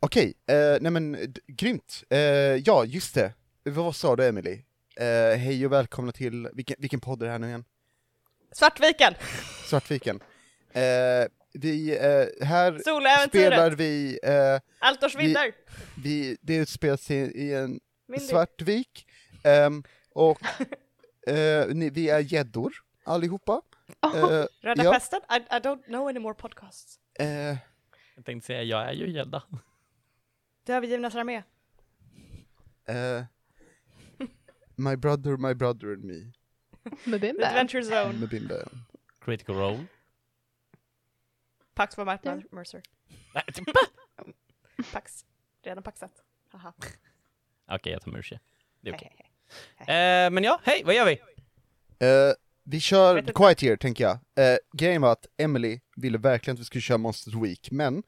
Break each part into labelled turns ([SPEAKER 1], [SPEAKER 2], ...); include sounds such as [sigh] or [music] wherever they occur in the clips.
[SPEAKER 1] Okej, eh, nej men d- grymt. Eh, ja, just det. Vad sa du Emily? Eh, hej och välkomna till, vilken, vilken podd är det här nu igen?
[SPEAKER 2] Svartviken!
[SPEAKER 1] Svartviken. Eh, vi, eh, här spelar
[SPEAKER 2] Soläventyret!
[SPEAKER 1] vi, eh,
[SPEAKER 2] Altors vindar!
[SPEAKER 1] vi, det utspelar sig i en
[SPEAKER 2] Mindy.
[SPEAKER 1] Svartvik, ehm, och eh, ni, vi är gäddor allihopa. Eh,
[SPEAKER 2] Röda
[SPEAKER 1] ja.
[SPEAKER 2] pesten? I, I don't know any more podcasts.
[SPEAKER 1] eh,
[SPEAKER 3] Jag tänkte säga, jag är ju gädda.
[SPEAKER 2] Det övergivnas armé.
[SPEAKER 1] eh, my brother, my brother and me.
[SPEAKER 4] Mubimba.
[SPEAKER 2] Adventure Zone.
[SPEAKER 1] Med bilden.
[SPEAKER 3] Critical role.
[SPEAKER 2] Pax for Martin Mercer.
[SPEAKER 3] Nej,
[SPEAKER 2] Pax. Redan paxat. Haha.
[SPEAKER 3] [laughs] Okej, jag tar mig ur sig. Det är okej.
[SPEAKER 2] Hej, hej,
[SPEAKER 3] Eh, men ja, hej, vad gör vi?
[SPEAKER 1] Eh, vi kör
[SPEAKER 2] Vet
[SPEAKER 1] The
[SPEAKER 2] du-
[SPEAKER 1] Quiet Year, tänker jag. Eh, grejen var att Emily ville verkligen att vi skulle köra Monsters Week, men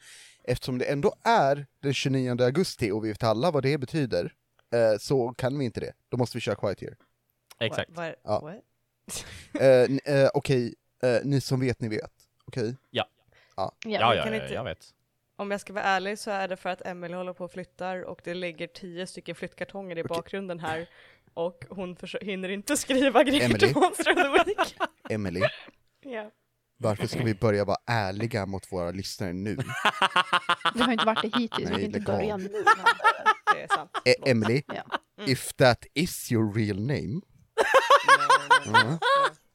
[SPEAKER 1] eftersom det ändå är den 29 augusti och vi vet alla vad det betyder, eh, så kan vi inte det. Då måste vi köra Quiet Year.
[SPEAKER 3] Exakt.
[SPEAKER 4] What,
[SPEAKER 1] Ja.
[SPEAKER 4] what?
[SPEAKER 1] Eh, n- eh, Okej, eh, ni som vet, ni vet. Okej?
[SPEAKER 3] Ja, ja,
[SPEAKER 2] kan
[SPEAKER 3] ja,
[SPEAKER 2] inte-
[SPEAKER 3] jag vet.
[SPEAKER 2] Om jag ska vara ärlig så är det för att Emily håller på och flyttar och det ligger tio stycken flyttkartonger i bakgrunden här. Och hon försö- hinner inte skriva grejer
[SPEAKER 1] Emily.
[SPEAKER 2] till Monster of the Week.
[SPEAKER 1] Emily,
[SPEAKER 2] [laughs] Ja.
[SPEAKER 1] varför ska vi börja vara ärliga mot våra lyssnare nu?
[SPEAKER 4] Vi har inte varit det hittills,
[SPEAKER 1] Nej,
[SPEAKER 4] vi kan inte
[SPEAKER 1] lägg av.
[SPEAKER 4] börja nu.
[SPEAKER 2] Det är [laughs] sant.
[SPEAKER 1] Eh, Emily,
[SPEAKER 4] Ja.
[SPEAKER 2] Mm.
[SPEAKER 1] if that is your real name, Mm.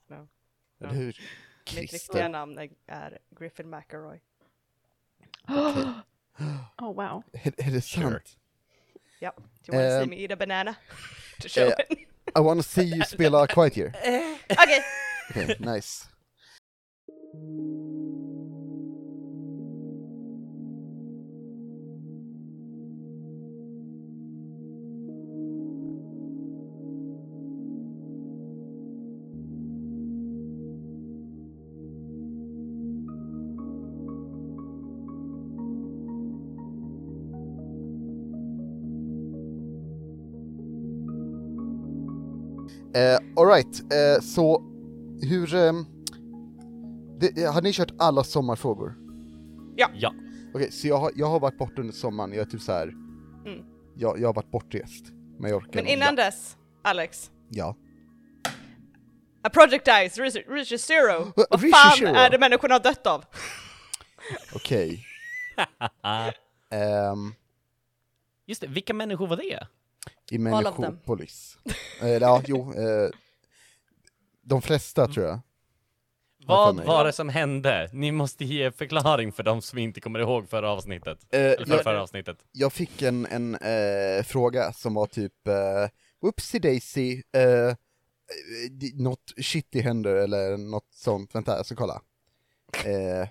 [SPEAKER 2] no.
[SPEAKER 1] eller hur?
[SPEAKER 2] Mitt riktiga
[SPEAKER 1] Christer.
[SPEAKER 2] namn är, är Griffin McElroy.
[SPEAKER 4] [gasps] Oh wow.
[SPEAKER 1] Är, är det sant?
[SPEAKER 3] Sure.
[SPEAKER 2] Ja, do you wanna
[SPEAKER 1] Eh,
[SPEAKER 2] see me eat a banana? To show
[SPEAKER 1] eh,
[SPEAKER 2] it.
[SPEAKER 1] I wanna see you spela Quiet Year.
[SPEAKER 2] Okej,
[SPEAKER 1] Okej, nice. Eh, Alright, eh, så hur... ehm, det, eh, har ni kört alla sommarfrågor?
[SPEAKER 3] Ja.
[SPEAKER 1] Okej, så jag har, jag har varit borta under sommaren, jag är typ så här.
[SPEAKER 2] Mm.
[SPEAKER 1] Jag, jag har varit bortrest. Men jag orkar
[SPEAKER 2] men
[SPEAKER 1] nog.
[SPEAKER 2] innan
[SPEAKER 1] Ja.
[SPEAKER 2] dess, Alex.
[SPEAKER 1] ja.
[SPEAKER 2] A project dies, reach- reaches zero. Vad
[SPEAKER 1] Reaches
[SPEAKER 2] fan
[SPEAKER 1] zero.
[SPEAKER 2] är det människorna har dött av? [laughs]
[SPEAKER 1] Okej.
[SPEAKER 3] Ah,
[SPEAKER 1] Ehm,
[SPEAKER 3] just det, vilka människor var det?
[SPEAKER 1] I
[SPEAKER 2] All of them.
[SPEAKER 1] Människopolis. Eller ja, jo. Eh, de flesta
[SPEAKER 2] Mm.
[SPEAKER 1] tror jag.
[SPEAKER 3] Vad
[SPEAKER 1] för mig.
[SPEAKER 3] var det som hände? Ni måste ge förklaring för de som inte kommer ihåg förra avsnittet.
[SPEAKER 1] Eh,
[SPEAKER 3] Eller
[SPEAKER 1] jag,
[SPEAKER 3] för förra avsnittet.
[SPEAKER 1] jag fick en, en eh, fråga som var typ eh, Whoopsie Daisy, eh, eh, di- något shitty händer eller något sånt. Vänta, jag ska kolla. Eh,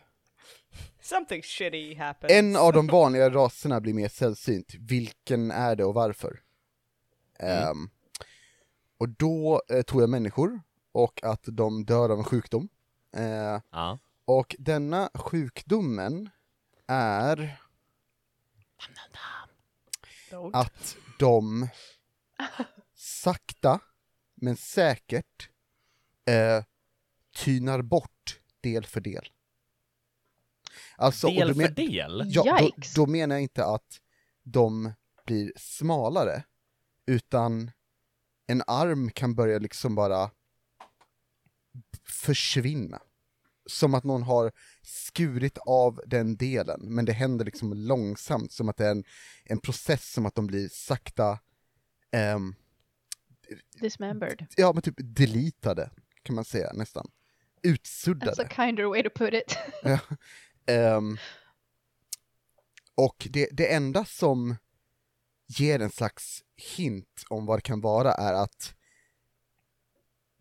[SPEAKER 2] Something shitty happens.
[SPEAKER 1] en av de vanliga raserna blir mer sällsynt. Vilken är det och varför? Ehm, och då eh, tog jag människor och att de dör av en sjukdom. Eh,
[SPEAKER 3] Ja.
[SPEAKER 1] Och denna sjukdomen är att de sakta men säkert eh, tynar bort del för del. Alltså, och
[SPEAKER 3] Del
[SPEAKER 1] då men-
[SPEAKER 3] för del?
[SPEAKER 1] Ja, då,
[SPEAKER 4] Yikes.
[SPEAKER 1] då menar jag inte att de blir smalare, utan en arm kan börja liksom bara försvinna. Som att någon har skurit av den delen, men det händer liksom långsamt, som att det är en, en process som att de blir sakta, ehm,
[SPEAKER 4] Dismembered.
[SPEAKER 1] ja men typ deletade, kan man säga nästan.
[SPEAKER 4] That's a
[SPEAKER 1] Utsuddade.
[SPEAKER 4] kinder way to put it.
[SPEAKER 1] Ehm, och det, det enda som ger en slags hint om vad det kan vara är att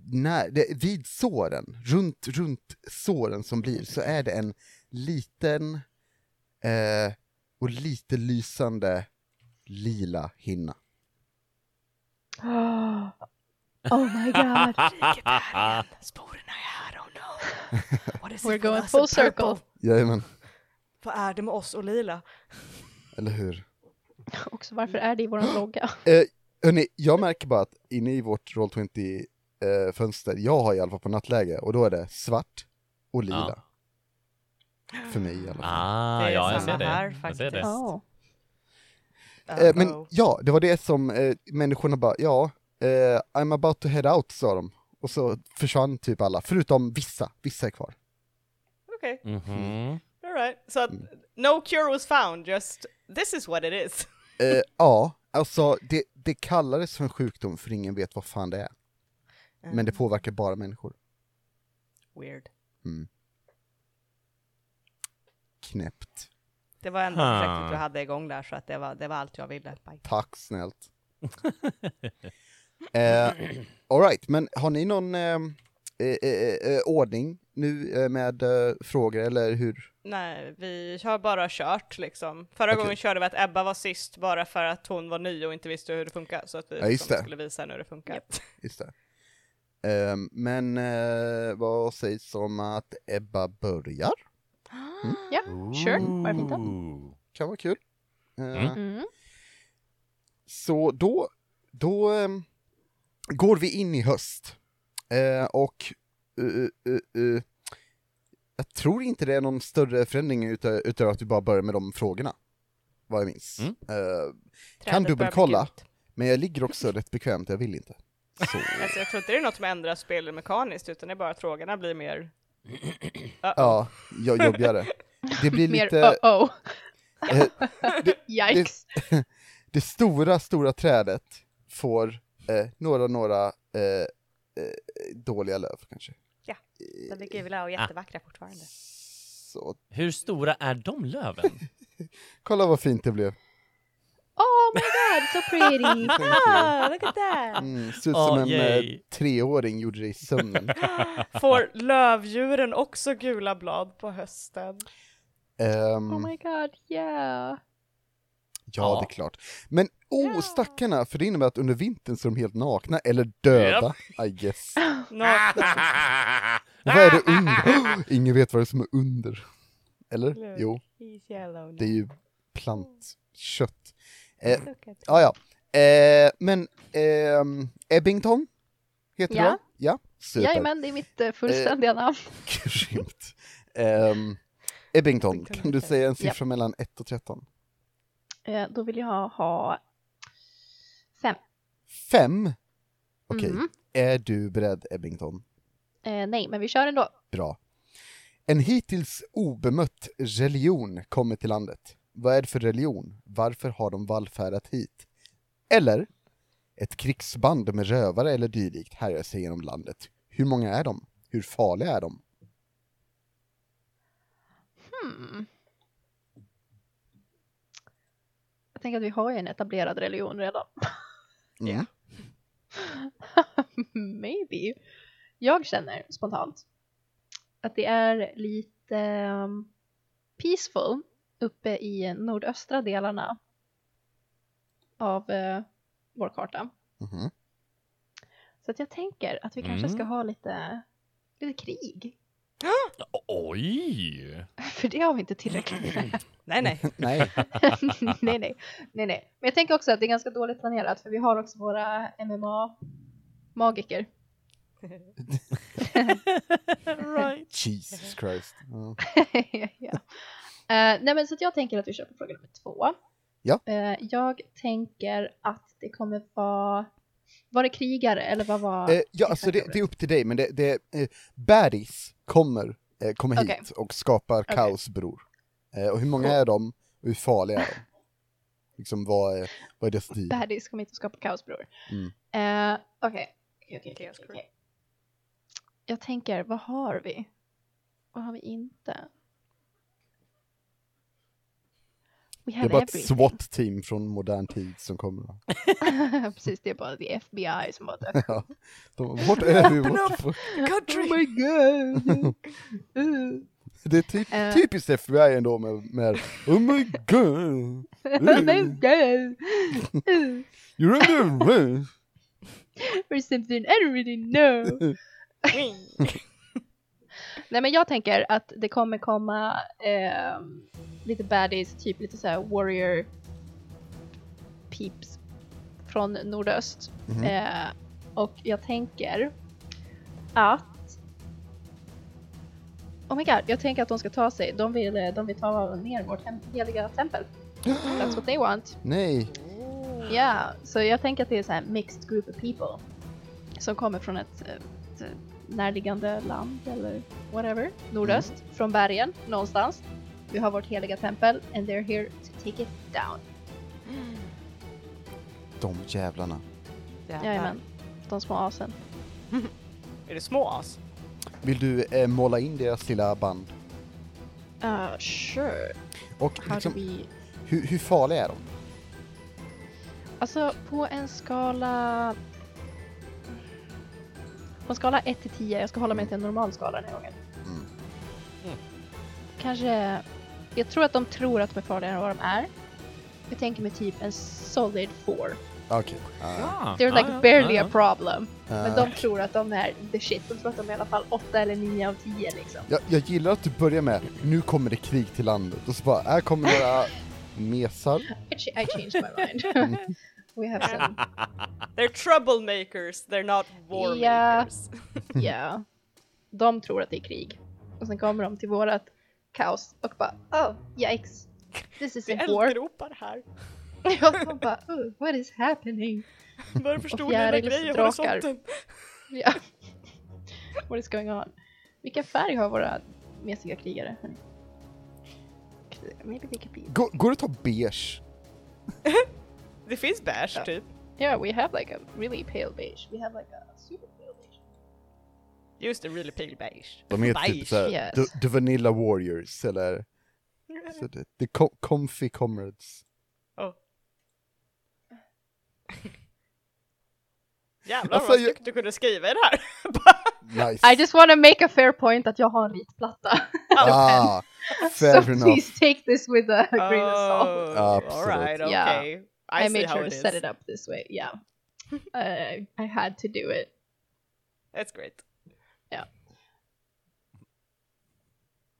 [SPEAKER 1] när, det, vid såren, runt, runt såren som blir, så är det en liten eh, och lite lysande lila hinna.
[SPEAKER 4] Oh, my god.
[SPEAKER 2] Vilket är igen? Sporerna är här, oh no.
[SPEAKER 1] [laughs]
[SPEAKER 2] What is it
[SPEAKER 4] We're
[SPEAKER 2] with
[SPEAKER 4] going
[SPEAKER 2] us
[SPEAKER 4] full
[SPEAKER 2] and purple?
[SPEAKER 4] circle.
[SPEAKER 1] Jajamän,
[SPEAKER 2] Vad är det med oss och lila?
[SPEAKER 1] eller hur?
[SPEAKER 4] Också varför är det i våran logga?
[SPEAKER 1] Hörrni, jag märker bara att inne i vårt Roll20-fönster, jag har i alla fall på nattläge, och då är det svart och lila. För mig i alla fall.
[SPEAKER 3] Ah,
[SPEAKER 2] Det är
[SPEAKER 3] ja, jag
[SPEAKER 2] samma
[SPEAKER 3] ser det.
[SPEAKER 2] här
[SPEAKER 3] Jag ser det.
[SPEAKER 2] faktiskt. Oh.
[SPEAKER 4] Oh.
[SPEAKER 2] Ah.
[SPEAKER 1] Eh, men ja, det var det som eh, människorna bara, ja, eh, I'm about to head out, sa de. Och så försvann typ alla, förutom vissa, vissa är kvar.
[SPEAKER 2] Okej, [laughs]
[SPEAKER 3] Mhm.
[SPEAKER 2] alright. Så att no cure was found, just this is what it is.
[SPEAKER 1] Eh, ja, alltså det, det kallades för en sjukdom för ingen vet vad fan det är. Men det påverkar bara människor.
[SPEAKER 2] Weird.
[SPEAKER 1] Knäppt.
[SPEAKER 2] Det var enda
[SPEAKER 3] Huh.
[SPEAKER 2] projektet du hade igång där så att det var, det var allt jag ville. Bye.
[SPEAKER 1] Tack snällt. eh, Alright, men har ni någon eh, eh, eh, eh, ordning nu eh, med eh, frågor eller hur?
[SPEAKER 2] Nej, vi har bara kört liksom. Förra
[SPEAKER 1] Okej.
[SPEAKER 2] gången körde vi att Ebba var sist bara för att hon var ny och inte visste hur det funkar. Så att vi
[SPEAKER 1] Ja, just
[SPEAKER 2] liksom
[SPEAKER 1] det.
[SPEAKER 2] skulle visa henne hur det funkar.
[SPEAKER 1] Just det. Ehm, men eh, vad sägs om att Ebba börjar?
[SPEAKER 2] Mm.
[SPEAKER 4] Ja, sure. Varför inte?
[SPEAKER 3] Ooh.
[SPEAKER 1] Kan vara kul. Eh,
[SPEAKER 3] Mm.
[SPEAKER 4] Mm.
[SPEAKER 1] Så då, då ehm, går vi in i höst. Eh, och eh, eh, eh, eh, jag tror inte det är någon större förändring utö- utöver att vi bara börjar med de frågorna. Vad jag minns.
[SPEAKER 3] Mm.
[SPEAKER 1] Eh,
[SPEAKER 2] Trädet börjar
[SPEAKER 1] dubbelkolla.
[SPEAKER 2] bli gult.
[SPEAKER 1] men jag ligger också rätt bekvämt, jag vill inte. Så,
[SPEAKER 2] Alltså, jag tror inte det är något som ändrar spelet mekaniskt utan det är bara att frågorna blir mer... Uh-oh.
[SPEAKER 1] ja, jag jobbigare. Det blir
[SPEAKER 4] Mer
[SPEAKER 1] lite...
[SPEAKER 4] uh-oh.
[SPEAKER 1] eh,
[SPEAKER 4] [laughs] Yikes.
[SPEAKER 1] det stora, stora trädet får eh, några, några eh, eh, dåliga löv kanske. Eh,
[SPEAKER 2] Ja, De blir gula och jättevackra fortfarande.
[SPEAKER 1] Så,
[SPEAKER 3] Hur stora är de löven?
[SPEAKER 1] kolla vad fint det blev.
[SPEAKER 4] Oh my god, so pretty.
[SPEAKER 2] Ah, look at that!
[SPEAKER 1] Mm, ser ut
[SPEAKER 3] Ah,
[SPEAKER 1] som en eh,
[SPEAKER 3] yay.
[SPEAKER 1] treåring gjorde det i sömnen.
[SPEAKER 2] [laughs] Får lövdjuren också gula blad på hösten?
[SPEAKER 1] Ehm,
[SPEAKER 4] Oh my god, yeah.
[SPEAKER 1] ja, det är klart. Men, oh, stackarna, för det innebär att under vintern så är de helt nakna, eller döda, I guess.
[SPEAKER 2] Nå,
[SPEAKER 1] Ah. Och [laughs] vad är
[SPEAKER 5] Ah,
[SPEAKER 1] det under? [gasps] Ingen vet vad det är som är under. Eller?
[SPEAKER 2] Look.
[SPEAKER 1] Jo,
[SPEAKER 2] he's yellow
[SPEAKER 1] det är ju
[SPEAKER 2] now.
[SPEAKER 1] plantkött. Eh,
[SPEAKER 2] Look at
[SPEAKER 1] Ja, ja. Eh, men ehm, Ebbington heter
[SPEAKER 4] Ja.
[SPEAKER 1] du va? Ja, super.
[SPEAKER 4] Jajamän, det är mitt eh, fullständiga namn.
[SPEAKER 1] [laughs] Grymt. Ehm, Ebbington,
[SPEAKER 2] Ebbington
[SPEAKER 1] kan du
[SPEAKER 2] heter
[SPEAKER 1] säga en
[SPEAKER 4] Ja.
[SPEAKER 1] siffra mellan 1 och 13?
[SPEAKER 4] Eh, Då vill jag ha fem.
[SPEAKER 1] 5? Okej,
[SPEAKER 4] Mm.
[SPEAKER 1] är du beredd Ebbington?
[SPEAKER 4] Eh, nej, men vi kör ändå.
[SPEAKER 1] Bra. En hittills obemött religion kommer till landet. Vad är det för religion? Varför har de vallfärdat hit? Eller, ett krigsband med rövare eller dylikt härjar sig genom landet. Hur många är de? Hur farliga är de?
[SPEAKER 4] Hmm. Jag tänker att vi har ju en etablerad religion redan. [laughs]
[SPEAKER 1] Mm.
[SPEAKER 4] Maybe. Jag känner spontant att det är lite ehm, peaceful uppe i nordöstra delarna av eh, vår karta.
[SPEAKER 1] Mhm.
[SPEAKER 4] Så att jag tänker att vi kanske
[SPEAKER 3] Mm.
[SPEAKER 4] ska ha lite, lite krig. [laughs]
[SPEAKER 3] Oj!
[SPEAKER 4] För det har vi
[SPEAKER 2] [laughs]
[SPEAKER 4] inte tillräckligt med.
[SPEAKER 2] Nej,
[SPEAKER 1] [laughs]
[SPEAKER 2] nej.
[SPEAKER 1] Nej.
[SPEAKER 4] [laughs] nej, nej, nej, nej. Men jag tänker också att det är ganska dåligt planerat för vi har också våra MMA-magiker.
[SPEAKER 2] right.
[SPEAKER 1] Jesus Christ. Ja.
[SPEAKER 4] [laughs] ja. Eh, nej, men så att jag tänker att vi kör på fråga nummer två.
[SPEAKER 1] Ja.
[SPEAKER 4] Eh, jag tänker att det kommer vara... Var det krigare eller vad var...
[SPEAKER 1] Eh, ja, alltså det, det är upp till dig, men det, det eh, baddies kommer, eh, kommer hit
[SPEAKER 4] Okej.
[SPEAKER 1] och skapar
[SPEAKER 4] Okej.
[SPEAKER 1] kaos, bror. Eh, och hur många är de? Och hur farliga är de? Liksom, vad är, vad är deras stil?
[SPEAKER 4] Baddies kommer inte att skapa kaos bror.
[SPEAKER 1] Mm.
[SPEAKER 4] Eh, Okej. Okej, okej, okej,
[SPEAKER 2] Kaos crew.
[SPEAKER 4] okej. Jag tänker, vad har vi? Vad har vi inte? We
[SPEAKER 1] Det är
[SPEAKER 4] have
[SPEAKER 1] bara ett
[SPEAKER 4] everything.
[SPEAKER 1] SWAT-team från modern tid som kommer. va?
[SPEAKER 4] [laughs] Precis, det är bara the FBI som bara dök.
[SPEAKER 1] Ja. De, vart är vi?
[SPEAKER 2] Open
[SPEAKER 1] Vart, vart?
[SPEAKER 2] Country!
[SPEAKER 4] Oh
[SPEAKER 1] Oh
[SPEAKER 4] my [laughs] god! Uh.
[SPEAKER 1] Det är typ,
[SPEAKER 4] Eh.
[SPEAKER 1] typiskt FBI ändå med, med Oh my god!
[SPEAKER 4] Oh my [laughs] god! Uh.
[SPEAKER 1] You're on the run!
[SPEAKER 4] or something I don't really know. Nej men jag tänker att det kommer komma ehm, lite baddies, typ lite så här warrior peeps från nordöst.
[SPEAKER 1] Mhm.
[SPEAKER 4] Eh, och jag tänker att Oh my god, jag tänker att de ska ta sig, de vill, eh, de vill ta ner vårt hem- heliga tempel. That's what they want.
[SPEAKER 1] Nej.
[SPEAKER 4] Ja, så jag tänker att det är så här mixed group of people. Som kommer från ett, eh, ett närliggande land eller whatever. Nordöst, från bergen, någonstans. Vi har vårt heliga tempel and they're here to take it down.
[SPEAKER 1] De jävlarna.
[SPEAKER 4] Jajamän. De små asen.
[SPEAKER 2] Är det små as?
[SPEAKER 1] Vill du eh, måla in deras lilla band?
[SPEAKER 4] Uh, sure.
[SPEAKER 1] Och
[SPEAKER 4] How
[SPEAKER 1] liksom,
[SPEAKER 4] do we...
[SPEAKER 1] hur, hur farliga är de?
[SPEAKER 4] Alltså på en skala... På en skala 1 till 10, jag ska hålla mig till en normal skala den här gången.
[SPEAKER 1] Mm.
[SPEAKER 3] Mm.
[SPEAKER 4] Kanske... Jag tror att de tror att de är farligare än vad de är. Jag tänker mig typ en solid 4.
[SPEAKER 1] Okej. Ah.
[SPEAKER 3] Ah,
[SPEAKER 4] They're
[SPEAKER 3] ah,
[SPEAKER 4] like
[SPEAKER 3] ja,
[SPEAKER 4] barely
[SPEAKER 3] ja,
[SPEAKER 4] a problem. Men
[SPEAKER 1] Eh,
[SPEAKER 4] de tror att de är the shit. De tror att de är i alla fall 8 eller 9 av 10 liksom.
[SPEAKER 1] jag, jag gillar att du börjar med nu kommer det krig till landet och så bara här kommer
[SPEAKER 4] [laughs]
[SPEAKER 1] några mesar.
[SPEAKER 4] I ch- I changed my mind. We have some...
[SPEAKER 2] They're troublemakers, they're not war
[SPEAKER 4] Ja.
[SPEAKER 2] makers.
[SPEAKER 1] Mm.
[SPEAKER 4] Yeah. De tror att det är krig. Och sen kommer de till vårat kaos och bara oh, yikes. This is
[SPEAKER 2] Det
[SPEAKER 4] a
[SPEAKER 2] är
[SPEAKER 4] [laughs] war.
[SPEAKER 2] eldgropar här.
[SPEAKER 4] Ja, de bara oh, what is happening?
[SPEAKER 2] Börjar förstå
[SPEAKER 4] Fjärilar
[SPEAKER 2] lilla
[SPEAKER 4] och
[SPEAKER 2] grejer i
[SPEAKER 4] drakar.
[SPEAKER 2] horisonten.
[SPEAKER 4] Ja. [laughs] What is going on? Vilken färg har våra mesiga krigare? Hmm. Maybe they could be...
[SPEAKER 1] Går, går det att ta beige?
[SPEAKER 2] Det finns bärs
[SPEAKER 4] Ja.
[SPEAKER 2] typ.
[SPEAKER 4] Yeah, we have like a really pale beige. We have like a super pale beige.
[SPEAKER 2] Just det, really pale beige.
[SPEAKER 1] De heter typ
[SPEAKER 2] Beige.
[SPEAKER 1] såhär,
[SPEAKER 4] Yes.
[SPEAKER 1] the, the Vanilla Warriors eller så det, The co- Comfy Comrades.
[SPEAKER 4] [laughs]
[SPEAKER 2] Oh. Jävlar
[SPEAKER 1] Alltså,
[SPEAKER 2] vad
[SPEAKER 1] jag-
[SPEAKER 2] snyggt du kunde skriva i det här. [laughs]
[SPEAKER 1] Nice.
[SPEAKER 4] I just wanna make a fair point att jag har en ritplatta.
[SPEAKER 1] ah,
[SPEAKER 4] [laughs] so
[SPEAKER 1] fair enough.
[SPEAKER 4] please take this with a grain of salt.
[SPEAKER 1] Absolut.
[SPEAKER 2] Alright,
[SPEAKER 4] Ja.
[SPEAKER 2] Oh, okay. I,
[SPEAKER 4] I,
[SPEAKER 2] see
[SPEAKER 4] made
[SPEAKER 2] how
[SPEAKER 4] sure to
[SPEAKER 2] it is.
[SPEAKER 4] set it up this way. Yeah, I I had to do it.
[SPEAKER 2] That's great.
[SPEAKER 4] Ja.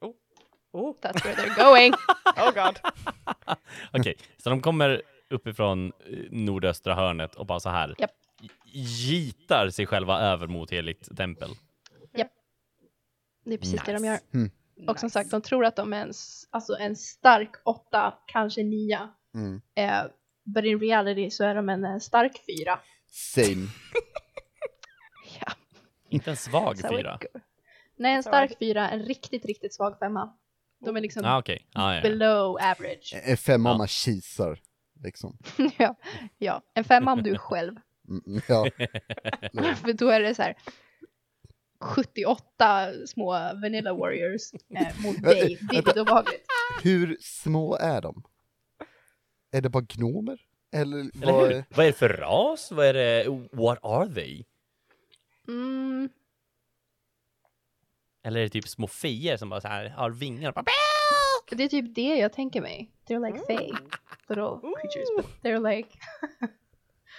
[SPEAKER 2] Oh. Oh.
[SPEAKER 4] That's where they're going.
[SPEAKER 2] oh god.
[SPEAKER 3] Okej, så de kommer uppifrån eh, nordöstra hörnet och bara så här.
[SPEAKER 4] Japp.
[SPEAKER 3] Gitar sig själva över mot heligt tempel.
[SPEAKER 4] Det är precis det de
[SPEAKER 3] Nice.
[SPEAKER 4] gör.
[SPEAKER 1] Mm.
[SPEAKER 4] Och som sagt, de tror att de är en, s- alltså en stark åtta, kanske nia.
[SPEAKER 1] Mm.
[SPEAKER 4] Eh, but in reality så är de en eh, stark fyra.
[SPEAKER 1] Same.
[SPEAKER 4] Ja,
[SPEAKER 3] Inte en svag
[SPEAKER 4] so it
[SPEAKER 3] fyra.
[SPEAKER 4] go- Nej, en
[SPEAKER 2] So
[SPEAKER 4] stark
[SPEAKER 2] it-
[SPEAKER 4] fyra, en riktigt, riktigt svag femma. De är liksom
[SPEAKER 3] Ah, okej. Ah, ja.
[SPEAKER 4] below average.
[SPEAKER 1] En femma om
[SPEAKER 3] Ja.
[SPEAKER 1] man eh, kisar. Liksom.
[SPEAKER 4] [laughs] ja, ja, en femma om du är själv.
[SPEAKER 1] Mm, mm,
[SPEAKER 4] [laughs]
[SPEAKER 1] ja.
[SPEAKER 4] För då är det så här 78 små Vanilla Warriors eh, mot dig. Det är lite obehagligt.
[SPEAKER 1] Hur små är de? Är det bara gnomer? Eller
[SPEAKER 3] Eller
[SPEAKER 1] vad
[SPEAKER 3] hur? Vad är det för ras? Vad är det? What are they?
[SPEAKER 4] Mm,
[SPEAKER 3] Eller är det typ små feer som bara så här har vingar och bara...
[SPEAKER 4] det är typ det jag tänker mig. They're like
[SPEAKER 2] Mm.
[SPEAKER 4] fey. Little creatures. But they're like... [laughs]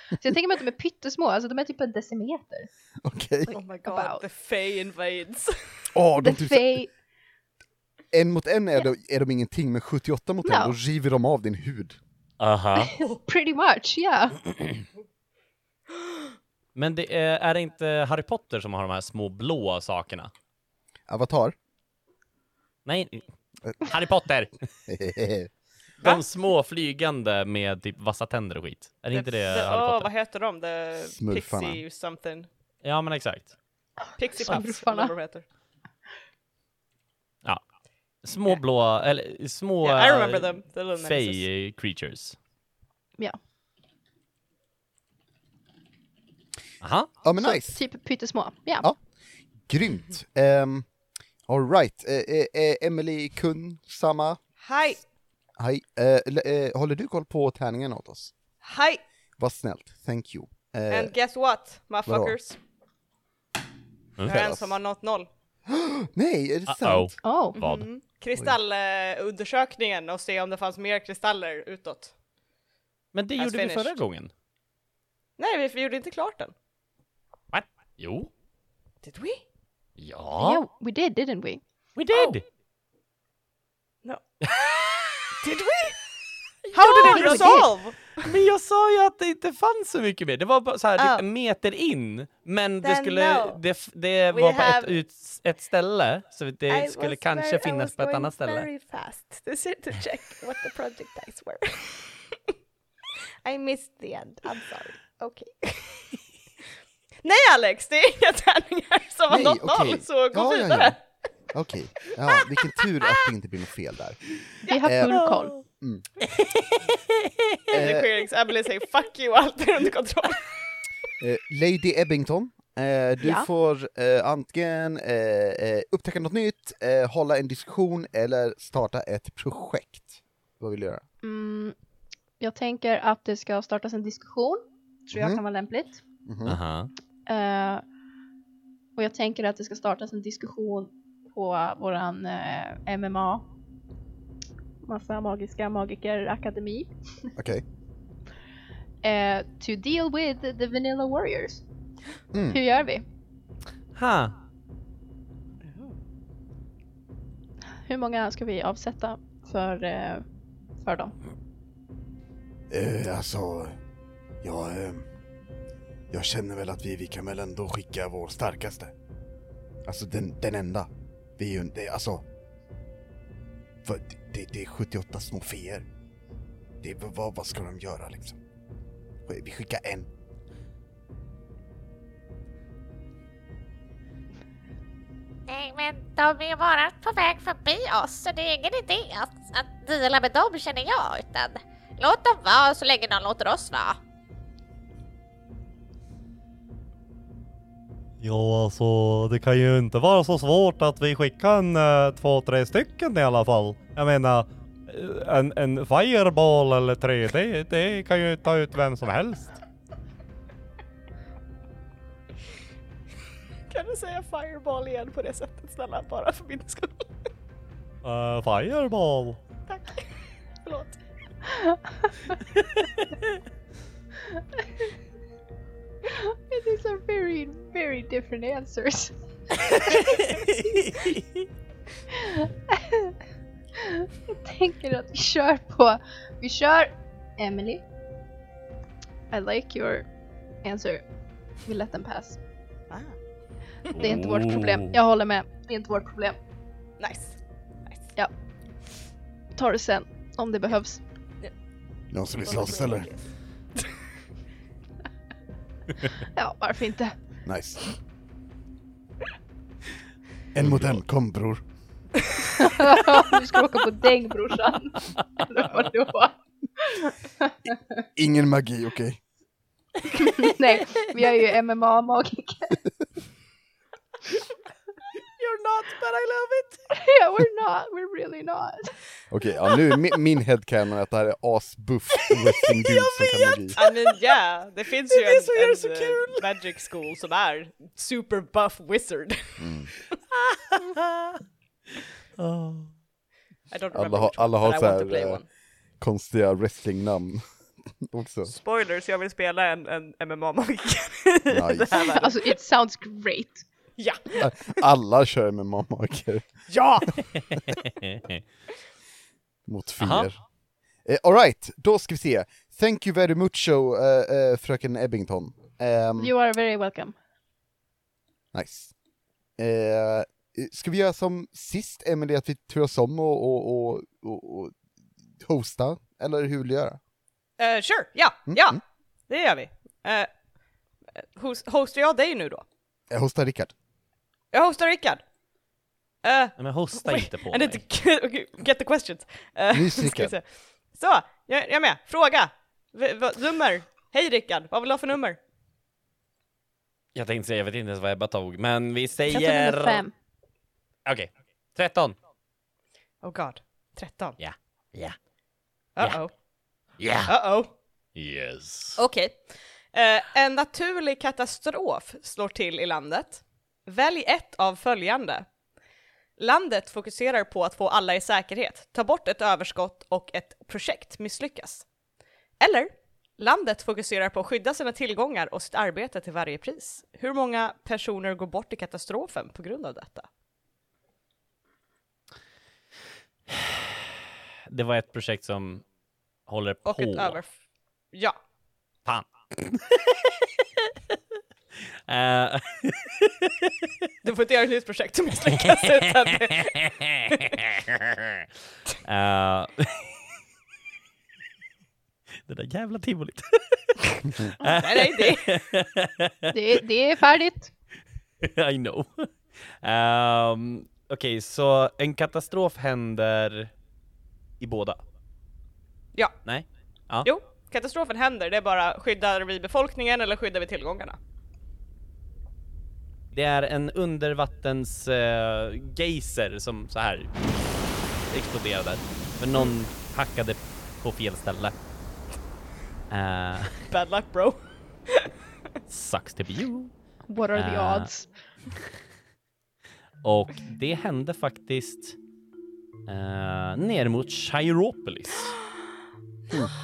[SPEAKER 4] Så jag tänker mig att de är pyttesmå, alltså de är typ en decimeter.
[SPEAKER 1] Okej.
[SPEAKER 2] Oh my god,
[SPEAKER 4] About.
[SPEAKER 2] the Fae invades.
[SPEAKER 1] Åh,
[SPEAKER 4] The
[SPEAKER 1] de typ, så-
[SPEAKER 4] fey...
[SPEAKER 1] en mot en är, de, är de ingenting, men 78 mot en,
[SPEAKER 4] No.
[SPEAKER 1] då river de av din hud.
[SPEAKER 3] Aha.
[SPEAKER 4] Pretty much, yeah.
[SPEAKER 3] Men det är, är det inte Harry Potter som har de här små blå sakerna?
[SPEAKER 1] Avatar? [laughs]
[SPEAKER 3] Nej, Harry Potter!
[SPEAKER 2] Va?
[SPEAKER 3] De små flygande med typ vassa tänder och skit. Är det inte det
[SPEAKER 2] [laughs] The-
[SPEAKER 3] Harry
[SPEAKER 2] åh,
[SPEAKER 3] Potter?
[SPEAKER 2] vad heter de? The
[SPEAKER 1] Smurfarna.
[SPEAKER 2] Pixie something.
[SPEAKER 3] Ja, men exakt.
[SPEAKER 2] Pixie Puffs,
[SPEAKER 4] Smurfarna.
[SPEAKER 2] eller vad de heter.
[SPEAKER 3] Små blå, eller små...
[SPEAKER 2] Yeah, I remember them. The
[SPEAKER 3] eh,
[SPEAKER 2] little nemesis.
[SPEAKER 3] Fey creatures.
[SPEAKER 4] Ja.
[SPEAKER 3] Aha.
[SPEAKER 1] ja men
[SPEAKER 4] Så
[SPEAKER 1] nice,
[SPEAKER 4] typ pyttesmå. Ja.
[SPEAKER 1] Ja. grymt. Um, Alright, uh, Emily Kun, samma.
[SPEAKER 2] Hej!
[SPEAKER 1] Hej. Eh, l- eh, håller du koll på tärningen åt oss?
[SPEAKER 2] Hej!
[SPEAKER 1] Vad snällt, thank you. Eh,
[SPEAKER 2] And guess what, motherfuckers?
[SPEAKER 3] Mm.
[SPEAKER 2] Jag är en som har nått noll. Mm.
[SPEAKER 1] nej, är det
[SPEAKER 3] Uh-oh.
[SPEAKER 1] sant?
[SPEAKER 2] Mm-hmm.
[SPEAKER 4] Oh.
[SPEAKER 3] Vad?
[SPEAKER 2] Kristallundersökningen eh, och se om det fanns mer kristaller utåt.
[SPEAKER 3] Men det
[SPEAKER 2] That's
[SPEAKER 3] gjorde vi förra
[SPEAKER 2] finished.
[SPEAKER 3] gången.
[SPEAKER 2] Nej, vi, vi gjorde inte klart den.
[SPEAKER 3] What? Jo.
[SPEAKER 2] Did we?
[SPEAKER 3] Ja.
[SPEAKER 4] Yeah, we did, didn't we?
[SPEAKER 2] Oh.
[SPEAKER 3] We did!
[SPEAKER 2] Did we? How
[SPEAKER 3] Ja,
[SPEAKER 2] did it
[SPEAKER 3] jag-
[SPEAKER 2] resolve?
[SPEAKER 3] [laughs] Men jag sa ju att det inte fanns så mycket mer. Det var bara så här,
[SPEAKER 2] Ja.
[SPEAKER 3] typ en meter in. Men det,
[SPEAKER 2] Ah. Then
[SPEAKER 3] skulle,
[SPEAKER 2] no.
[SPEAKER 3] det, f- det
[SPEAKER 2] We
[SPEAKER 3] var på ett,
[SPEAKER 2] have-
[SPEAKER 3] ut, ett ställe, så det
[SPEAKER 2] I
[SPEAKER 3] skulle
[SPEAKER 2] was
[SPEAKER 3] kanske
[SPEAKER 2] very- I
[SPEAKER 3] finnas
[SPEAKER 2] was
[SPEAKER 3] på ett
[SPEAKER 2] going
[SPEAKER 3] annat ställe.
[SPEAKER 2] Very fast. [laughs] This is to check what the projectiles were. [laughs] I missed the end. I'm sorry. Okej. [laughs] Nej Alex, det är inga tärningar som har
[SPEAKER 1] Nej,
[SPEAKER 2] nått
[SPEAKER 1] okej.
[SPEAKER 2] noll, så
[SPEAKER 3] [laughs]
[SPEAKER 1] Ja, ja, ja.
[SPEAKER 2] gå
[SPEAKER 3] Eh.
[SPEAKER 2] vidare.
[SPEAKER 1] Okej, ja, vilken tur att det inte blir något fel där.
[SPEAKER 4] Vi har full
[SPEAKER 1] Eh,
[SPEAKER 4] koll.
[SPEAKER 2] The
[SPEAKER 1] Eh,
[SPEAKER 2] queerings Abby säger fuck you, allt är under kontroll. [laughs]
[SPEAKER 1] Eh, Lady Ebbington, eh, du
[SPEAKER 4] Ja.
[SPEAKER 1] får eh, antingen eh, eh, upptäcka något nytt, eh, hålla en diskussion eller starta ett projekt. Vad vill du göra?
[SPEAKER 4] Mm, jag tänker att det ska startas en diskussion. Tror jag
[SPEAKER 1] Mhm.
[SPEAKER 4] kan vara lämpligt.
[SPEAKER 1] Mhm.
[SPEAKER 3] Aha.
[SPEAKER 4] Eh, och jag tänker att det ska startas en diskussion på våran eh, MMA. Massa magiska magikerakademi.
[SPEAKER 1] Okej.
[SPEAKER 4] Eh, to deal with the Vanilla Warriors.
[SPEAKER 1] Mm.
[SPEAKER 4] Hur gör vi?
[SPEAKER 3] Ha.
[SPEAKER 4] Hur många ska vi avsätta för, eh, för dem?
[SPEAKER 6] Eh, alltså, ja, eh, jag känner väl att vi, vi kan väl ändå skicka vår starkaste. Alltså den, den enda. Vi är ju, det, alltså. För det, det, det är 78 små feer. Det, är- vad, vad ska de göra liksom? Vi skickar en.
[SPEAKER 7] Nej, men de är ju bara på väg förbi oss så det är ingen idé att, att deala med dem känner jag. Utan låt dem vara så länge de låter oss vara.
[SPEAKER 8] Ja, alltså det kan ju inte vara så svårt att vi skickar en eh, två, tre stycken i alla fall. Jag menar, eh, en, en fireball eller tre, det, det kan ju ta ut vem som helst.
[SPEAKER 2] Kan du säga fireball igen på det sättet snälla, bara för min skull? [laughs]
[SPEAKER 8] Eh,
[SPEAKER 3] [laughs]
[SPEAKER 8] fireball.
[SPEAKER 2] Tack. Förlåt.
[SPEAKER 4] [laughs] These are very, very different answers. [laughs] Jag tänker att vi kör på... Vi kör Emily. I like your answer. We let them pass.
[SPEAKER 2] Ah,
[SPEAKER 4] Det är inte vårt problem.
[SPEAKER 3] Oh.
[SPEAKER 4] Jag håller med. Det är inte vårt problem.
[SPEAKER 2] nice. nice.
[SPEAKER 4] Tar det sen. Om det behövs.
[SPEAKER 6] Någon som vill slåss eller?
[SPEAKER 4] Ja, varför inte? [laughs]
[SPEAKER 6] Nice. En mot en, kom bror.
[SPEAKER 4] du ska åka på däng brorsan. [laughs] Eller vad det var.
[SPEAKER 6] Ingen magi, okej?
[SPEAKER 4] Nej, vi är ju [laughs] MMA-magiker.
[SPEAKER 2] You're not but I love it!
[SPEAKER 4] yeah, we're not. We're really not.
[SPEAKER 1] Okej, ja, nu är mi- min headcanon att det här är asbuff wrestling dudes som kan magi.
[SPEAKER 2] I mean yeah, det finns ju
[SPEAKER 3] det som gör det
[SPEAKER 2] en,
[SPEAKER 3] så
[SPEAKER 2] en
[SPEAKER 3] kul.
[SPEAKER 2] eh, magic school som är super buff wizard.
[SPEAKER 1] Mm.
[SPEAKER 2] [laughs] I don't remember
[SPEAKER 1] Alla har,
[SPEAKER 2] which one,
[SPEAKER 1] alla har
[SPEAKER 2] but I
[SPEAKER 1] så
[SPEAKER 2] want to
[SPEAKER 1] här,
[SPEAKER 2] play
[SPEAKER 1] eh,
[SPEAKER 2] one.
[SPEAKER 1] konstiga wrestlingnamn [laughs] också.
[SPEAKER 2] Spoilers, jag vill spela en, en MMA-magiker.
[SPEAKER 1] Nice.
[SPEAKER 4] Alltså, it sounds great.
[SPEAKER 2] [laughs] ja!
[SPEAKER 1] Alla kör med mammaker
[SPEAKER 2] Ja!
[SPEAKER 1] mot
[SPEAKER 3] Aha.
[SPEAKER 1] feer. Eh, Alright, då ska vi se. Thank you very much, so, eh, eh, fröken Ebbington. Ehm,
[SPEAKER 4] You are very welcome.
[SPEAKER 1] Nice. Eh, ska vi göra som sist, Emelie, att vi turas om och, och, och, och, och hosta? Eller hur vill du göra?
[SPEAKER 2] Eh, sure, ja,
[SPEAKER 1] Mm,
[SPEAKER 2] ja!
[SPEAKER 1] mm.
[SPEAKER 2] Det gör vi. Eh, host, hostar jag dig nu då?
[SPEAKER 1] Eh, hosta Rickard.
[SPEAKER 2] Jag hostar Rickard! Eh,
[SPEAKER 3] Nej, men hosta inte på
[SPEAKER 2] and
[SPEAKER 3] mig.
[SPEAKER 2] it- okay, get the questions. Eh,
[SPEAKER 1] Nys,
[SPEAKER 2] [laughs] ska vi
[SPEAKER 1] Rickard.
[SPEAKER 2] se. Så, jag, jag är med. Fråga! V, v, nummer! Hej Rickard, vad vill du ha för nummer?
[SPEAKER 3] Jag tänkte säga, jag vet inte ens vad Ebba tog, men vi
[SPEAKER 4] Jag
[SPEAKER 3] säger...
[SPEAKER 4] tar nummer fem.
[SPEAKER 3] Okej, 13.
[SPEAKER 2] Oh god, 13.
[SPEAKER 3] Ja. Ja.
[SPEAKER 2] Uh-oh.
[SPEAKER 3] Ja.
[SPEAKER 2] Uh-oh.
[SPEAKER 3] Yes.
[SPEAKER 2] Okej. Eh, en naturlig katastrof slår till i landet. Välj ett av följande. Landet fokuserar på att få alla i säkerhet, ta bort ett överskott och ett projekt misslyckas. Eller, landet fokuserar på att skydda sina tillgångar och sitt arbete till varje pris. Hur många personer går bort i katastrofen på grund av detta?
[SPEAKER 3] Det var ett projekt som
[SPEAKER 5] håller på.
[SPEAKER 2] Och ett över... Ja.
[SPEAKER 5] Fan.
[SPEAKER 2] [laughs]
[SPEAKER 5] Eh, [laughs]
[SPEAKER 2] Du får inte göra ett nytt projekt som misslyckas [laughs] utan...
[SPEAKER 5] Eh, det där jävla tivolit. [laughs]
[SPEAKER 2] Nej, nej, det...
[SPEAKER 4] Det, det är färdigt.
[SPEAKER 5] I know. Ehm, Okej, så en katastrof händer i båda?
[SPEAKER 2] Ja.
[SPEAKER 5] Nej?
[SPEAKER 2] Jo, katastrofen händer. Det är bara skyddar vi befolkningen eller skyddar vi tillgångarna?
[SPEAKER 5] Det är en undervattens eh, geyser som så här exploderade. För någon hackade på fel ställe. Eh,
[SPEAKER 2] Bad luck bro.
[SPEAKER 5] sucks to be you.
[SPEAKER 4] What are the
[SPEAKER 5] Ah.
[SPEAKER 4] odds?
[SPEAKER 5] Och det hände faktiskt eh, ner mot Chiropolis. Mm.
[SPEAKER 2] [gasps]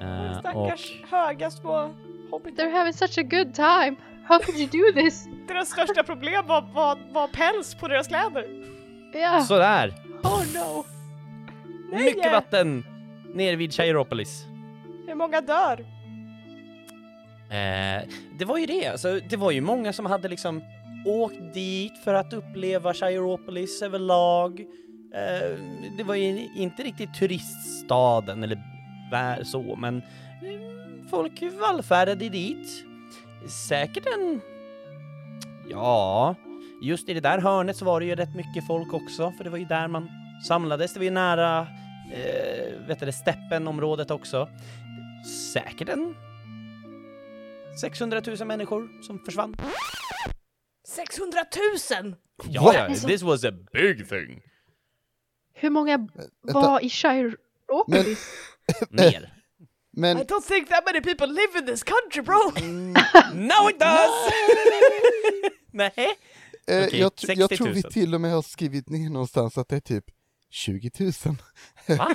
[SPEAKER 5] Eh,
[SPEAKER 2] Stackars höga små hobbitar.
[SPEAKER 4] They're having such a good time. How could you do this?
[SPEAKER 2] Deras största problem var, var, var päls på deras kläder.
[SPEAKER 4] Yeah.
[SPEAKER 5] och, sådär!
[SPEAKER 2] Oh no! Nej!
[SPEAKER 5] Mycket vatten ner vid Chiropolis.
[SPEAKER 2] Hur många dör?
[SPEAKER 5] Eh, det var ju det, alltså, det var ju många som hade liksom åkt dit för att uppleva Chiropolis överlag. Eh, det var ju inte riktigt turiststaden eller vär så, men mm, folk vallfärdade dit. Säkert en... Ja, just i det där hörnet så var det ju rätt mycket folk också, för det var ju där man samlades. Det var ju nära, eh, vet du det, Steppenområdet också. Säkert en 600 000 människor som försvann.
[SPEAKER 2] 600 000!
[SPEAKER 5] Ja, ja, this was a
[SPEAKER 2] [laughs]
[SPEAKER 5] big thing.
[SPEAKER 4] Hur många var i Chiropolis?
[SPEAKER 5] Mer.
[SPEAKER 1] Men
[SPEAKER 2] I don't think that many people live in this country bro!
[SPEAKER 5] no it does! [laughs] Nej.
[SPEAKER 1] eh,
[SPEAKER 5] Okej,
[SPEAKER 1] jag, tr- jag
[SPEAKER 5] 60
[SPEAKER 1] tror
[SPEAKER 5] 000.
[SPEAKER 1] vi till och med har skrivit ner någonstans att det är typ 20 000.
[SPEAKER 5] Va?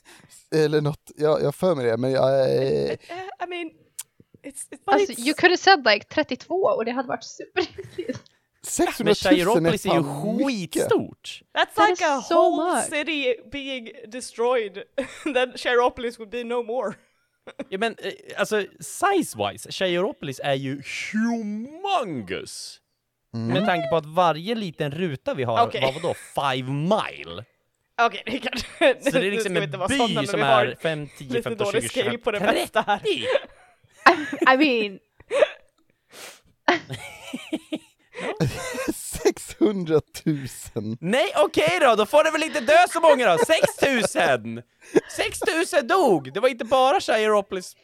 [SPEAKER 1] [laughs] Eller något, jag, jag för mig det, men jag...
[SPEAKER 5] [laughs]
[SPEAKER 1] Eh,
[SPEAKER 2] Eh, I mean, it's... it's,
[SPEAKER 4] Alltså,
[SPEAKER 2] it's
[SPEAKER 4] you could have said like 32 och det hade varit superlyckligt.
[SPEAKER 1] 600
[SPEAKER 5] Men
[SPEAKER 1] 000 är
[SPEAKER 5] Chiropolis är ju
[SPEAKER 1] fan mycket! [laughs]
[SPEAKER 5] skitstort.
[SPEAKER 2] That's
[SPEAKER 4] That
[SPEAKER 2] like
[SPEAKER 4] is
[SPEAKER 2] a
[SPEAKER 4] so
[SPEAKER 2] whole
[SPEAKER 4] much.
[SPEAKER 2] city being destroyed. [laughs] then Cheropolis would be no more.
[SPEAKER 5] Ja, men eh, alltså size-wise, Chiropolis är ju humongous. Med tanke på att varje liten ruta vi har
[SPEAKER 2] Mm. Okej.
[SPEAKER 5] var vadå, five mile?
[SPEAKER 2] Okej, Rickard. [laughs]
[SPEAKER 5] Så det är liksom en by som är 5, 10,
[SPEAKER 2] lite
[SPEAKER 5] 15,
[SPEAKER 2] dålig
[SPEAKER 5] 20,
[SPEAKER 2] scale
[SPEAKER 5] 25,
[SPEAKER 2] på det mesta här.
[SPEAKER 5] 30!
[SPEAKER 4] I mean,
[SPEAKER 1] 600 000!
[SPEAKER 5] Nej, okej då, då får det väl inte dö så många då! 6000! 6000 dog! Det var inte bara Chiropolis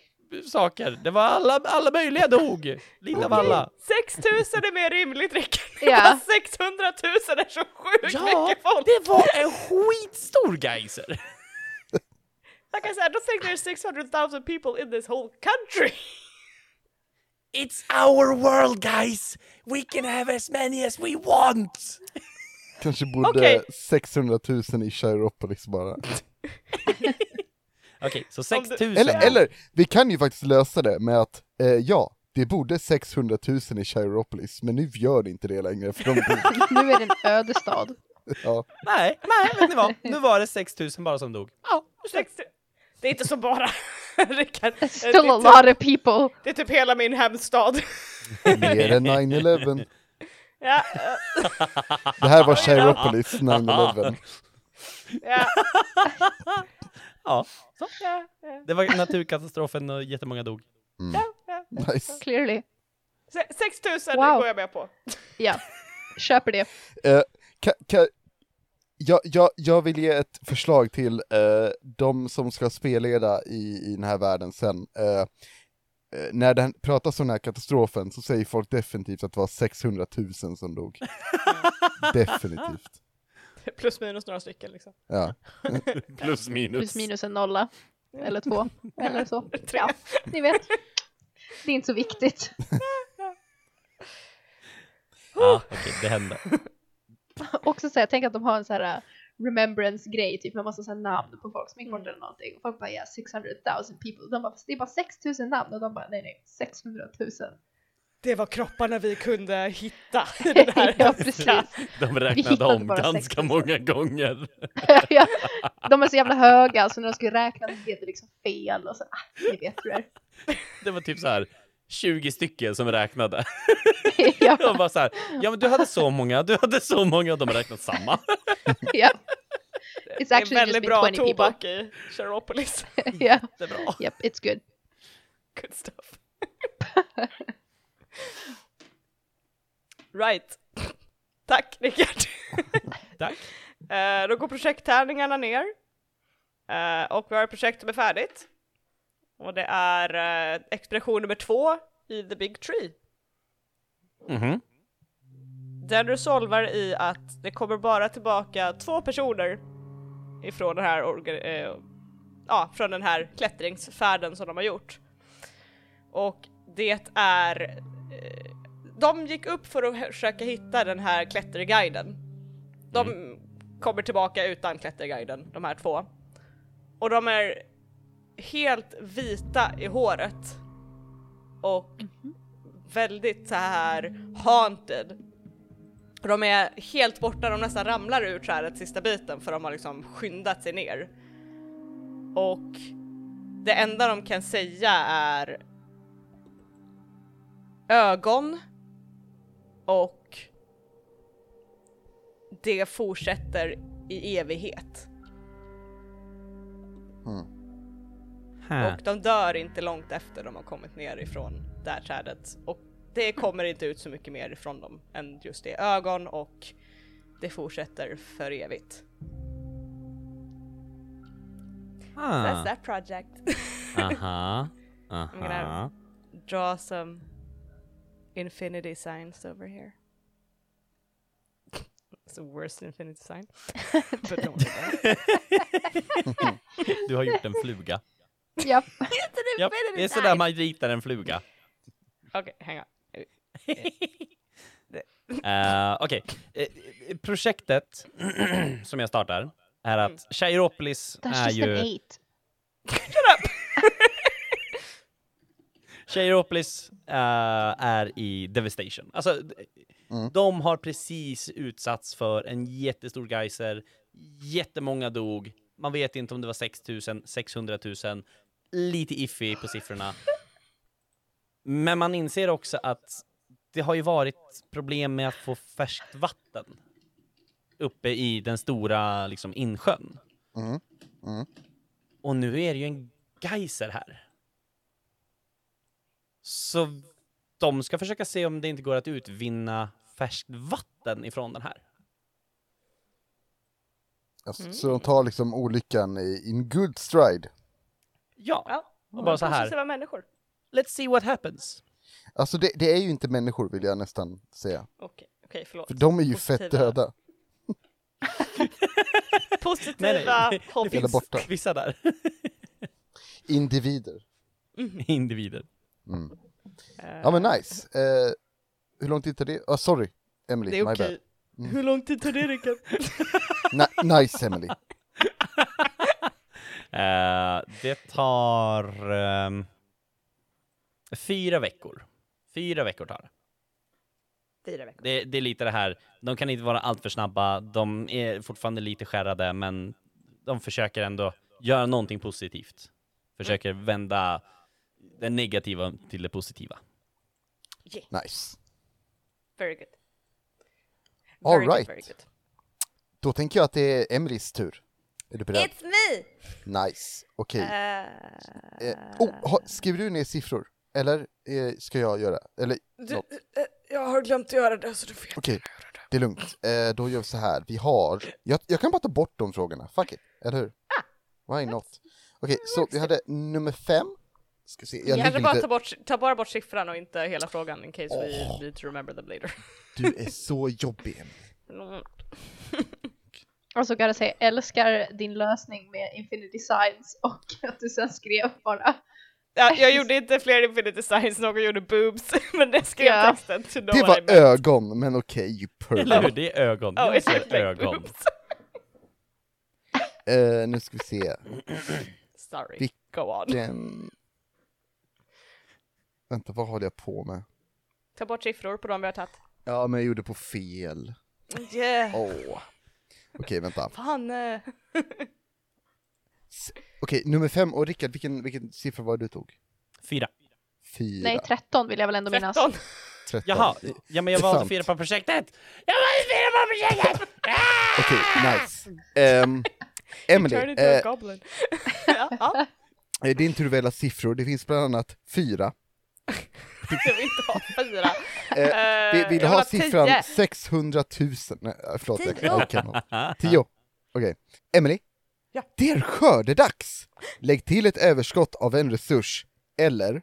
[SPEAKER 5] saker, det var alla, alla möjliga dog. Lite av alla.
[SPEAKER 2] 6000 är mer rimligt Rickard.
[SPEAKER 4] Ja.
[SPEAKER 2] 600 000 är så sjukt
[SPEAKER 5] Ja,
[SPEAKER 2] mycket folk.
[SPEAKER 5] det var en skitstor geyser!
[SPEAKER 2] Like I said, I don't think there's 600,000 people in this whole country.
[SPEAKER 5] It's our world guys! We can have as many as we want!
[SPEAKER 1] Kanske borde
[SPEAKER 2] Okej.
[SPEAKER 1] 600 000 i Chiropolis bara.
[SPEAKER 5] Okej, så 6000
[SPEAKER 1] Eller, eller, vi kan ju faktiskt lösa det med att, eh, ja, det borde 600 000 i Chiropolis, men nu gör det inte det längre för de bor.
[SPEAKER 4] nu är det en ödestad. [laughs]
[SPEAKER 1] Ja.
[SPEAKER 5] Nej, nej, vet ni vad? Nu var det 6000 bara som dog.
[SPEAKER 2] Ja, 60. Det är inte så bara. [laughs] Rickard.
[SPEAKER 4] That's
[SPEAKER 2] det,
[SPEAKER 4] still a
[SPEAKER 2] är typ,
[SPEAKER 4] lot of people.
[SPEAKER 2] det är typ hela min hemstad.
[SPEAKER 1] Mer än 9-11.
[SPEAKER 2] ja, eh,
[SPEAKER 1] Det här var Chiropolis 9-11.
[SPEAKER 2] ja,
[SPEAKER 5] Ja, så.
[SPEAKER 2] ja, ja,
[SPEAKER 5] Det var naturkatastrofen och jättemånga dog.
[SPEAKER 2] ja.
[SPEAKER 1] Nice.
[SPEAKER 4] Clearly.
[SPEAKER 2] Se- 6000
[SPEAKER 4] Wow.
[SPEAKER 2] går jag med på.
[SPEAKER 4] Ja, köper det.
[SPEAKER 1] Eh, ka, ka, jag, jag, jag vill ge ett förslag till eh, de som ska spelleda i, i den här världen sen. Eh, eh, när det pratas om den här katastrofen så säger folk definitivt att det var 600 000 som dog. definitivt.
[SPEAKER 2] Plus minus några stycken liksom.
[SPEAKER 1] Ja.
[SPEAKER 5] Plus
[SPEAKER 4] Plus minus en nolla.
[SPEAKER 2] [laughs]
[SPEAKER 4] Eller två. Eller så.
[SPEAKER 2] Tre.
[SPEAKER 4] Ja, ni vet. Det är inte så viktigt. [laughs]
[SPEAKER 5] Ja, okej, det hände.
[SPEAKER 4] Också så här, tänk att de har en så här uh, remembrance-grej, typ med massa så här namn på folk som gick
[SPEAKER 2] Mm.
[SPEAKER 4] bort eller någonting. Och folk
[SPEAKER 2] [laughs]
[SPEAKER 4] bara ja, 600 000 people. De bara, fast det är bara 6 000 namn. Och de bara, nej nej, 600 000.
[SPEAKER 2] Det var kropparna vi kunde hitta
[SPEAKER 4] [laughs]
[SPEAKER 2] i den här
[SPEAKER 4] ja,
[SPEAKER 2] [laughs]
[SPEAKER 4] precis.
[SPEAKER 5] De
[SPEAKER 4] hittade
[SPEAKER 5] räknade om
[SPEAKER 4] bara
[SPEAKER 5] ganska
[SPEAKER 4] 16.
[SPEAKER 5] många gånger.
[SPEAKER 4] ja, de är så jävla höga så när de skulle räkna så blev det liksom fel och så, ah, ni vet hur det är. [laughs]
[SPEAKER 5] Det var typ så här 20 stycken som räknade. [laughs] De
[SPEAKER 4] ja,
[SPEAKER 5] bara så här, ja men du hade så många, du hade så många och de har räknat samma.
[SPEAKER 4] ja. It's
[SPEAKER 2] Det är
[SPEAKER 4] actually just
[SPEAKER 2] väldigt
[SPEAKER 4] been
[SPEAKER 2] bra
[SPEAKER 4] 20 people. [laughs]
[SPEAKER 2] tobak i Cheropolis.
[SPEAKER 4] Ja,
[SPEAKER 5] Det är bra.
[SPEAKER 4] yep, it's good.
[SPEAKER 2] Good stuff. [laughs] right. Tack Rickard.
[SPEAKER 5] [laughs] Tack.
[SPEAKER 2] Eh, då går projekttärningarna ner. Eh, och vi har ett projekt som är färdigt. Och det är eh, expedition nummer två i The Big Tree.
[SPEAKER 5] Mhm.
[SPEAKER 2] Den resolvar i att det kommer bara tillbaka två personer ifrån den här, orga- eh, ja, från den här klättringsfärden som de har gjort. Och det är... Eh, de gick upp för att försöka hitta den här klätterguiden. De kommer tillbaka utan klätterguiden, de här två. Och de är helt vita i håret. Och väldigt så här haunted. Och De är helt borta, de nästan ramlar ur trädet sista biten för de har liksom skyndat sig ner. Och det enda de kan säga är ögon och det fortsätter i evighet.
[SPEAKER 3] Huh.
[SPEAKER 2] Och de dör inte långt efter de har kommit ner ifrån det här trädet. Och det kommer inte ut så mycket mer ifrån dem än just det ögon och det fortsätter för evigt.
[SPEAKER 5] Ah.
[SPEAKER 2] That's that project.
[SPEAKER 5] [laughs] Aha.
[SPEAKER 2] gonna
[SPEAKER 5] Aha.
[SPEAKER 2] [laughs] Draw some infinity signs over here. [laughs] It's the worst infinity [laughs] sign. But don't worry about it.
[SPEAKER 5] Du har gjort en [laughs] fluga.
[SPEAKER 4] Japp.
[SPEAKER 5] Ja, det är sådär man ritar en fluga. [laughs]
[SPEAKER 2] Okej, hang on.
[SPEAKER 5] Eh, Okej, Eh, eh, projektet [clears throat] som jag startar är att Chairopolis
[SPEAKER 4] That's
[SPEAKER 5] är
[SPEAKER 4] just an
[SPEAKER 5] ju...
[SPEAKER 4] eight.
[SPEAKER 5] Chairopolis eh, är i devastation. Alltså, d- de har precis utsatts för en jättestor geyser. Jättemånga dog. Man vet inte om det var 6 000, 600 000. Lite iffy på siffrorna. Men man inser också att det har ju varit problem med att få färskt vatten uppe i den stora liksom, insjön. Och nu är det ju en geyser här. Så de ska försöka se om det inte går att utvinna färskt vatten ifrån den här.
[SPEAKER 1] Alltså,
[SPEAKER 2] Mm.
[SPEAKER 1] Så de tar liksom olyckan i in good stride.
[SPEAKER 5] Ja,
[SPEAKER 2] Ja,
[SPEAKER 5] och bara så
[SPEAKER 2] Det
[SPEAKER 5] här.
[SPEAKER 2] var människor.
[SPEAKER 5] Let's see what happens.
[SPEAKER 1] Alltså det, det är ju inte människor vill jag nästan säga.
[SPEAKER 2] Okej, okej, förlåt.
[SPEAKER 1] För de är ju
[SPEAKER 2] Positiva-
[SPEAKER 1] fett döda.
[SPEAKER 2] Positiva
[SPEAKER 5] [laughs] det
[SPEAKER 2] hobbies.
[SPEAKER 1] Eller
[SPEAKER 5] finns
[SPEAKER 1] borta.
[SPEAKER 5] vissa där.
[SPEAKER 1] Individer.
[SPEAKER 5] Individer.
[SPEAKER 1] Ja men nice. Eh, hur lång tid tar det? Ah sorry, Emily.
[SPEAKER 2] Det är
[SPEAKER 1] my
[SPEAKER 2] okej.
[SPEAKER 1] bad. Mm.
[SPEAKER 2] Hur lång tid tar det Rickard?
[SPEAKER 1] Ni- nice Emily.
[SPEAKER 5] Eh, det tar ehm, fyra veckor. Fyra veckor tar det.
[SPEAKER 2] [laughs] Fyra veckor.
[SPEAKER 5] det. Det är lite det här, de kan inte vara alltför snabba, de är fortfarande lite skärrade, men de försöker ändå göra någonting positivt. Försöker vända det negativa till det positiva.
[SPEAKER 2] Yeah,
[SPEAKER 1] Nice.
[SPEAKER 2] very good.
[SPEAKER 1] All
[SPEAKER 2] Very good,
[SPEAKER 1] right.
[SPEAKER 2] very good.
[SPEAKER 1] Då tänker jag att det är Emilys tur. Är du beredd?
[SPEAKER 2] It's me!
[SPEAKER 1] Nice. Okej.
[SPEAKER 2] Eh,
[SPEAKER 1] Eh, oh, ha, skriver du ner siffror? Eller eh, ska jag göra? Eller
[SPEAKER 2] du,
[SPEAKER 1] något?
[SPEAKER 2] eh, jag har glömt att göra det så du vet.
[SPEAKER 1] Okej, det är lugnt. Eh, då gör vi så här. Vi har... Jag, jag kan bara ta bort de frågorna. Fuck it. Eller hur? Why not? Okej, så vi hade number fem. Ska se. Jag
[SPEAKER 2] Jag kanske
[SPEAKER 1] ligger
[SPEAKER 2] bara ta,
[SPEAKER 1] lite...
[SPEAKER 2] bort, ta bara bort siffran och inte hela frågan in case we need to remember them later. [laughs]
[SPEAKER 1] Du är så jobbig. Emily.
[SPEAKER 4] Och så kan jag säga älskar din lösning med Infinity Signs och [laughs] att du sen skrev bara
[SPEAKER 2] Ja, jag gjorde inte fler Infinity Signs, någon gjorde boobs, [laughs] men det skrev
[SPEAKER 4] Ja.
[SPEAKER 2] texten to know
[SPEAKER 1] Det
[SPEAKER 2] what
[SPEAKER 1] var
[SPEAKER 2] I meant.
[SPEAKER 1] ögon, men okej, you perv.
[SPEAKER 5] Eller hur? Det är ögon.
[SPEAKER 2] Oh,
[SPEAKER 5] Jag
[SPEAKER 2] it's
[SPEAKER 5] ser
[SPEAKER 2] like
[SPEAKER 5] ögon.
[SPEAKER 2] boobs. [laughs]
[SPEAKER 1] Eh, nu ska vi se.
[SPEAKER 2] Sorry,
[SPEAKER 1] Vi-
[SPEAKER 2] go on.
[SPEAKER 1] Den... Vänta, vad håller jag på med?
[SPEAKER 2] Ta bort siffror på de vi
[SPEAKER 1] [laughs]
[SPEAKER 2] har tagit.
[SPEAKER 1] Ja, men jag gjorde på fel.
[SPEAKER 2] Yeah.
[SPEAKER 1] Åh. Okej, vänta.
[SPEAKER 2] Fan! eh.
[SPEAKER 1] Okej, nummer fem. Och Rickard, vilken, vilken siffra var det du tog?
[SPEAKER 5] Fyra.
[SPEAKER 1] Fyra.
[SPEAKER 4] Nej, 13 vill jag väl ändå minnas.
[SPEAKER 2] 13!
[SPEAKER 1] tretton.
[SPEAKER 5] Jaha, ja men jag
[SPEAKER 1] Det är
[SPEAKER 5] valde
[SPEAKER 1] sant.
[SPEAKER 5] fyra på projektet! Jag valde fyra på projektet!
[SPEAKER 1] Okej, nice. Ehm, Emily,
[SPEAKER 2] Turn into
[SPEAKER 1] eh,
[SPEAKER 2] a goblin. [laughs] ja, ja,
[SPEAKER 1] det är din tur att välja siffror. Det finns bland annat fyra.
[SPEAKER 2] jag vill inte ha fyra.
[SPEAKER 1] Eh, [laughs]
[SPEAKER 2] Eh,
[SPEAKER 1] Vi vill
[SPEAKER 2] jag
[SPEAKER 1] ha,
[SPEAKER 2] ha
[SPEAKER 1] siffran
[SPEAKER 2] tio.
[SPEAKER 1] 600 000. Nej, förlåt. jag- Jag kan ha. Tio. Okej. Emily.
[SPEAKER 2] Ja.
[SPEAKER 1] Det är skördedags! Lägg till ett överskott av en resurs, eller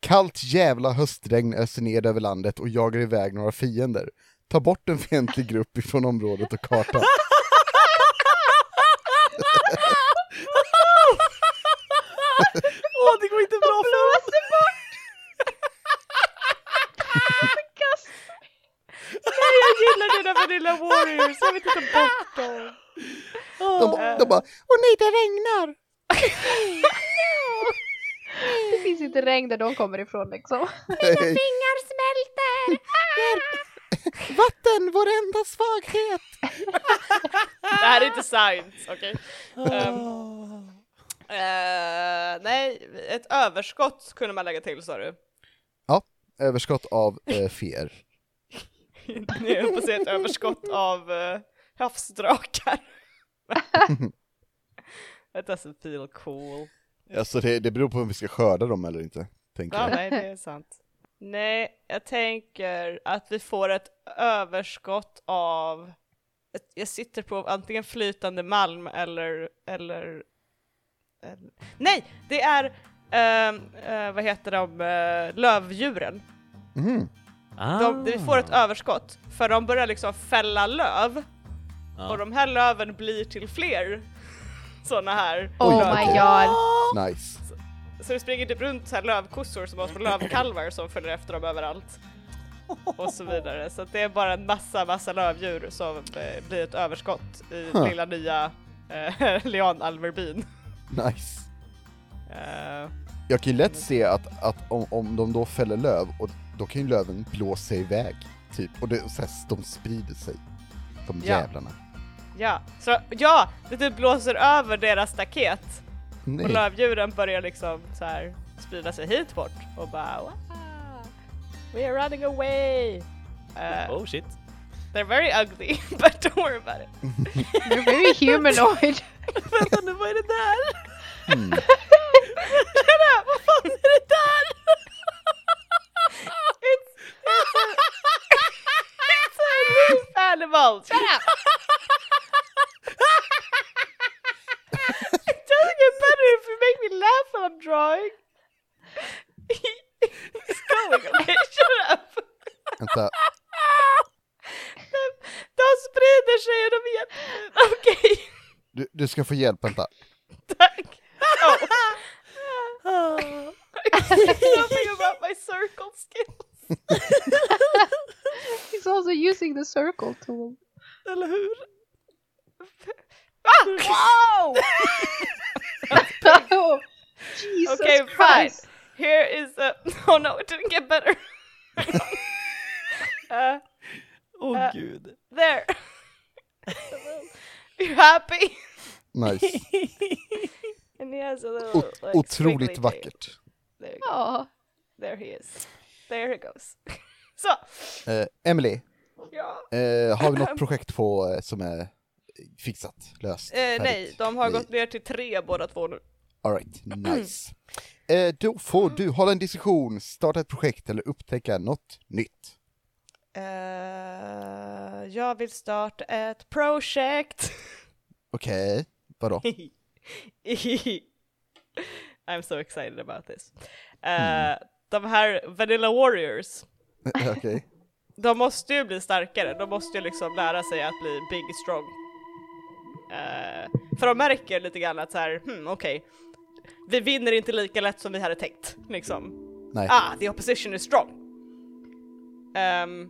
[SPEAKER 1] Kallt jävla höstregn öser ned över landet och jagar iväg några fiender. Ta bort en fientlig grupp ifrån området och
[SPEAKER 2] [laughs]
[SPEAKER 1] kartan.
[SPEAKER 5] Åh, det går inte bra för oss!
[SPEAKER 2] Jag gillar dina Vanilla Warriors, jag vill inte ta bort dem.
[SPEAKER 1] De, ba- de bara ”Åh nej, det regnar!”
[SPEAKER 4] Det finns inte regn där de kommer ifrån [laughs] liksom.
[SPEAKER 1] [laughs] Nej,
[SPEAKER 7] Fingrar [laughs] smälter!
[SPEAKER 1] Vatten, vår enda svaghet!
[SPEAKER 2] Det här är inte science, okej. Ehm, eh, nej, ett överskott kunde man lägga till sa du.
[SPEAKER 1] Överskott av eh, fer.
[SPEAKER 2] [laughs] Ni höll på att säga ett överskott av eh, havsdrakar. That doesn't feel cool.
[SPEAKER 1] Alltså det, det beror på om vi ska skörda dem eller inte, tänker
[SPEAKER 2] Ja,
[SPEAKER 1] jag.
[SPEAKER 2] nej, det är sant. Nej, jag tänker att vi får ett överskott av... ett- Jag sitter på antingen flytande malm eller... eller, eller nej, det är... ehm, eh, vad heter de? Uh, lövdjuren.
[SPEAKER 1] Mhm.
[SPEAKER 5] Ah.
[SPEAKER 4] Ah.
[SPEAKER 2] De, vi får ett överskott, för de börjar liksom fälla löv.
[SPEAKER 5] Ja.
[SPEAKER 2] Och de här löven blir till fler sådana här
[SPEAKER 4] Oh
[SPEAKER 2] löv.
[SPEAKER 4] my god.
[SPEAKER 1] Nice.
[SPEAKER 2] Så det springer typ runt så här lövkossor som har små lövkalvar som följer efter dem överallt. Och så vidare. Så att det är bara en massa, massa lövdjur som eh, blir ett överskott i
[SPEAKER 1] Huh.
[SPEAKER 2] lilla nya eh, [laughs] lianalverbyn.
[SPEAKER 1] Nice.
[SPEAKER 2] Eh,
[SPEAKER 1] Jag kan ju lätt se att, att om, om de då fäller löv, och då kan ju löven blåsa iväg, typ. Och det, och så här, de sprider sig, de
[SPEAKER 2] Ja.
[SPEAKER 1] jävlarna.
[SPEAKER 2] ja. Så, ja, det typ blåser över deras staket och
[SPEAKER 1] Nej.
[SPEAKER 2] lövdjuren börjar liksom så här sprida sig hit bort och bara wow, We are running away! Eh,
[SPEAKER 5] Oh shit.
[SPEAKER 2] They're very ugly, [laughs] but don't worry about it.
[SPEAKER 4] You're very humanoid.
[SPEAKER 2] Vänta nu, vad är det där? [laughs]
[SPEAKER 1] Mm.
[SPEAKER 2] Tjena, vad fan är det där? [laughs] It's, it's, a, it's a leaf animal!
[SPEAKER 7] up.
[SPEAKER 2] It doesn't get better if you make me laugh when I'm drawing. [laughs] It's going away, shut up!
[SPEAKER 1] Vänta,
[SPEAKER 2] De, de sprider sig och de är jätte- Okej,
[SPEAKER 1] du, du ska få hjälp, vänta.
[SPEAKER 2] tack! Oh. Something about my circle skin.
[SPEAKER 4] [laughs] He's also using the circle tool. [laughs]
[SPEAKER 2] Eller hur? Ah! Wow!
[SPEAKER 4] Oh, Jesus
[SPEAKER 2] Okay, fine.
[SPEAKER 4] Christ.
[SPEAKER 2] Here is a... Oh no, it didn't get better. uh,
[SPEAKER 5] Åh
[SPEAKER 2] Eh.
[SPEAKER 5] gud.
[SPEAKER 2] there. You're happy?
[SPEAKER 1] Nice.
[SPEAKER 2] And he has a little,
[SPEAKER 1] Ot-
[SPEAKER 2] like, squiggly
[SPEAKER 1] otroligt
[SPEAKER 2] thing.
[SPEAKER 1] vackert.
[SPEAKER 2] There, you go.
[SPEAKER 4] Ja.
[SPEAKER 2] there he is. There he goes. [laughs] Så,
[SPEAKER 1] Eh, Emily,
[SPEAKER 2] ja.
[SPEAKER 1] eh, har vi något projekt på eh, som är fixat, löst,
[SPEAKER 2] Eh, nej,
[SPEAKER 1] färdigt?
[SPEAKER 2] de har
[SPEAKER 1] Nej.
[SPEAKER 2] gått ner till tre båda två nu.
[SPEAKER 1] Alright,
[SPEAKER 2] Mm.
[SPEAKER 1] nice. Eh, då får du hålla en diskussion, starta ett projekt eller upptäcka något nytt.
[SPEAKER 2] Eh, jag vill starta ett projekt. [laughs]
[SPEAKER 1] Okej, vadå?
[SPEAKER 2] I'm so excited about this. Eh, De här Vanilla Warriors,
[SPEAKER 1] Eh, Okej.
[SPEAKER 2] de måste ju bli starkare, de måste ju liksom lära sig att bli big strong. Eh, för de märker lite grann att så här, hmm, okej, vi vinner inte lika lätt som vi hade tänkt, liksom.
[SPEAKER 1] Nej.
[SPEAKER 2] Ah, the opposition is strong. Ehm,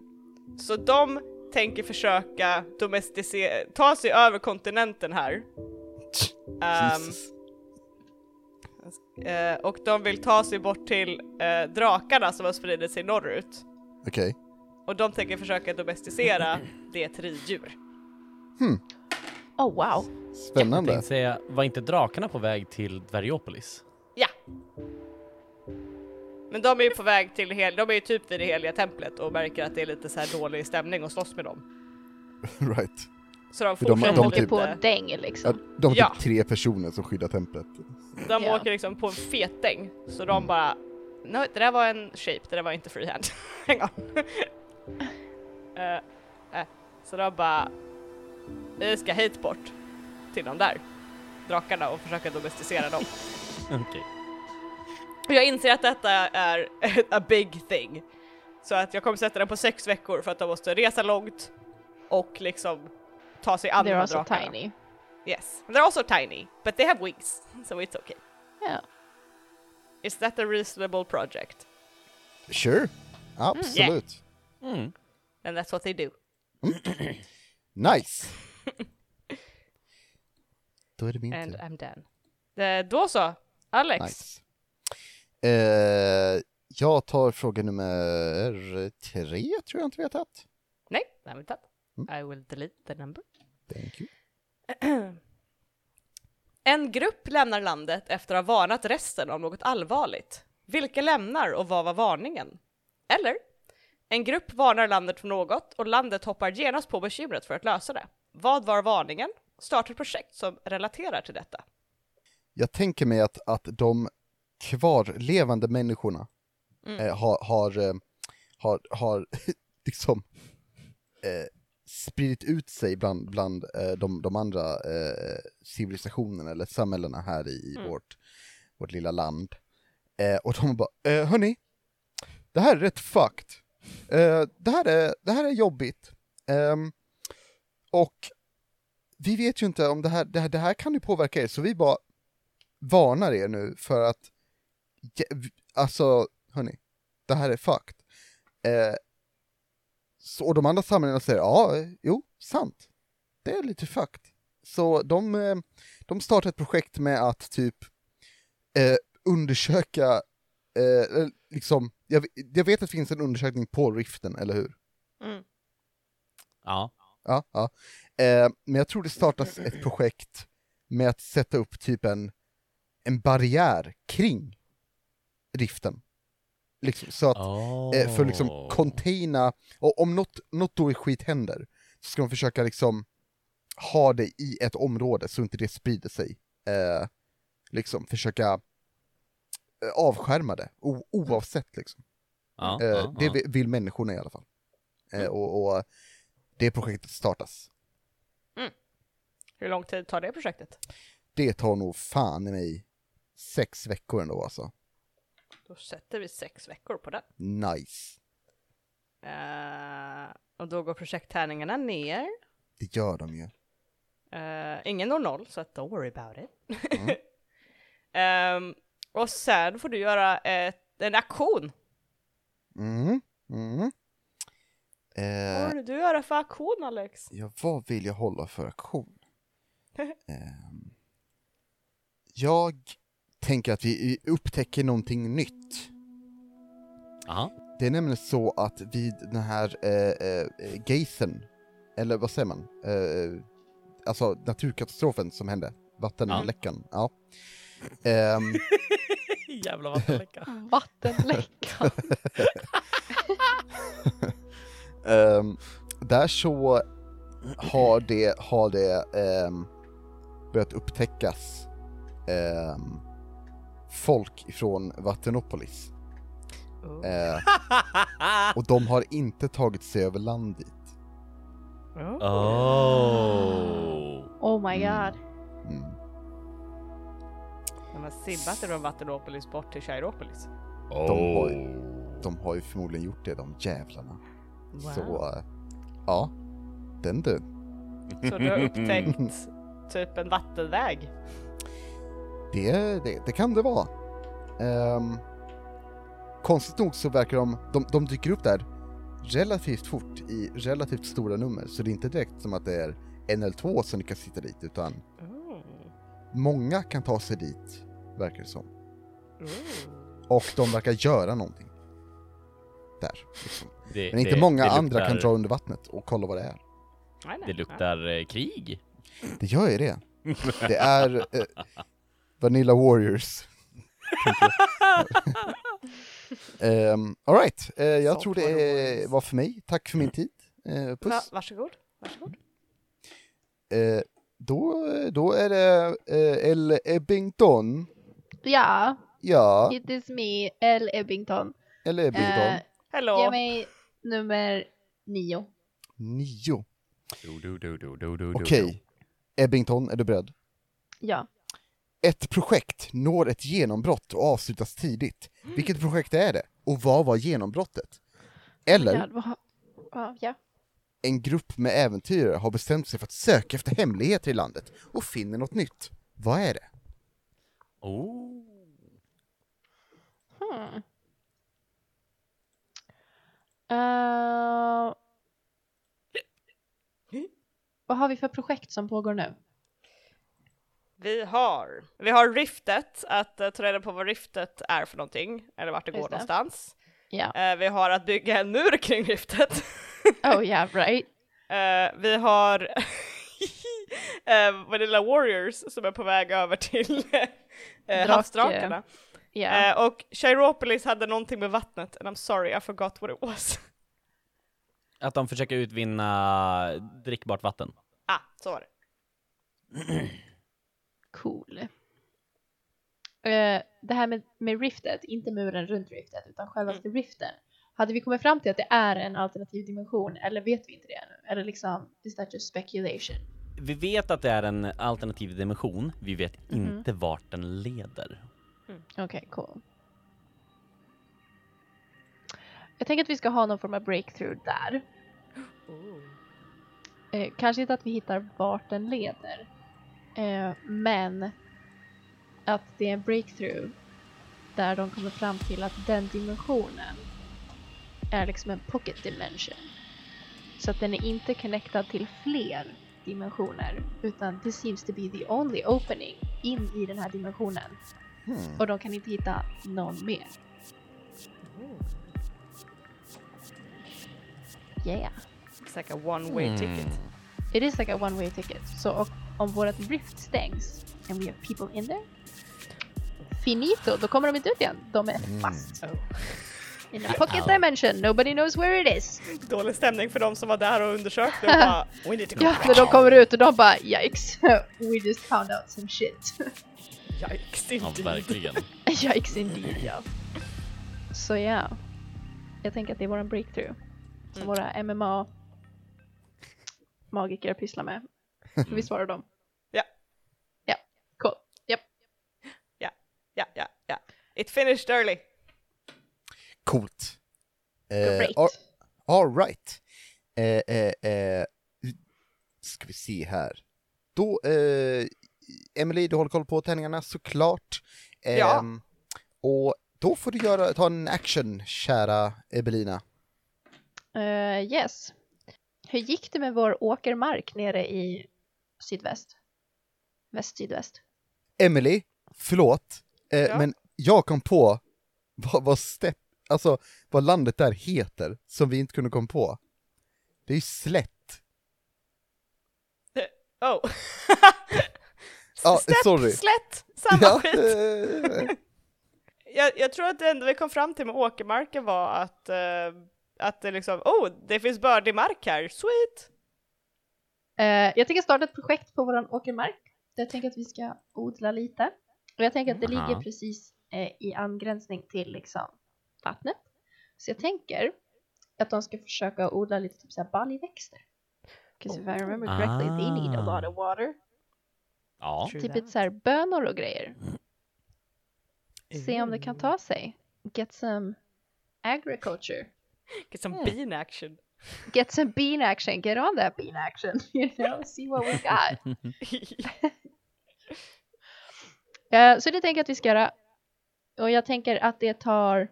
[SPEAKER 2] så de tänker försöka domesticera, ta sig över kontinenten här. Ehm,
[SPEAKER 1] Jesus.
[SPEAKER 2] Eh, och de vill ta sig bort till eh, drakarna som har spridit sig norrut.
[SPEAKER 1] Okej.
[SPEAKER 2] Och de tänker
[SPEAKER 1] [laughs]
[SPEAKER 2] försöka domesticera det till riddjur.
[SPEAKER 4] Oh wow.
[SPEAKER 1] Mm. Spännande.
[SPEAKER 5] Tänkte säga, var inte drakarna på väg till Dvergopolis?
[SPEAKER 2] Ja. Men de är ju på väg till, hel- de är ju typ vid det heliga templet och märker att det är lite så här dålig stämning och slåss med dem.
[SPEAKER 1] [laughs] right.
[SPEAKER 2] Så de
[SPEAKER 1] de-
[SPEAKER 2] fortsätter
[SPEAKER 1] de typ-
[SPEAKER 4] De åker på
[SPEAKER 2] lite.
[SPEAKER 4] en däng
[SPEAKER 1] Ja,
[SPEAKER 4] liksom.
[SPEAKER 1] de är
[SPEAKER 2] Mm. Ja.
[SPEAKER 1] typ tre personer som skyddar templet.
[SPEAKER 2] De
[SPEAKER 4] Ja.
[SPEAKER 2] åker liksom på en fetäng, så de bara no, det där var en shape, det där var inte freehand. [laughs] Hang on. Eh, eh, Så de bara vi ska hit bort till de där drakarna och försöka domesticera
[SPEAKER 4] [laughs]
[SPEAKER 2] dem.
[SPEAKER 5] Okej.
[SPEAKER 2] Och jag inser att detta är [laughs] a big thing. Så att jag kommer sätta den på sex veckor för att de måste resa långt och liksom ta sig an de
[SPEAKER 4] They're
[SPEAKER 2] här
[SPEAKER 4] also
[SPEAKER 2] drakarna.
[SPEAKER 4] tiny.
[SPEAKER 2] Yes. They're also tiny, but they have wings, so it's okay.
[SPEAKER 4] [laughs] Yeah.
[SPEAKER 2] Is that a reasonable project?
[SPEAKER 1] Sure. Absolut.
[SPEAKER 5] Mm.
[SPEAKER 2] And that's what they do. Mm. [laughs]
[SPEAKER 1] Nice. Då är det min
[SPEAKER 2] And
[SPEAKER 1] tur.
[SPEAKER 2] I'm done. Eh, Då så, Alex.
[SPEAKER 1] Nice. Eh, jag tar fråga nummer tre, tror jag inte vi har tagit.
[SPEAKER 2] Nej, nej men tack. I will delete the number.
[SPEAKER 1] Thank you.
[SPEAKER 2] En grupp lämnar landet efter att ha varnat resten om något allvarligt. Vilka lämnar och vad var varningen? Eller? En grupp varnar landet för något och landet hoppar genast på bekymret för att lösa det. Vad var varningen? Starta ett projekt som relaterar till detta.
[SPEAKER 1] Jag tänker mig att, att de kvarlevande människorna eh, har, har, eh, har, har [laughs] liksom eh, spridit ut sig bland, bland eh, de, de andra eh, civilisationerna eller samhällena här i, i vårt, vårt lilla land. Eh, och de bara, eh, hörni, det här är rätt fucked. Eh, det, här är, det här är jobbigt. Ehm, och vi vet ju inte om det här, det här, det här kan ju påverka er, så vi bara varnar er nu för att, jä- v- alltså, hörni, det här är fucked. Eh, så och de andra samhällena säger, ja, eh, jo, sant, det är lite fucked. Så de, eh, de startar ett projekt med att typ eh, undersöka, eh, eller liksom, jag, v- jag vet att det finns en undersökning på riften, eller hur?
[SPEAKER 5] Ja.
[SPEAKER 1] Ja, ja. Eh, men jag tror det startas ett projekt med att sätta upp typ en, en barriär kring riften. Liksom, så att, eh, för att
[SPEAKER 5] Ah.
[SPEAKER 1] liksom containa, och om något, något då i skit händer, så ska de försöka liksom ha det i ett område så inte det sprider sig. Eh, liksom försöka eh, avskärma det, o- oavsett liksom.
[SPEAKER 5] Ja,
[SPEAKER 1] Eh,
[SPEAKER 5] ja,
[SPEAKER 1] det
[SPEAKER 5] ja.
[SPEAKER 1] vi- vill människorna i alla fall. Eh, och, och det projektet startas.
[SPEAKER 2] Hur lång tid tar det projektet?
[SPEAKER 1] Det tar nog fan i mig sex veckor ändå alltså.
[SPEAKER 2] Då sätter vi sex veckor på den.
[SPEAKER 1] Nice.
[SPEAKER 2] Eh, och då går projekttärningarna ner.
[SPEAKER 1] Det gör de ju.
[SPEAKER 2] Eh, ingen når noll, så att don't worry about it. [laughs] Ehm, och sen får du göra ett, en aktion.
[SPEAKER 1] Mm. Mm.
[SPEAKER 2] Vad
[SPEAKER 1] Eh,
[SPEAKER 2] vill du göra för aktion Alex?
[SPEAKER 1] ja, vad vill jag hålla för aktion? Ehm, jag tänker att vi vi upptäcker någonting nytt.
[SPEAKER 5] Aha. [laughs]
[SPEAKER 1] Det är nämligen så att vid den här eh, eh, gaten, eller vad säger man? Eh, alltså naturkatastrofen som hände, vattenläckan. Ja. Ehm,
[SPEAKER 5] Jävla vattenläcka.
[SPEAKER 4] Vattenläcka.
[SPEAKER 1] ehm, där så har det, har det ehm, börjat upptäckas ehm, folk ifrån Vattenopolis.
[SPEAKER 2] Oh.
[SPEAKER 1] Eh, och de har inte tagit sig över land dit.
[SPEAKER 5] [laughs] Oh.
[SPEAKER 4] Oh my god.
[SPEAKER 1] Mm.
[SPEAKER 2] De har simmat från Vattenopolis bort till Chairopolis.
[SPEAKER 1] De, har, de har ju förmodligen gjort det, de jävlarna. Så, eh, ja. Den du.
[SPEAKER 2] Så du har upptäckt typ en vattenväg.
[SPEAKER 1] Det, det, det kan det vara. Ehm, konstigt nog så verkar de, de, de dyker upp där relativt fort i relativt stora nummer, så det är inte direkt som att det är en eller två som lyckas sitta dit, utan
[SPEAKER 5] Oh.
[SPEAKER 1] många kan ta sig dit,
[SPEAKER 2] Oh.
[SPEAKER 1] verkar det som. Och de verkar göra någonting. där. Liksom.
[SPEAKER 5] Det,
[SPEAKER 1] Men inte
[SPEAKER 5] det-
[SPEAKER 1] många
[SPEAKER 5] det
[SPEAKER 1] andra kan
[SPEAKER 5] luktar-
[SPEAKER 1] dra under vattnet och kolla vad det är.
[SPEAKER 2] Nej, nej.
[SPEAKER 5] Det luktar eh, krig.
[SPEAKER 1] Det gör ju det. Det är eh, Vanilla Warriors. um, Alright, eh, jag
[SPEAKER 2] Salt
[SPEAKER 1] tror det
[SPEAKER 2] Water
[SPEAKER 1] eh,
[SPEAKER 2] Warriors.
[SPEAKER 1] var för mig. Tack för min tid. Eh,
[SPEAKER 2] Ja,
[SPEAKER 1] puss.
[SPEAKER 2] varsågod. varsågod.
[SPEAKER 1] Eh, då, då är det eh, El Ebbington.
[SPEAKER 4] Ja,
[SPEAKER 1] Ja,
[SPEAKER 4] it is me, L. Ebbington.
[SPEAKER 1] El Ebbington.
[SPEAKER 4] Eh,
[SPEAKER 2] Hello.
[SPEAKER 4] ge mig nummer nio.
[SPEAKER 1] Nio.
[SPEAKER 5] Do, do, do, do, do, do, do,
[SPEAKER 1] Okej.
[SPEAKER 5] do.
[SPEAKER 1] Ebbington, är du beredd?
[SPEAKER 4] Ja.
[SPEAKER 1] Ett projekt når ett genombrott och avslutas tidigt. Vilket projekt är det? Och vad var genombrottet? Eller,
[SPEAKER 4] Ja, vad har- ja, ja.
[SPEAKER 1] en grupp med äventyrare har bestämt sig för att söka efter hemligheter i landet och finner något nytt. Vad är det?
[SPEAKER 5] Oh.
[SPEAKER 4] Hmm. Eh, vad har vi för projekt som pågår nu?
[SPEAKER 2] Vi har, vi har riftet, att eh, ta reda på vad riftet är för någonting, eller vart det går
[SPEAKER 4] Just det.
[SPEAKER 2] någonstans.
[SPEAKER 4] Ja.
[SPEAKER 2] Eh, vi har att bygga en mur kring riftet. [laughs]
[SPEAKER 4] Oh yeah, right.
[SPEAKER 2] Eh, vi har [laughs] uh, Vanilla Warriors som är på väg över till eh,
[SPEAKER 4] Drake.
[SPEAKER 2] havsdrakarna.
[SPEAKER 4] Yeah.
[SPEAKER 2] Eh, och Chiropolis hade någonting med vattnet, and I'm sorry I forgot what it was. [laughs]
[SPEAKER 5] Att de försöker utvinna drickbart vatten.
[SPEAKER 2] ah, så var det.
[SPEAKER 4] Cool. Eh, det här med, med riftet, inte muren runt riftet, utan själva riften. Hade vi kommit fram till att det är en alternativ dimension, eller vet vi inte det ännu? Eller liksom, is that just speculation?
[SPEAKER 5] Vi vet att det är en alternativ dimension, vi vet inte vart den leder.
[SPEAKER 4] Okej, cool. Jag tänker att vi ska ha någon form av breakthrough där. Eh, kanske inte att vi hittar vart den leder. Eh, men att det är en breakthrough där de kommer fram till att den dimensionen är liksom en pocket dimension. Så att den är inte connectad till fler dimensioner utan det seems to be the only opening in i den här dimensionen och de kan inte hitta någon mer. Yeah.
[SPEAKER 2] It's like a one way ticket.
[SPEAKER 4] It is like a one way ticket. Så och, om vårt rift stängs and we have people in there. Finito, då kommer de inte ut igen. De är fast.
[SPEAKER 2] Oh.
[SPEAKER 4] In a pocket dimension, nobody knows where it is.
[SPEAKER 2] Dålig stämning för de som var där och [laughs] undersökte och bara We need to go
[SPEAKER 4] Ja, när de kommer ut och de bara yikes. [laughs] We just found out some shit.
[SPEAKER 2] Yikes,
[SPEAKER 5] Ja,
[SPEAKER 2] indeed.
[SPEAKER 5] verkligen.
[SPEAKER 4] [laughs] yikes indeed, ja. Så ja. Jag tänker att det är våran breakthrough. Som våra MMA magiker pysslar med. Ska vi svara dem?
[SPEAKER 2] Ja.
[SPEAKER 4] Ja, cool. Japp.
[SPEAKER 2] Ja, ja, ja, ja. It finished early.
[SPEAKER 1] Coolt. Eh,
[SPEAKER 4] Great.
[SPEAKER 1] all, all right. Eh, eh, eh, ska vi se här. Då, eh, Emily, du håller koll på tärningarna såklart. Eh,
[SPEAKER 2] Ja.
[SPEAKER 1] Och då får du göra, ta en action, kära Ebelina.
[SPEAKER 4] Eh, yes. Hur gick det med vår åkermark nere i sydväst? Väst-sydväst?
[SPEAKER 1] Emily, förlåt, eh,
[SPEAKER 2] Ja.
[SPEAKER 1] men jag kom på vad, vad, stepp, alltså, vad landet där heter som vi inte kunde komma på. Det är ju slätt.
[SPEAKER 2] Oh. [laughs]
[SPEAKER 1] Ja,
[SPEAKER 2] Stepp,
[SPEAKER 1] sorry.
[SPEAKER 2] slätt, samma
[SPEAKER 1] [laughs]
[SPEAKER 2] skit.
[SPEAKER 1] eh,
[SPEAKER 2] Jag, jag tror att det enda vi kom fram till med åkermarken var att, eh, att det liksom, oh, det finns bördig mark här, sweet!
[SPEAKER 4] Eh, jag tänker starta ett projekt på våran åkermark. Där jag tänker att vi ska odla lite. Och jag tänker att det ligger precis eh, i angränsning till liksom, vattnet. Så jag tänker att de ska försöka odla lite typ så här baljväxter. Because if I remember correctly they need a lot of water.
[SPEAKER 5] [laughs] Ja.
[SPEAKER 4] Typ lite så här bönor och grejer. Se om det kan ta sig. Get some agriculture.
[SPEAKER 2] Get some bean [laughs] action.
[SPEAKER 4] Get some bean action. Get on that bean action. [laughs] You know, see what we got. Eh, så det tänker jag att vi ska göra. Och jag tänker att det tar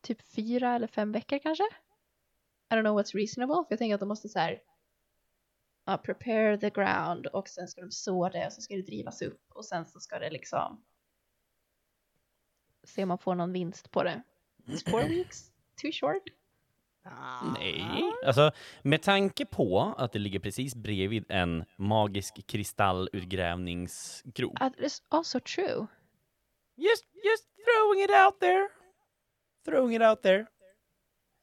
[SPEAKER 4] typ fyra eller fem veckor kanske. I don't know what's reasonable. För jag tänker att de måste så här ja, prepare the ground och sen ska de så det och sen ska det drivas upp och sen så ska det liksom se om man får någon vinst på det. It's four weeks? Too short?
[SPEAKER 2] Ah.
[SPEAKER 5] Nej, alltså med tanke på att det ligger precis bredvid en magisk kristallutgrävningsgrop.
[SPEAKER 4] That is Ah, also true.
[SPEAKER 5] Just, just throwing it out there. Throwing it out there.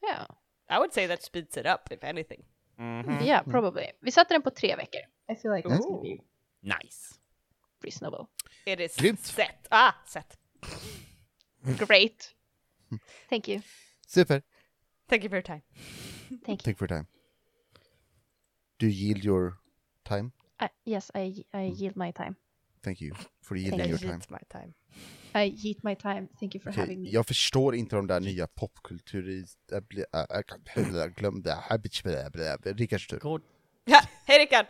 [SPEAKER 4] Yeah.
[SPEAKER 2] I would say that speeds it up if anything.
[SPEAKER 4] yeah, probably. Vi satte den på tre veckor. I feel like that's gonna be
[SPEAKER 5] Nice.
[SPEAKER 4] reasonable.
[SPEAKER 2] It is
[SPEAKER 1] Grymt.
[SPEAKER 2] set. Ah, set.
[SPEAKER 4] Great. Thank you.
[SPEAKER 1] Super.
[SPEAKER 2] Thank you for your time.
[SPEAKER 4] Thank you.
[SPEAKER 1] Thank for your time. Do you yield your time?
[SPEAKER 4] I, yes, I, I yield my time.
[SPEAKER 1] Thank you for yielding
[SPEAKER 4] Thank
[SPEAKER 1] your
[SPEAKER 4] you.
[SPEAKER 1] time.
[SPEAKER 2] It's my time. [laughs]
[SPEAKER 4] I yield my time. Thank you for
[SPEAKER 1] Okej,
[SPEAKER 4] having me.
[SPEAKER 1] jag förstår inte de där nya popkultur... Jag blir- jag- jag kan- jag glömde... Rickards tur.
[SPEAKER 5] Går...
[SPEAKER 2] Ja, hej Rickard!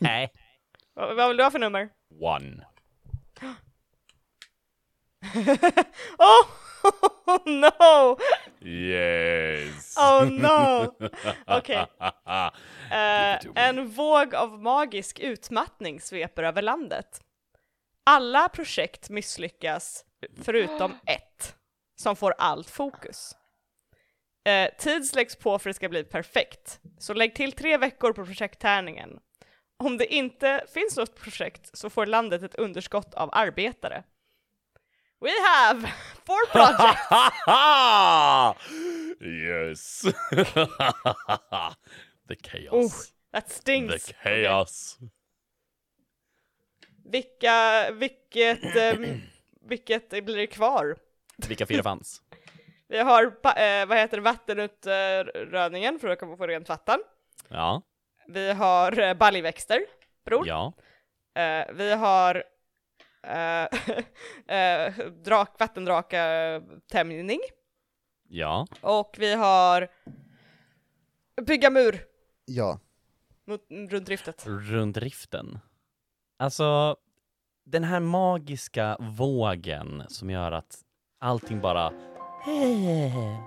[SPEAKER 5] Nej.
[SPEAKER 2] Vad vad vill du ha för nummer?
[SPEAKER 5] One.
[SPEAKER 2] [gasps] Oh, [laughs] no!
[SPEAKER 5] Yes.
[SPEAKER 2] Oh
[SPEAKER 5] [laughs]
[SPEAKER 2] no! Okej. Eh, en våg av magisk utmattning sveper över landet. Alla projekt misslyckas
[SPEAKER 5] [gasps]
[SPEAKER 2] förutom ett, som får allt fokus. Eh, tid läggs på för att det ska bli perfekt, så lägg till tre veckor på projekttärningen. Om det inte finns något projekt så får landet ett underskott av arbetare. We have
[SPEAKER 9] [laughs]
[SPEAKER 2] four projects!
[SPEAKER 9] yes. [laughs] the chaos.
[SPEAKER 2] Oh, that
[SPEAKER 9] the
[SPEAKER 2] stings!
[SPEAKER 9] chaos.
[SPEAKER 2] Vilka,
[SPEAKER 9] [clears throat]
[SPEAKER 2] vilket, ehm, vilket blir det kvar?
[SPEAKER 5] Vilka fyra fanns?
[SPEAKER 2] Vi har, pa- eh, vad heter det, vattenutrödningen för att komma få rent vatten.
[SPEAKER 5] Ja.
[SPEAKER 2] Vi har eh, baljväxter, bror.
[SPEAKER 5] Ja.
[SPEAKER 2] Eh, vi har eh, [laughs] eh, drak, vattendrakatämjning.
[SPEAKER 5] Ja.
[SPEAKER 2] Och vi har bygga mur
[SPEAKER 1] Ja,
[SPEAKER 2] mot, runt driftet.
[SPEAKER 5] Rundriften. Alltså, den här magiska vågen som gör att allting bara... Eh,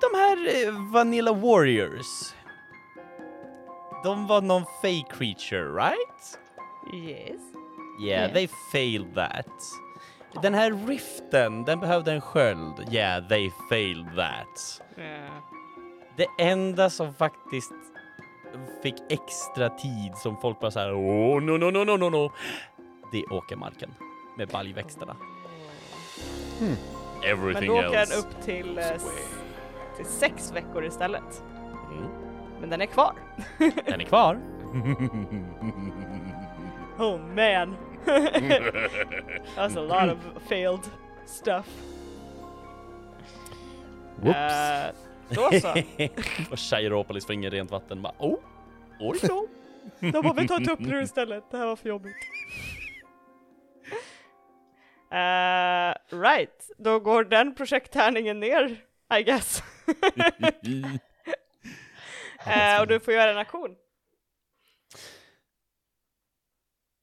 [SPEAKER 5] De här eh, Vanilla Warriors. De var någon fake creature, right?
[SPEAKER 2] Yes.
[SPEAKER 5] Yeah,
[SPEAKER 4] Yeah.
[SPEAKER 5] they failed that. Den här riften, den behövde en sköld. Yeah, they failed that. Det enda som faktiskt fick extra tid som folk bara såhär åh no no no no no no det är åkermarken med baljväxterna.
[SPEAKER 2] Men
[SPEAKER 5] Hmm.
[SPEAKER 9] Everything
[SPEAKER 2] då åker
[SPEAKER 9] else.
[SPEAKER 2] den upp till, eh, s- till sex veckor istället.
[SPEAKER 5] Mm.
[SPEAKER 2] Men den är kvar.
[SPEAKER 5] Den är kvar.
[SPEAKER 2] Oh man. That's a lot of failed stuff.
[SPEAKER 1] Whoops.
[SPEAKER 2] Eh, då så.
[SPEAKER 5] Och Chairopolis får inget rent vatten. Bara, oh, oj då.
[SPEAKER 2] Då får vi ta tupplur istället. Det här var för jobbigt. [laughs] Eh, right, då går den projekttärningen ner, I guess. Eh, och du får göra en aktion.
[SPEAKER 5] [laughs]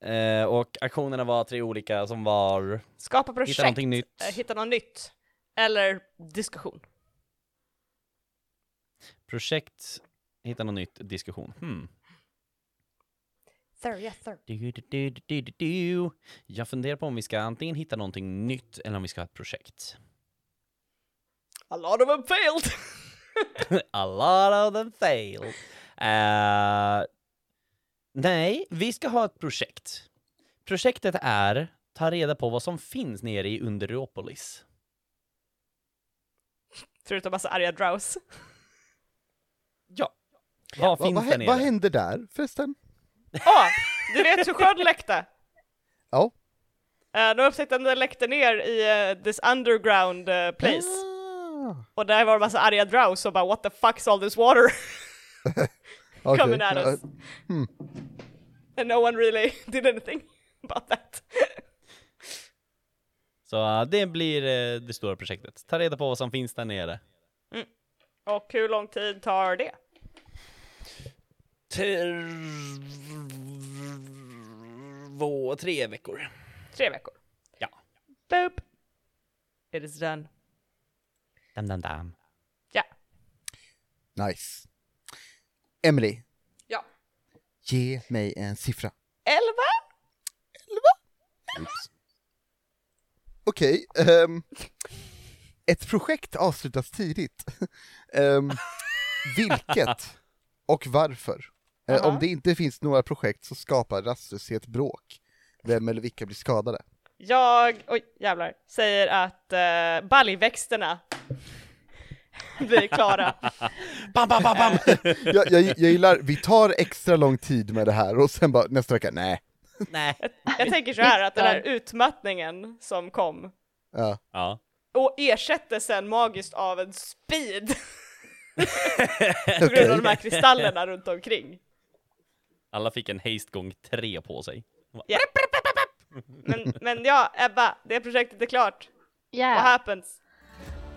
[SPEAKER 5] Eh, och aktionerna var tre olika som var...
[SPEAKER 2] Skapa projekt.
[SPEAKER 5] någonting nytt.
[SPEAKER 2] Eh, hitta något nytt. Eller diskussion.
[SPEAKER 5] Projekt, hitta något nytt, diskussion. Hmm.
[SPEAKER 2] Sir, yes sir.
[SPEAKER 5] Du, du, du, du, du, du, du. Jag funderar på om vi ska antingen hitta någonting nytt eller om vi ska ha ett projekt. [laughs]
[SPEAKER 2] A lot of them failed.
[SPEAKER 5] A lot of them failed. Eh, nej, vi ska ha ett projekt. Projektet är ta reda på vad som finns nere i Underopolis.
[SPEAKER 2] [laughs] Förutom massa arga drows.
[SPEAKER 5] Ja. Vad
[SPEAKER 1] vad,
[SPEAKER 5] finns
[SPEAKER 1] vad,
[SPEAKER 5] där
[SPEAKER 1] hä-
[SPEAKER 5] nere?
[SPEAKER 1] vad hände där förresten?
[SPEAKER 2] Åh, du vet hur sjön läckte?
[SPEAKER 1] Ja.
[SPEAKER 2] Eh, de upptäckte att den läckte ner i eh, this underground eh, place.
[SPEAKER 1] Ah,
[SPEAKER 2] Och där var det massa arga drows som bara what the fuck's all this water [laughs]
[SPEAKER 1] okej.
[SPEAKER 2] coming at us. And no one really [laughs] did anything about that. [laughs]
[SPEAKER 5] Så eh, det blir eh, det stora projektet. Ta reda på vad som finns där nere.
[SPEAKER 2] Och hur lång tid tar det?
[SPEAKER 5] Två, tre veckor.
[SPEAKER 2] Tre veckor.
[SPEAKER 5] Ja.
[SPEAKER 2] Boop. It is done.
[SPEAKER 5] Dam, dam, dam.
[SPEAKER 2] Ja.
[SPEAKER 1] Ja. Nice. Emily,
[SPEAKER 2] Ja.
[SPEAKER 1] ge mig en siffra.
[SPEAKER 2] Elva?
[SPEAKER 1] Okej, ehm, ett projekt avslutas tidigt. [laughs] Ehm, vilket och varför? Eh, Om
[SPEAKER 2] Aha.
[SPEAKER 1] det inte finns några projekt så skapar rastlöshet bråk. Vem eller vilka blir skadade?
[SPEAKER 2] Jag, oj jävlar, säger att uh, baljväxterna [laughs] blir klara.
[SPEAKER 3] Bam, bam, bam,
[SPEAKER 5] [laughs]
[SPEAKER 3] bam!
[SPEAKER 1] Jag, jag, jag gillar, vi tar extra lång tid med det här och sen bara nästa vecka, nej.
[SPEAKER 3] Nej.
[SPEAKER 2] Jag tänker så här att den här utmattningen som kom
[SPEAKER 1] Ja.
[SPEAKER 5] Ja.
[SPEAKER 2] och ersätter sen magiskt av en speed [laughs] på grund
[SPEAKER 1] Okej.
[SPEAKER 2] av de här kristallerna runt omkring.
[SPEAKER 5] Alla fick en haste gång tre på sig.
[SPEAKER 2] Ja. Men, men ja, Ebba, det projektet är klart. What
[SPEAKER 4] Yeah.
[SPEAKER 2] happens?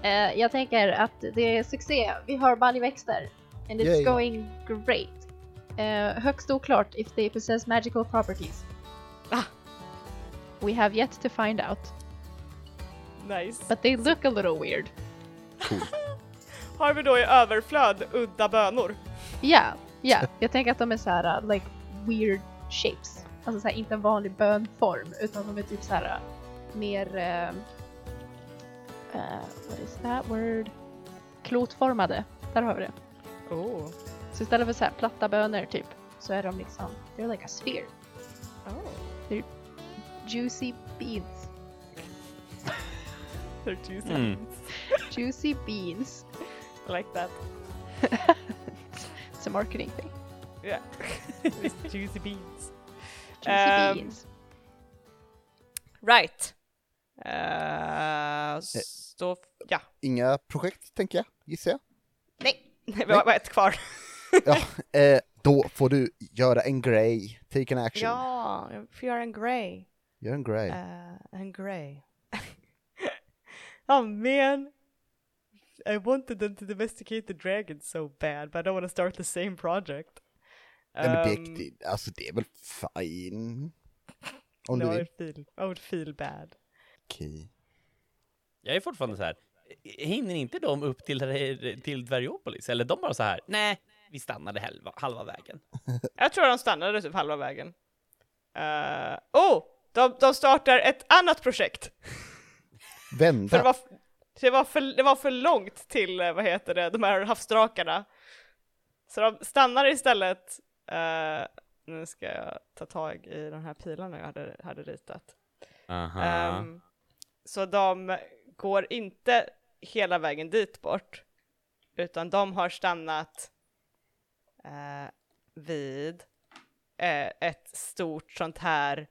[SPEAKER 4] Eh, jag tänker att det är succé. Vi har baljväxter. And it's
[SPEAKER 1] Yay.
[SPEAKER 4] going great. Eh, högst oklart if they possess magical properties. We have yet to find out.
[SPEAKER 2] Nice.
[SPEAKER 4] But they look a little weird.
[SPEAKER 2] Har vi då i överflöd udda bönor?
[SPEAKER 4] Yeah, yeah.
[SPEAKER 5] [laughs]
[SPEAKER 4] Jag tänker att de är så här, uh, like weird shapes. Alltså så här, inte en vanlig bönform, utan de är typ så här uh, mer... Uh, uh, what is that word? Klotformade. Där har vi det.
[SPEAKER 2] Oh.
[SPEAKER 4] Så istället för så här platta bönor typ, så är de liksom, they're like a sphere.
[SPEAKER 2] oh.
[SPEAKER 4] Juicy beans.
[SPEAKER 2] They're two
[SPEAKER 5] Mm.
[SPEAKER 2] seconds.
[SPEAKER 4] Juicy
[SPEAKER 5] [laughs]
[SPEAKER 4] beans.
[SPEAKER 2] I like that.
[SPEAKER 4] It's a marketing thing.
[SPEAKER 2] [laughs] Yeah. It's juicy beans.
[SPEAKER 4] Juicy
[SPEAKER 2] Ehm,
[SPEAKER 4] beans.
[SPEAKER 2] Right. Eh, s- då, ja. [laughs]
[SPEAKER 1] Inga projekt, tänker jag, gissar jag.
[SPEAKER 2] Nej, vi har bara ett kvar.
[SPEAKER 1] Ja, eh, då får du göra en grej, take an action.
[SPEAKER 2] Ja, jag får göra en grej.
[SPEAKER 1] Gör en grej.
[SPEAKER 2] Uh, and [laughs] Grey. oh man, I wanted them to domesticate the dragon so bad, but I don't want to start the same project.
[SPEAKER 1] Nej, men
[SPEAKER 2] Um,
[SPEAKER 1] det, det, alltså det är väl fine. Om du
[SPEAKER 2] no, I
[SPEAKER 1] vill.
[SPEAKER 2] would feel, I would feel bad.
[SPEAKER 1] Okej.
[SPEAKER 5] Jag är fortfarande så här. Hinner inte de upp till, till Dvergopolis? Eller de bara så här. Nej, vi stannade halva, halva vägen.
[SPEAKER 2] Jag tror de stannade typ halva vägen. Eh, oh, de, de startar ett annat projekt! [laughs] För det,
[SPEAKER 1] Vända.
[SPEAKER 2] var, f- det, var för, det var för långt till, eh, vad heter det, de här havsdrakarna. Så de stannar istället, eh, nu ska jag ta tag i de här pilarna jag hade, hade ritat. Ehm, så de går inte hela vägen dit bort, utan de har stannat eh, vid eh, ett stort sånt här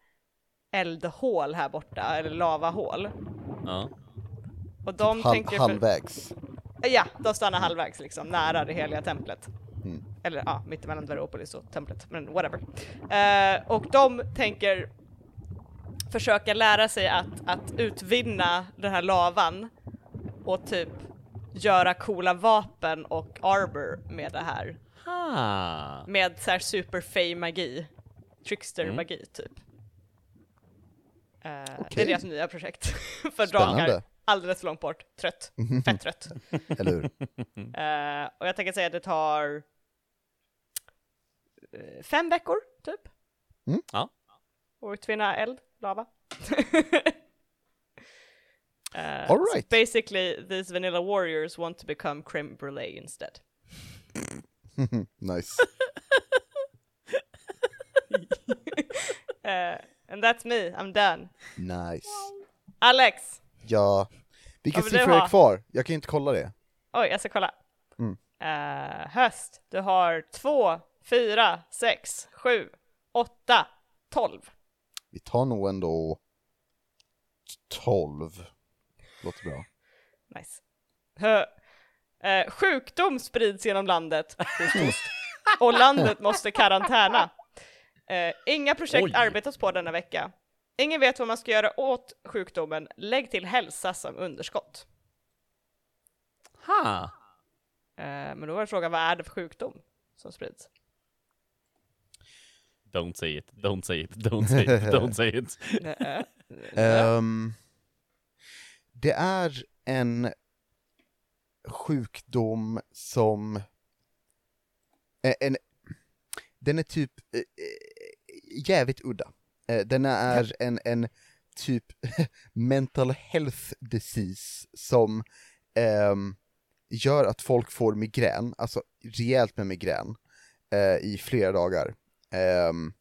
[SPEAKER 2] eldhål här borta, eller lavahål.
[SPEAKER 5] Ja.
[SPEAKER 2] Och de
[SPEAKER 1] Hal-
[SPEAKER 2] tänker...
[SPEAKER 1] halvvägs.
[SPEAKER 2] Eh, Ja, de stannar halvvägs liksom, nära det heliga templet.
[SPEAKER 1] Mm.
[SPEAKER 2] Eller ja, mittemellan Dvergopolis och templet, men whatever. Eh, och de tänker försöka lära sig att, att utvinna den här lavan och typ göra coola vapen och arbor med det här.
[SPEAKER 5] Ah.
[SPEAKER 2] Med så här superfej magi. Trickster-magi typ. Eh, Det är
[SPEAKER 1] Mm. Okej.
[SPEAKER 2] deras nya projekt. [laughs] För drakar.
[SPEAKER 1] Spännande.
[SPEAKER 2] Alldeles för långt
[SPEAKER 1] [laughs]
[SPEAKER 2] bort. Trött. Fett trött.
[SPEAKER 1] Eller hur? [laughs]
[SPEAKER 2] Eh, och jag tänker säga att det tar eh, fem veckor, typ.
[SPEAKER 1] Mm.
[SPEAKER 5] Ja.
[SPEAKER 2] Och utvinna eld, lava. [laughs] Eh,
[SPEAKER 1] All right.
[SPEAKER 2] so basically, these vanilla warriors want to become creme brulee instead.
[SPEAKER 1] nice.
[SPEAKER 2] Eh, and that's me, I'm done.
[SPEAKER 1] Nice.
[SPEAKER 2] Alex!
[SPEAKER 1] Ja. Vilka
[SPEAKER 2] Vad vill du
[SPEAKER 1] siffror är
[SPEAKER 2] ha?
[SPEAKER 1] kvar? Jag kan ju inte kolla det.
[SPEAKER 2] Oj, jag ska kolla.
[SPEAKER 1] Mm.
[SPEAKER 2] Eh, höst, du har två, fyra, sex, sju, åtta, tolv.
[SPEAKER 1] Vi tar nog ändå 12. Låter bra.
[SPEAKER 2] Nice. Hö. Eh, sjukdom sprids genom landet host, host. [laughs] och landet måste karantäna. Eh, inga projekt
[SPEAKER 5] Oj.
[SPEAKER 2] arbetas på denna vecka. Ingen vet vad man ska göra åt sjukdomen. Lägg till hälsa som underskott.
[SPEAKER 5] Ha.
[SPEAKER 2] Eh, men då var frågan, vad är det för sjukdom som sprids?
[SPEAKER 5] Don't say it, don't say it, don't say it, [laughs] don't say it.
[SPEAKER 2] Eh,
[SPEAKER 1] Ehm, det är en sjukdom som... En, en, den är typ eh, eh, jävligt udda. Eh, den är Eh, en, en typ [laughs] mental health disease som ehm, gör att folk får migrän, alltså rejält med migrän, eh, i flera dagar. Ehm,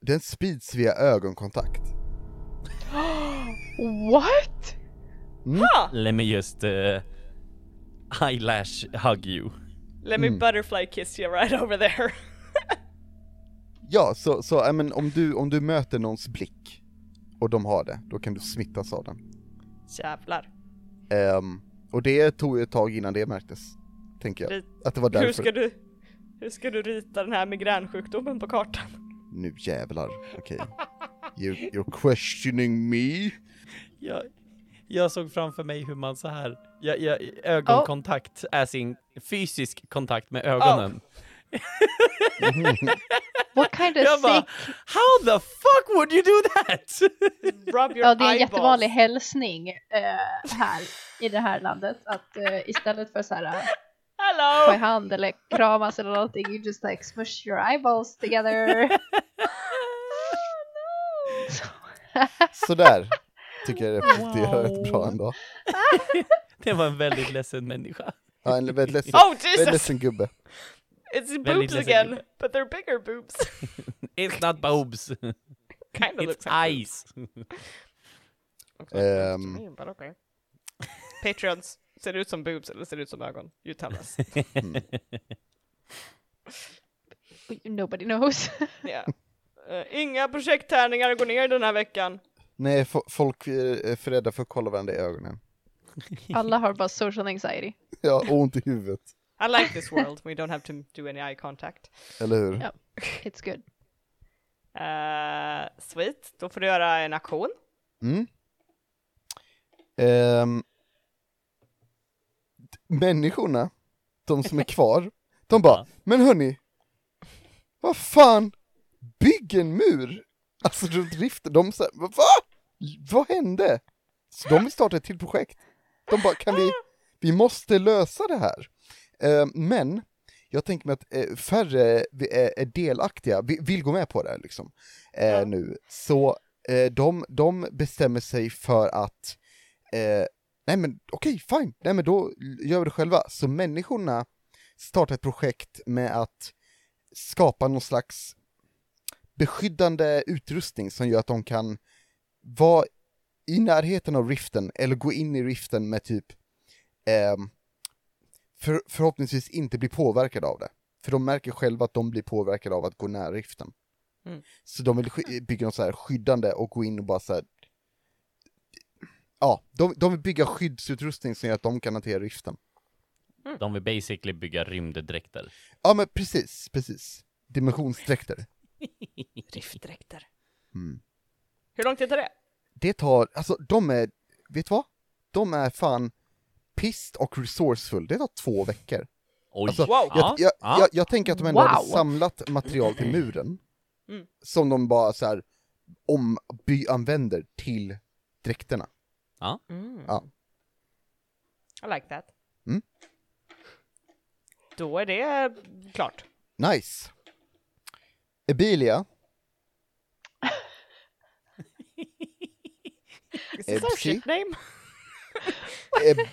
[SPEAKER 1] den sprids via ögonkontakt.
[SPEAKER 4] What?
[SPEAKER 5] Let me just eh, eyelash hug you.
[SPEAKER 2] Let
[SPEAKER 1] Mm.
[SPEAKER 2] me butterfly kiss you right over there. [laughs]
[SPEAKER 1] Ja, så, så I mean, om, du, om du möter någons blick och de har det, då kan du smittas av den.
[SPEAKER 2] Jävlar.
[SPEAKER 1] Ehm, och det tog ju ett tag innan det märktes, tänker jag.
[SPEAKER 2] Rit-
[SPEAKER 1] Att det var
[SPEAKER 2] Hur
[SPEAKER 1] därför.
[SPEAKER 2] ska du... Hur ska du rita den här migränsjukdomen på
[SPEAKER 4] [laughs]
[SPEAKER 2] kartan?
[SPEAKER 1] Nu jävlar, okej. You, you're questioning me?
[SPEAKER 5] Jag, jag såg framför mig hur man så här, jag, jag, ögonkontakt är sin fysisk kontakt med ögonen.
[SPEAKER 4] What kind of
[SPEAKER 5] Jag bara,
[SPEAKER 4] sick?
[SPEAKER 5] how the fuck would you do that? [laughs]
[SPEAKER 2] Rub your
[SPEAKER 4] Ja, det är en
[SPEAKER 2] eyeballs.
[SPEAKER 4] jättevanlig hälsning eh, här i det här landet. Att eh, istället för så här eh, ta i
[SPEAKER 2] Hello!
[SPEAKER 4] hand eller kramas eller någonting, you just like smush your eyeballs together.
[SPEAKER 1] Sådär, tycker jag det är wow. rätt bra ändå.
[SPEAKER 5] det var en väldigt ledsen människa.
[SPEAKER 1] Ja, en väldigt ledsen,
[SPEAKER 2] Oh
[SPEAKER 1] väldigt
[SPEAKER 2] Jesus!
[SPEAKER 1] ledsen gubbe.
[SPEAKER 2] It's
[SPEAKER 5] Väldigt
[SPEAKER 2] boobs
[SPEAKER 5] ledsen
[SPEAKER 2] again,
[SPEAKER 5] gubbe.
[SPEAKER 2] but they're bigger boobs.
[SPEAKER 5] It's not boobs,
[SPEAKER 2] kind of looks like
[SPEAKER 5] it's eyes.
[SPEAKER 1] Ehm.
[SPEAKER 2] Um, but okay. Patreons, ser det ut som boobs eller ser det ut som ögon? You tell us.
[SPEAKER 4] Nobody knows.
[SPEAKER 2] Yeah. Eh, inga projekttärningar går ner den här veckan.
[SPEAKER 1] Nej, fo- folk eh, är är för rädda för att kolla varandra i ögonen.
[SPEAKER 4] Alla har bara social anxiety.
[SPEAKER 1] Ja, och ont i huvudet.
[SPEAKER 2] I like this world, we don't have to do any eye contact.
[SPEAKER 1] Eller hur?
[SPEAKER 4] Ja. It's good.
[SPEAKER 2] Eh, sweet, då får du göra en aktion.
[SPEAKER 1] Mm. Ehm. människorna, de som är kvar, de bara, men hörni, vad fan, bygg en mur! Alltså runt riften, de säger, va? Vad hände? Så de vill starta ett till projekt. De bara, kan vi, vi måste lösa det här. Ehm, men, jag tänker mig att eh, färre är är delaktiga, vi- vill gå med på det här liksom, eh, nu. Så eh, de, de bestämmer sig för att eh, nej men okej, fine, nej men då gör vi det själva. Så människorna startar ett projekt med att skapa någon slags beskyddande utrustning som gör att de kan vara i närheten av riften eller gå in i riften med typ ehm, för, förhoppningsvis inte bli påverkade av det. För de märker själva att de blir påverkade av att gå nära riften. Så de vill sky- bygga något så här skyddande och gå in och bara så här. Ja, de, de vill bygga skyddsutrustning som gör att de kan hantera riften.
[SPEAKER 5] De vill basically bygga rymddräkter.
[SPEAKER 1] Ja men precis, precis. Dimensionsdräkter.
[SPEAKER 2] Driftdräkter.
[SPEAKER 1] Mm.
[SPEAKER 2] Hur lång tid tar det?
[SPEAKER 1] Det tar, alltså de är, vet du vad? De är fan pissed och resourceful. Det tar två veckor.
[SPEAKER 5] Oj.
[SPEAKER 1] Alltså,
[SPEAKER 2] Wow.
[SPEAKER 1] jag, jag,
[SPEAKER 5] ja.
[SPEAKER 1] jag, jag tänker att de ändå hade
[SPEAKER 4] Wow.
[SPEAKER 1] samlat material till muren.
[SPEAKER 2] Mm.
[SPEAKER 1] Som de bara så här omanvänder till dräkterna. Ja.
[SPEAKER 2] I like that.
[SPEAKER 1] Mm.
[SPEAKER 2] Då är det klart.
[SPEAKER 1] Nice. Ebilia.
[SPEAKER 2] Is this our
[SPEAKER 1] Epsi.
[SPEAKER 2] ship name?
[SPEAKER 1] Eb-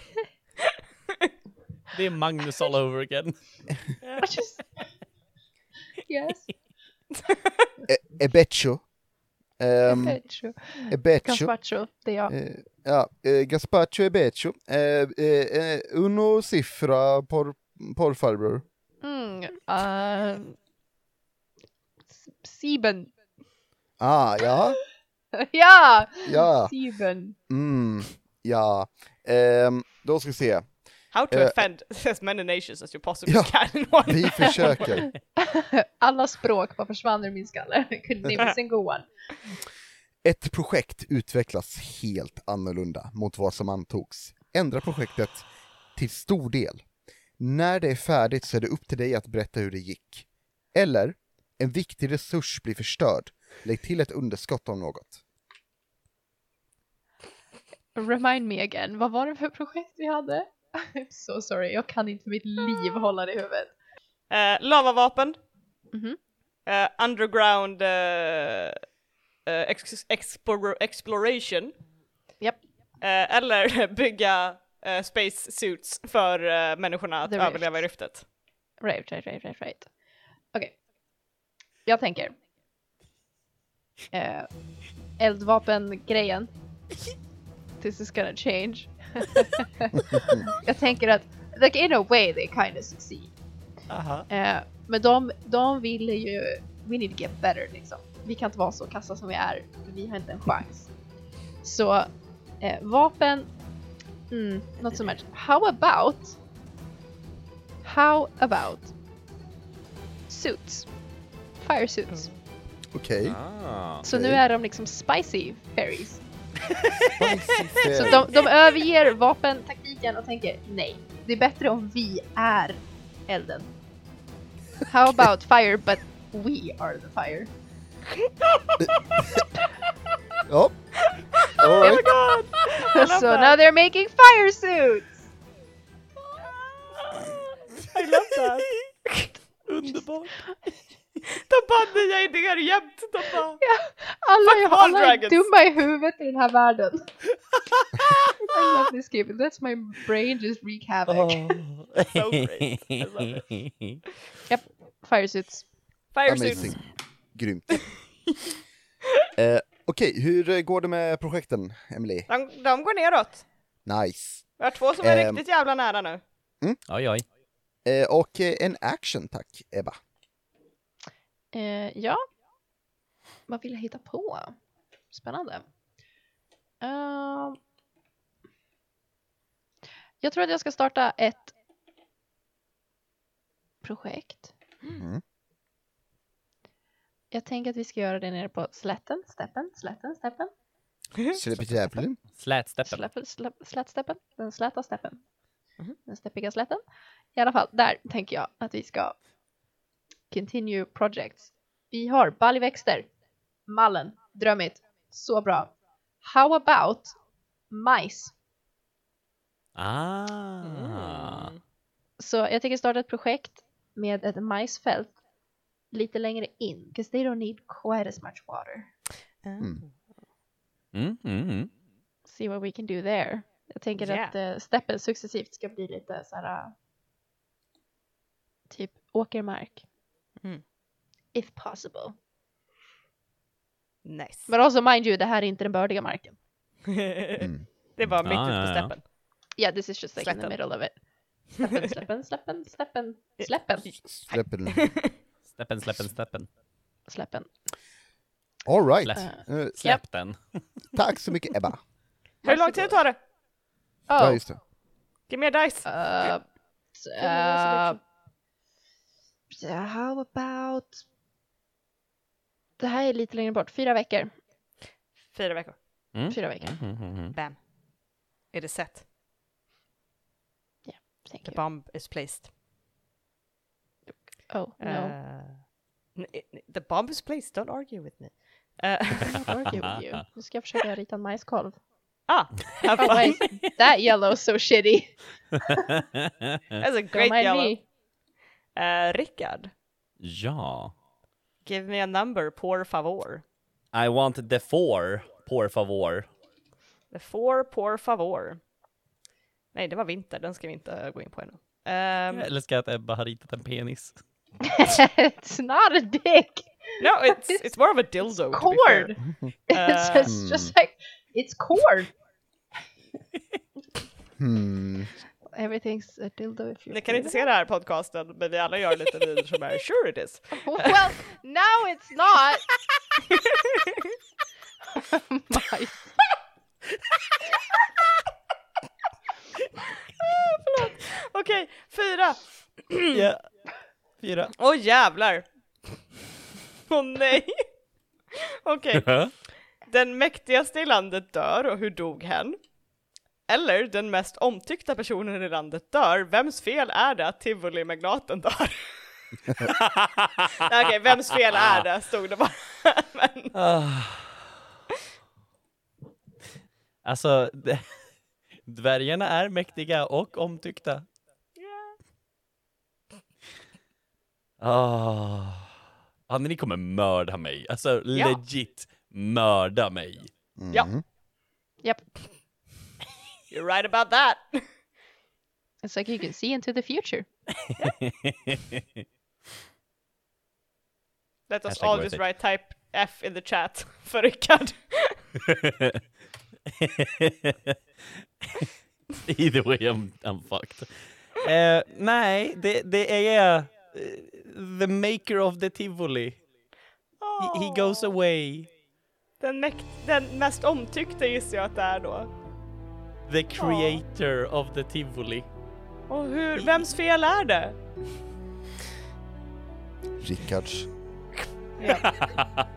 [SPEAKER 5] Det är Magnus all over again.
[SPEAKER 4] Yes.
[SPEAKER 1] E- Ebecho. Ehm,
[SPEAKER 4] Pecho.
[SPEAKER 1] Ebecho.
[SPEAKER 4] Gazpacho, det är jag.
[SPEAKER 1] Eh, ja, eh, Gazpacho Ebecho. Eh, eh, eh, uno siffra por, por farbror.
[SPEAKER 4] Mm, uh, Sieben. [laughs]
[SPEAKER 1] Ah, ja,
[SPEAKER 4] ja! [laughs]
[SPEAKER 1] ja,
[SPEAKER 4] Sieben.
[SPEAKER 1] mm, ja. Ehm, då ska vi se.
[SPEAKER 2] How to
[SPEAKER 1] Eh.
[SPEAKER 2] offend [laughs] as many nations as you possibly
[SPEAKER 1] Ja.
[SPEAKER 2] can in one.
[SPEAKER 1] Vi försöker.
[SPEAKER 4] [laughs] Alla språk bara försvann ur min skalle. I couldn't name a single one.
[SPEAKER 1] Ett projekt utvecklas helt annorlunda mot vad som antogs. Ändra projektet till stor del. När det är färdigt så är det upp till dig att berätta hur det gick. Eller, en viktig resurs blir förstörd. Lägg till ett underskott av något.
[SPEAKER 4] Remind me again, vad var det för projekt vi hade? [laughs] I'm so sorry, jag kan inte för mitt liv hålla det i huvudet.
[SPEAKER 2] [laughs] Eh, lavavapen.
[SPEAKER 4] Mhm.
[SPEAKER 2] Eh, underground eh, eh, ex- explor- exploration.
[SPEAKER 4] Japp.
[SPEAKER 2] Eh, eller [laughs] bygga eh, space suits för eh, människorna att
[SPEAKER 4] The rift.
[SPEAKER 2] överleva i
[SPEAKER 4] [laughs]
[SPEAKER 2] riftet.
[SPEAKER 4] Right, right, right, right, right. Okej. Jag tänker. Eh, eldvapen-grejen. This is gonna change. [laughs] jag tänker att, like in a way they kind of succeed.
[SPEAKER 3] Aha.
[SPEAKER 4] Eh, men de, de vill ju, we need to get better liksom. Vi kan inte vara så kassa som vi är, för vi har inte en chans. Så eh, vapen, mm, not so much. How about, how about suits? Fire suits.
[SPEAKER 1] Okej. [laughs]
[SPEAKER 5] Ah.
[SPEAKER 4] Så nu
[SPEAKER 1] okej.
[SPEAKER 4] är de liksom spicy fairies.
[SPEAKER 1] Fair.
[SPEAKER 4] Så de, de överger vapentaktiken och tänker nej, det är bättre om vi är elden. How about fire but we are the fire?
[SPEAKER 1] Ja. All right.
[SPEAKER 4] so
[SPEAKER 2] [laughs]
[SPEAKER 4] now they're making fire suits!
[SPEAKER 5] [laughs]
[SPEAKER 3] Underbart.
[SPEAKER 2] De bara nya idéer jämt! De bara...
[SPEAKER 4] [laughs] Alla, är-
[SPEAKER 2] all
[SPEAKER 4] alla är
[SPEAKER 2] dragons.
[SPEAKER 4] dumma i huvudet i den här världen. [laughs] I love this game, that's my brain just wreak havoc.
[SPEAKER 5] Oh.
[SPEAKER 2] So great. I love
[SPEAKER 4] Fire suits.
[SPEAKER 2] Fire
[SPEAKER 1] Amazing.
[SPEAKER 2] suits.
[SPEAKER 1] Grymt. eh, Okej, hur eh, går det med projekten, Emily?
[SPEAKER 2] De, de går neråt.
[SPEAKER 1] Nice.
[SPEAKER 2] Vi har två som är
[SPEAKER 1] Ehm.
[SPEAKER 2] riktigt jävla nära nu.
[SPEAKER 3] Oj, oj.
[SPEAKER 1] Eh, och eh, en action tack, Ebba.
[SPEAKER 4] Eh, ja. Vad vill jag hitta på? Spännande. Ehm. jag tror att jag ska starta ett projekt.
[SPEAKER 1] Mm.
[SPEAKER 4] Jag tänker att vi ska göra det nere på slätten, steppen, slätten, steppen,
[SPEAKER 1] Släppjävlen.
[SPEAKER 3] Slätsteppen.
[SPEAKER 4] släppen, släpp, slätsteppen, den släta steppen. Den steppiga slätten. I alla fall, där tänker jag att vi ska continue projects. Vi har baljväxter, mallen, drömmigt, så bra. How about majs?
[SPEAKER 3] Ah.
[SPEAKER 2] Mm.
[SPEAKER 4] Så jag tänker starta ett projekt med ett majsfält lite längre in, because they don't need quite as much water. Ah.
[SPEAKER 3] Mm, mm, mm.
[SPEAKER 4] See what we can do there. Jag tänker
[SPEAKER 2] Yeah.
[SPEAKER 4] att eh, steppen successivt ska bli lite så här eh, typ åkermark.
[SPEAKER 2] Mm.
[SPEAKER 4] If possible.
[SPEAKER 2] Nice.
[SPEAKER 4] Men also mind you, det här är inte den bördiga marken.
[SPEAKER 2] [laughs]
[SPEAKER 1] Mm.
[SPEAKER 2] det var mitt
[SPEAKER 3] Ja,
[SPEAKER 2] ute
[SPEAKER 3] ja,
[SPEAKER 2] på
[SPEAKER 3] ja.
[SPEAKER 2] steppen.
[SPEAKER 4] Yeah, this is just like in the
[SPEAKER 2] Slätten.
[SPEAKER 4] middle of it.
[SPEAKER 2] [laughs]
[SPEAKER 4] Släppen, släppen, släppen, släppen,
[SPEAKER 2] Eh,
[SPEAKER 4] släppen,
[SPEAKER 1] Släppen.
[SPEAKER 3] Steppen, släppen, steppen.
[SPEAKER 4] släppen.
[SPEAKER 1] All right.
[SPEAKER 3] Släpp.
[SPEAKER 1] Eh,
[SPEAKER 3] Släpp den.
[SPEAKER 1] tack så mycket, Ebba.
[SPEAKER 2] Hur lång tid tar det?
[SPEAKER 1] Ja,
[SPEAKER 4] Oh,
[SPEAKER 1] just det.
[SPEAKER 2] Ge mer dice!
[SPEAKER 4] uh, uh, how about... Det här är lite längre bort, fyra veckor.
[SPEAKER 2] Mm. Fyra veckor.
[SPEAKER 4] Fyra veckor.
[SPEAKER 3] Mm, mm, mm.
[SPEAKER 2] Bam. Är det set?
[SPEAKER 4] Thank
[SPEAKER 2] The
[SPEAKER 4] you.
[SPEAKER 2] bomb is placed.
[SPEAKER 4] Oh, no.
[SPEAKER 2] Eh, n- n- the bomb is placed, don't argue with me. Eh, [laughs]
[SPEAKER 4] Not argue with you. Nu ska jag försöka rita en majskolv.
[SPEAKER 2] [laughs] ah,
[SPEAKER 4] Oh, why is that yellow so shitty?
[SPEAKER 2] that's a
[SPEAKER 4] Don't
[SPEAKER 2] great
[SPEAKER 4] mind
[SPEAKER 2] yellow.
[SPEAKER 4] me.
[SPEAKER 2] Eh, Rickard,
[SPEAKER 3] ja.
[SPEAKER 2] give me a number, por favor.
[SPEAKER 3] I want the four, por favor.
[SPEAKER 2] The four, por favor. Nej, det var vinter, den ska vi inte gå in på ännu. Ehm,
[SPEAKER 3] Eller ska jag att Ebba har ritat en penis?
[SPEAKER 4] [laughs] it's not a dick.
[SPEAKER 2] no, it's, it's more of a dildo. to be fair. Uh,
[SPEAKER 4] Cord. [laughs] It's just, just like it's cord.
[SPEAKER 1] Hmm.
[SPEAKER 4] Everything's a dildo if you.
[SPEAKER 2] Ni kan inte se den här podcasten, men vi alla gör [laughs] lite videor som är sure it is.
[SPEAKER 4] [laughs] Well, now
[SPEAKER 2] [laughs]
[SPEAKER 4] it's not. [laughs] My [laughs]
[SPEAKER 2] Okej, fyra.
[SPEAKER 3] Ja. [laughs] Fyra.
[SPEAKER 2] Åh jävlar! Åh nej! Okej, den mäktigaste i landet dör och hur dog hen? Eller den mest omtyckta personen i landet dör, vems fel är det att tivolimagnaten
[SPEAKER 5] [laughs]
[SPEAKER 2] dör? Nej, Okej, vems fel är det? Stod det bara. Men,
[SPEAKER 3] Ah. Alltså, d- [laughs] dvärgarna är mäktiga och omtyckta. Ah. Ah, ni kommer mörda mig. Alltså
[SPEAKER 2] Ja.
[SPEAKER 3] legit
[SPEAKER 5] mörda mig.
[SPEAKER 1] Mm.
[SPEAKER 2] Ja.
[SPEAKER 4] Yep.
[SPEAKER 2] You're right about that.
[SPEAKER 4] It's like you can see into the future.
[SPEAKER 2] Let us
[SPEAKER 5] Hashtag
[SPEAKER 2] all
[SPEAKER 5] worth
[SPEAKER 2] just
[SPEAKER 5] it.
[SPEAKER 2] write type F in the chat [laughs] för Rickard.
[SPEAKER 5] [laughs] Either way I'm, I'm fucked. Eh, nej, det, det är eh, the maker of the tivoli. He, he goes away.
[SPEAKER 2] Den, mäkt, den mest omtyckta gissar jag att det är då.
[SPEAKER 5] The creator of the tivoli.
[SPEAKER 2] Och hur, vems fel är det? [laughs]
[SPEAKER 1] Rickards.
[SPEAKER 4] Yep.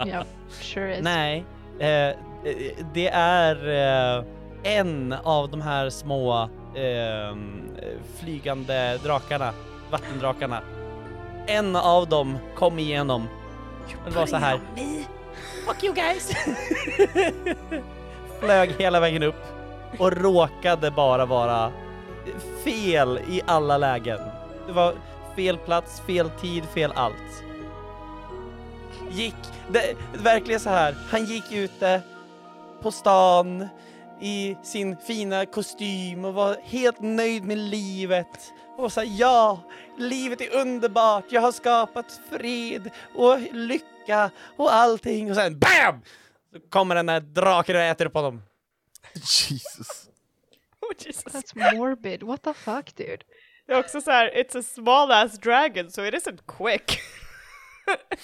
[SPEAKER 4] yep. Sure is.
[SPEAKER 5] Nej, eh, eh, det är eh, en av de här små ehm, eh, flygande drakarna, vattendrakarna. En av dem kom igenom. Den var så här. Fuck you guys! [laughs] Flög hela vägen upp och råkade bara vara fel i alla lägen. Det var fel plats, fel tid, fel allt gick, det, verkligen så här, han gick ute på stan i sin fina kostym och var helt nöjd med livet. Och sa ja, livet är underbart, jag har skapat fred och lycka och allting. Och sen BAM! Så kommer den där draken och äter upp honom.
[SPEAKER 1] Jesus.
[SPEAKER 2] Oh Jesus.
[SPEAKER 4] That's morbid. What the fuck, dude?
[SPEAKER 2] Det är också så här, it's a small ass dragon so it isn't quick. [laughs]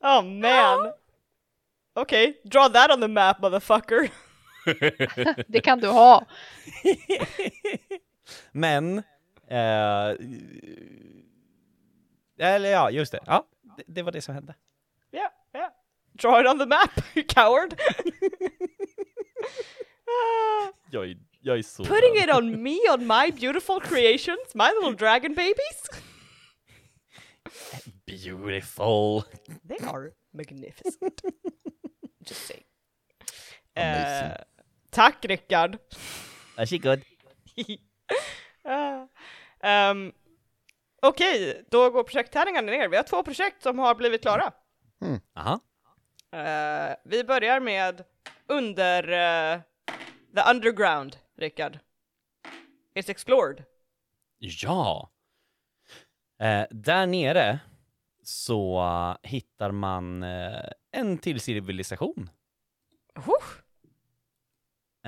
[SPEAKER 2] oh man. Okej, okay, draw that on the map [laughs] motherfucker.
[SPEAKER 4] Det kan
[SPEAKER 2] [laughs]
[SPEAKER 4] du ha.
[SPEAKER 5] Men... Eh, eller ja, just det. Ja, det, det var det som hände.
[SPEAKER 2] Yeah, yeah. Draw it on the map, [laughs] you coward. Ah.
[SPEAKER 5] Jag är, jag är så
[SPEAKER 2] putting it on me on my beautiful creations, my little dragon babies.
[SPEAKER 5] Beautiful.
[SPEAKER 2] They are magnificent. Just saying.
[SPEAKER 1] Amazing.
[SPEAKER 2] Eh, tack Rickard.
[SPEAKER 5] Varsågod.
[SPEAKER 2] Ah. Ehm, Okej, då går projekttärningarna ner. Vi har två projekt som har blivit klara.
[SPEAKER 5] Aha.
[SPEAKER 2] Eh, vi börjar med under eh, the underground, Rickard. It's explored.
[SPEAKER 5] Ja. Eh, där nere så eh, hittar man eh, en till civilisation.
[SPEAKER 2] Huh.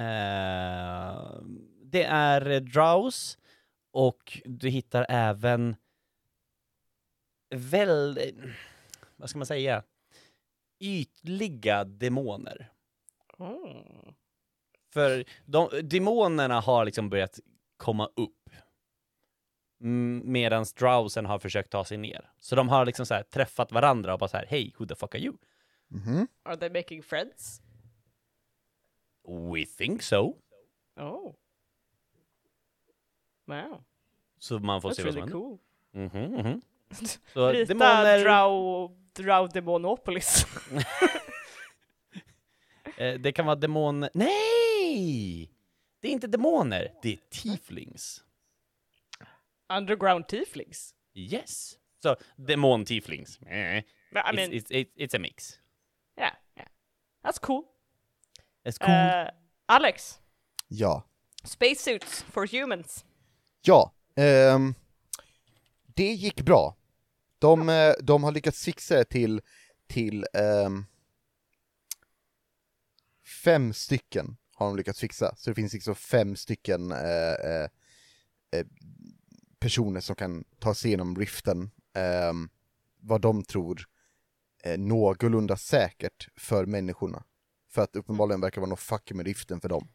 [SPEAKER 5] Eh, det är eh, Draus och du hittar även väl, eh, vad ska man säga, ytliga demoner.
[SPEAKER 2] Mm.
[SPEAKER 5] För de, demonerna har liksom börjat komma upp. Medan Drowsen har försökt ta sig ner. Så de har liksom så här träffat varandra och bara så här, hej, who the fuck are you?
[SPEAKER 1] Mhm.
[SPEAKER 2] Are they making friends?
[SPEAKER 5] We think so.
[SPEAKER 2] Oh. Wow,
[SPEAKER 5] Så man får
[SPEAKER 2] that's
[SPEAKER 5] se vad som
[SPEAKER 2] really
[SPEAKER 5] händer.
[SPEAKER 2] cool.
[SPEAKER 5] Mhm,
[SPEAKER 2] [laughs]
[SPEAKER 5] mhm. Så
[SPEAKER 2] Rita
[SPEAKER 5] demoner,
[SPEAKER 2] Drau, Drau Demonopolis.
[SPEAKER 5] eh, det kan vara demon... Nej! Det är inte demoner, det är tieflings.
[SPEAKER 2] [laughs] Underground Tieflings.
[SPEAKER 5] Yes. Så demon-tieflings. Eh,
[SPEAKER 2] But, I
[SPEAKER 5] it's,
[SPEAKER 2] mean,
[SPEAKER 5] it's, it's, it's a mix.
[SPEAKER 2] yeah, yeah. That's cool.
[SPEAKER 5] It's cool.
[SPEAKER 2] Eh, Alex,
[SPEAKER 1] Ja.
[SPEAKER 2] spacesuits for humans.
[SPEAKER 1] Ja. ehm, det gick bra. De, eh, de har lyckats fixa det till, till ehm, fem stycken har de lyckats fixa. Så det finns liksom fem stycken eh, eh, eh, personer som kan ta sig igenom riften. ehm, vad de tror eh, någorlunda säkert för människorna. För att uppenbarligen verkar vara något fuck med riften för dem.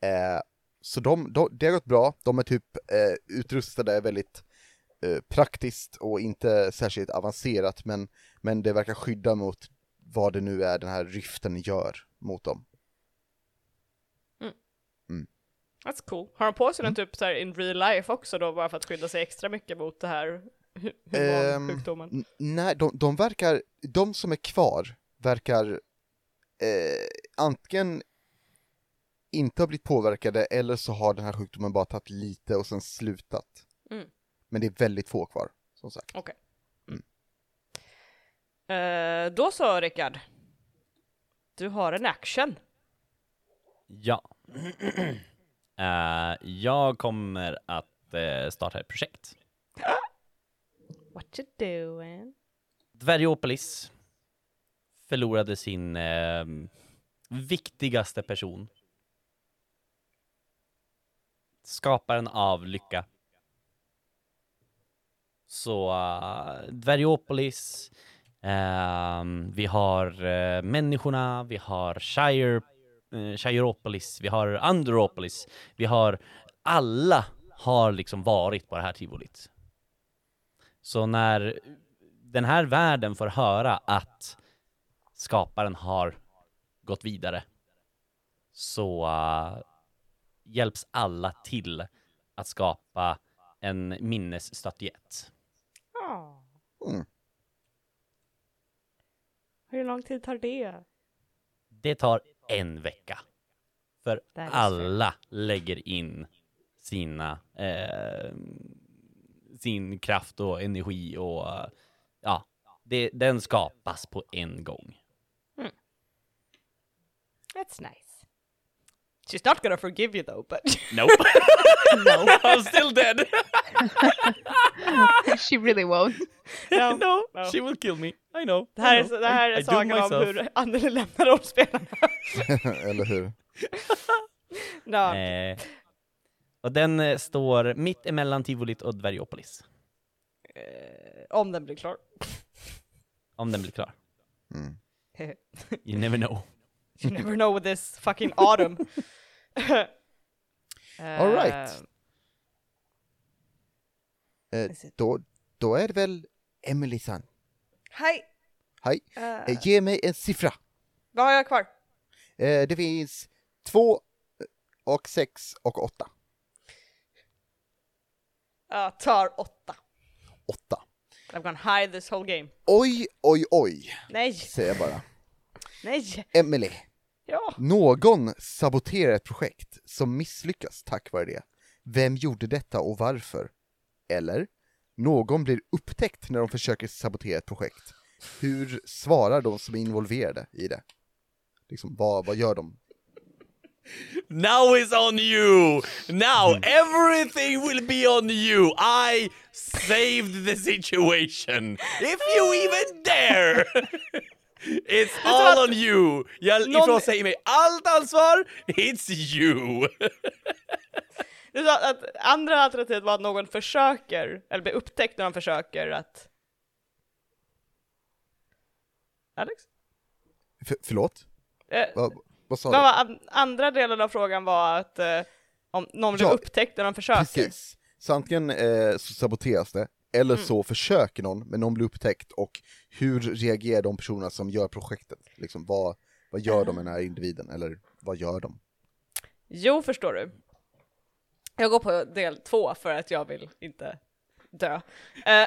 [SPEAKER 1] Eh, så de, de, det har gått bra, de är typ eh, utrustade väldigt eh, praktiskt och inte särskilt avancerat men, men det verkar skydda mot vad det nu är den här riften gör mot dem.
[SPEAKER 2] That's cool. Har de på sig den typ så här in real life också då, bara för att skydda sig extra mycket mot det här hu-
[SPEAKER 1] Ehm,
[SPEAKER 2] humansjukdomen?
[SPEAKER 1] N- nej, de, de verkar, de som är kvar verkar eh, antingen inte ha blivit påverkade eller så har den här sjukdomen bara tagit lite och sen slutat.
[SPEAKER 2] Mm.
[SPEAKER 1] Men det är väldigt få kvar, som sagt.
[SPEAKER 2] Okej. Eh, då så Rickard. Du har en action.
[SPEAKER 5] Ja. [clears throat] Eh, jag kommer att eh, starta ett projekt.
[SPEAKER 2] What you doing?
[SPEAKER 5] Dvärgopolis förlorade sin eh, viktigaste person. Skaparen av lycka. Så eh, Dvärgopolis, eh, vi har eh, människorna, vi har Shire, eh, Shireopolis, vi har Andropolis, vi har alla har liksom varit på det här tivolit. Så när den här världen får höra att skaparen har gått vidare så eh, hjälps alla till att skapa en minnesstatyett.
[SPEAKER 2] Ja.
[SPEAKER 1] Mm.
[SPEAKER 2] Hur lång tid tar det?
[SPEAKER 5] Det tar en vecka. För
[SPEAKER 2] That is
[SPEAKER 5] alla lägger in sina, eh, sin kraft och energi och eh, ja, det, den skapas på en gång.
[SPEAKER 2] That's nice. She's not gonna forgive you though, but... [laughs]
[SPEAKER 5] Nope. Alltså, no. [laughs] I'm still dead.
[SPEAKER 4] She really won't.
[SPEAKER 2] No,
[SPEAKER 5] no,
[SPEAKER 2] no.
[SPEAKER 5] she will kill me. I know.
[SPEAKER 2] Det här
[SPEAKER 5] I know.
[SPEAKER 2] är, det här
[SPEAKER 5] I-
[SPEAKER 2] är
[SPEAKER 5] I do
[SPEAKER 2] sagan om
[SPEAKER 5] myself.
[SPEAKER 2] hur Anneli lämnar
[SPEAKER 5] [laughs]
[SPEAKER 2] rollspelarna.
[SPEAKER 1] [laughs] Eller hur?
[SPEAKER 2] no.
[SPEAKER 5] Eh, och den eh, står mitt emellan Tivolit och Dvärgopolis.
[SPEAKER 2] eh, om den blir klar. [laughs]
[SPEAKER 5] Om den blir klar.
[SPEAKER 1] Mm.
[SPEAKER 5] You never know.
[SPEAKER 2] You never know with this fucking autumn.
[SPEAKER 1] [laughs] All right.
[SPEAKER 2] Eh,
[SPEAKER 1] Eh, då, då är det väl Emily-san.
[SPEAKER 2] Hej!
[SPEAKER 1] Hej.
[SPEAKER 2] Eh,
[SPEAKER 1] Eh, ge mig en siffra.
[SPEAKER 2] vad har jag kvar?
[SPEAKER 1] Eh, det finns två eh, och sex och åtta.
[SPEAKER 2] Jag tar åtta.
[SPEAKER 1] Åtta.
[SPEAKER 2] I've gone high this whole game.
[SPEAKER 1] Oj, oj, oj,
[SPEAKER 2] Nej,
[SPEAKER 1] säger jag bara.
[SPEAKER 2] nej,
[SPEAKER 1] Emily,
[SPEAKER 2] ja.
[SPEAKER 1] någon saboterar ett projekt som misslyckas tack vare det. Vem gjorde detta och varför? Eller, någon blir upptäckt när de försöker sabotera ett projekt. Hur svarar de som är involverade i det? Liksom, vad, vad gör de?
[SPEAKER 5] Now it's on you! Now everything will be on you! I saved the situation! If you even [laughs] dare! It's all on you! Jag ifrån säger mig allt ansvar, it's [laughs] you!
[SPEAKER 2] Du sa att andra alternativet var att någon försöker, eller blir upptäckt när de försöker att... Alex?
[SPEAKER 1] F- förlåt?
[SPEAKER 2] Eh,
[SPEAKER 1] Vad, vad sa
[SPEAKER 2] vad
[SPEAKER 1] du?
[SPEAKER 2] var an- andra delen av frågan var att eh, om någon blir
[SPEAKER 1] Ja,
[SPEAKER 2] upptäckt när de försöker.
[SPEAKER 1] Precis. Så antingen eh, så saboteras det, eller så försöker någon, men någon blir upptäckt och hur reagerar de personerna som gör projektet? Liksom, vad, vad gör de med den här individen, eller vad gör de?
[SPEAKER 2] Jo, förstår du. Jag går på del två för att jag vill inte dö. Eh,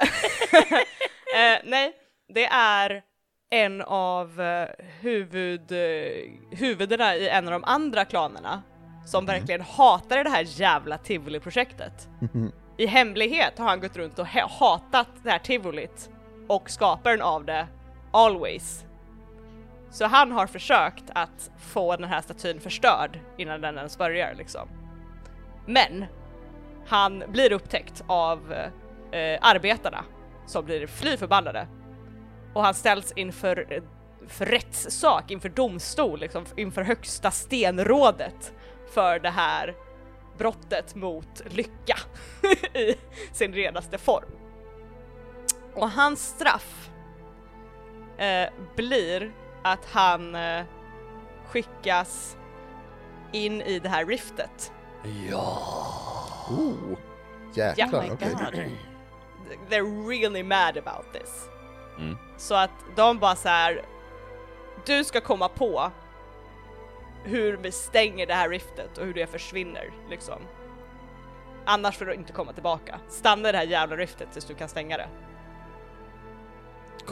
[SPEAKER 2] [laughs] eh, nej, det är en av eh, huvud, eh, huvudena i en av de andra klanerna som verkligen hatade det här jävla tivoli-projektet. I hemlighet har han gått runt och he- hatat det här tivolit och skaparen av det, Always. Så han har försökt att få den här statyn förstörd innan den ens börjar liksom. Men han blir upptäckt av eh, arbetarna som blir fly förbannade och han ställs inför eh, för rättssak, inför domstol, liksom, inför högsta stenrådet för det här brottet mot lycka [laughs] i sin renaste form. Och hans straff eh, blir att han eh, skickas in i det här riftet.
[SPEAKER 1] Oh, jäklar,
[SPEAKER 2] Ja, my
[SPEAKER 1] okej. [laughs]
[SPEAKER 2] They're really mad about this.
[SPEAKER 5] Mm.
[SPEAKER 2] Så att de bara så här. du ska komma på hur vi stänger det här riftet och hur det försvinner liksom. Annars får du inte komma tillbaka. Stanna i det här jävla riftet tills du kan stänga det.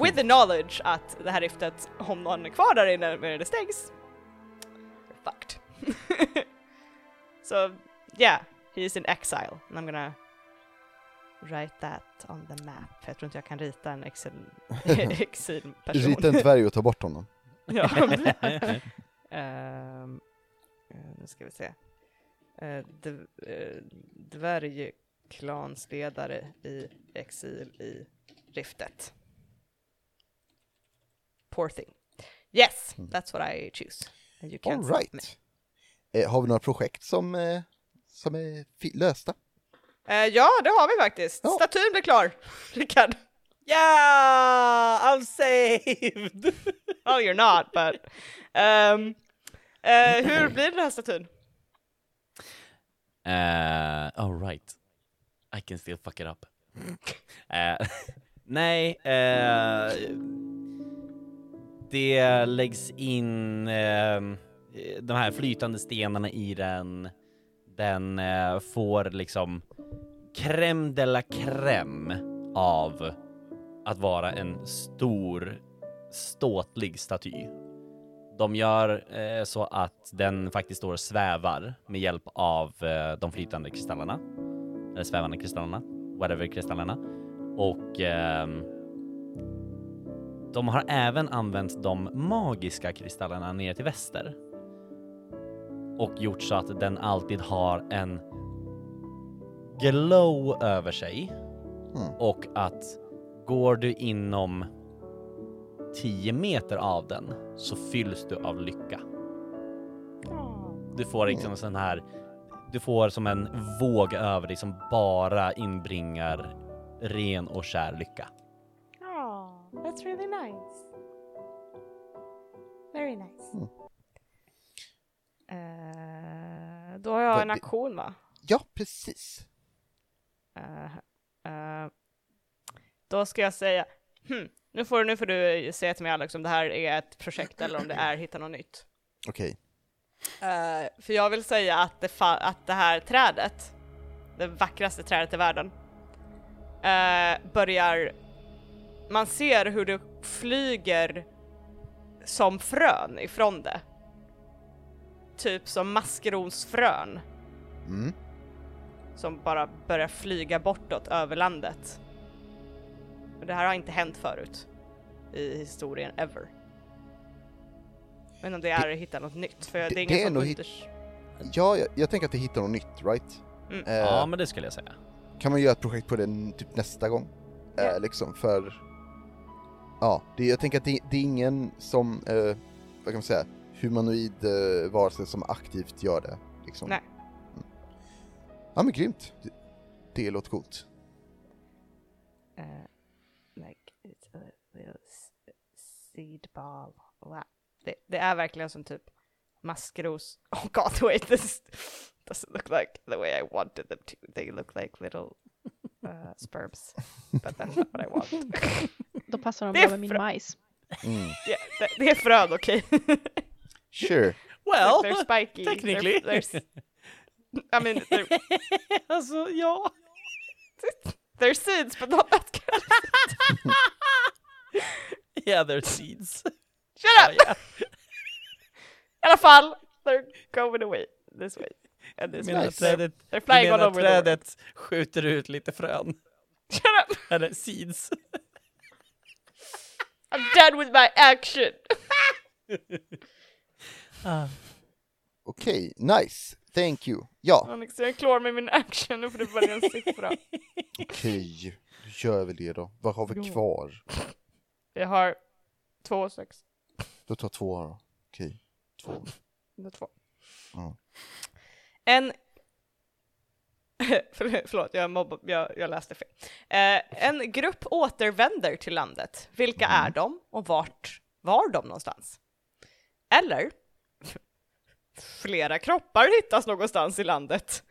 [SPEAKER 2] With the knowledge att det här riftet, om någon är kvar där inne när det stängs, you're fucked. [laughs] so yeah, he's in exile and I'm gonna Write that on the map. Jag tror inte jag kan rita en
[SPEAKER 1] [laughs]
[SPEAKER 2] exil- exilperson.
[SPEAKER 1] Rita en dvärg och ta bort honom.
[SPEAKER 2] Ja, precis. Ehm, eh, nu ska vi se. Eh, dv- eh, Dvärgklansledare i exil i riftet. Poor thing. Yes,
[SPEAKER 1] Mm.
[SPEAKER 2] that's what I choose. And you can't
[SPEAKER 1] All
[SPEAKER 2] stop me.
[SPEAKER 1] right. Eh, har vi några projekt som, eh, som är fi- lösta?
[SPEAKER 2] Eh, ja, det har vi faktiskt.
[SPEAKER 1] Ja.
[SPEAKER 2] Statyn blir klar, [laughs] Rickard.
[SPEAKER 3] Yeah! I'm
[SPEAKER 2] [laughs]
[SPEAKER 3] saved!
[SPEAKER 2] Oh, you're not, but... Ehm, eh, hur blir den här statyn?
[SPEAKER 5] Uh, oh right. I can still fuck it up. [laughs] Eh, [laughs] nej, eh, det läggs in eh, de här flytande stenarna i den. Den eh, får liksom crème de la crème av att vara en stor, ståtlig staty. De gör eh, så att den faktiskt står och svävar med hjälp av eh, de flytande kristallerna. Eller svävande kristallerna. Whatever kristallerna. Och ehm, de har även använt de magiska kristallerna ner till väster. Och gjort så att den alltid har en glow över sig.
[SPEAKER 1] Mm.
[SPEAKER 5] Och att går du inom 10 meter av den så fylls du av lycka. Du får liksom sån här, du får som en våg över dig som bara inbringar ren och skär lycka.
[SPEAKER 7] Oh, that's really nice. Very nice.
[SPEAKER 2] Eh, då har jag
[SPEAKER 1] Vad
[SPEAKER 2] en
[SPEAKER 1] det-
[SPEAKER 2] aktion, va?
[SPEAKER 1] Ja, precis.
[SPEAKER 2] Eh, eh, då ska jag säga, hmm, nu, får, nu får du säga till mig Alex om det här är ett projekt eller om det är hitta något nytt.
[SPEAKER 1] Okej.
[SPEAKER 2] Eh, för jag vill säga att det, fa- att det här trädet, det vackraste trädet i världen, eh, börjar, man ser hur det flyger som frön ifrån det. Typ som maskrosfrön
[SPEAKER 1] Mm.
[SPEAKER 2] som bara börjar flyga bortåt över landet. Och det här har inte hänt förut i historien ever. Men om det är att hitta något nytt, för det,
[SPEAKER 1] det-
[SPEAKER 2] är ingen
[SPEAKER 1] det är
[SPEAKER 2] som
[SPEAKER 1] nog hit-
[SPEAKER 2] unders-
[SPEAKER 1] Ja, jag, jag tänker att vi hittar något nytt, right?
[SPEAKER 2] Mm.
[SPEAKER 1] Eh,
[SPEAKER 5] Ja, men det skulle jag säga.
[SPEAKER 1] Kan man göra ett projekt på den typ nästa gång? Eh,
[SPEAKER 2] Ja.
[SPEAKER 1] Liksom, för... Ja, det, jag tänker att det, det är ingen som, eh, vad kan man säga, humanoid eh, varelse som aktivt gör det. Liksom.
[SPEAKER 2] Nej.
[SPEAKER 1] Mm. Ja men grymt. Det, det låter coolt.
[SPEAKER 2] uh, like it's a little s- seed ball. Wow. Det, det är verkligen som typ [laughs] maskros. Oh god, wait this doesn't look like the way I wanted them to. They look like little uh, sperms. But that's not what I want. [laughs]
[SPEAKER 4] Då passar de
[SPEAKER 2] Det är
[SPEAKER 4] bra med min
[SPEAKER 2] fra-
[SPEAKER 4] majs.
[SPEAKER 2] [laughs]
[SPEAKER 1] Mm.
[SPEAKER 2] yeah, det, det är frön, okej? [laughs]
[SPEAKER 1] Sure.
[SPEAKER 2] they're spiky. They're-
[SPEAKER 5] technically.
[SPEAKER 2] They're, s- I mean, they're,
[SPEAKER 5] [laughs] alltså, ja.
[SPEAKER 2] they're seeds but not that kind.
[SPEAKER 5] Yeah,
[SPEAKER 2] [laughs]
[SPEAKER 5] they're seeds.
[SPEAKER 2] Shut up! I alla fall, they're going away this way. And this
[SPEAKER 5] Medan
[SPEAKER 2] way.
[SPEAKER 1] Nice.
[SPEAKER 5] trädet,
[SPEAKER 2] They're flying all
[SPEAKER 5] medan
[SPEAKER 2] over the world.
[SPEAKER 5] trädet skjuter ut lite frön.
[SPEAKER 2] [laughs] Shut up!
[SPEAKER 5] Eller seeds.
[SPEAKER 2] I'm done with my action! [laughs] Ah.
[SPEAKER 1] Okej, nice. Thank you. Ja,
[SPEAKER 2] Alex, jag är klar med min action, nu får du välja en siffra.
[SPEAKER 1] okej. Då gör vi det då. Vad har vi kvar?
[SPEAKER 2] Jag har två och sex.
[SPEAKER 1] Då tar två då. Okej. Två.
[SPEAKER 2] Det är två.
[SPEAKER 1] Ja.
[SPEAKER 2] En... [laughs] Förl- Förlåt, jag, mobbar, jag, jag läste fel. Eh, en grupp återvänder till landet. Vilka är de och vart var de någonstans? Eller? [laughs] Flera kroppar hittas någonstans i landet.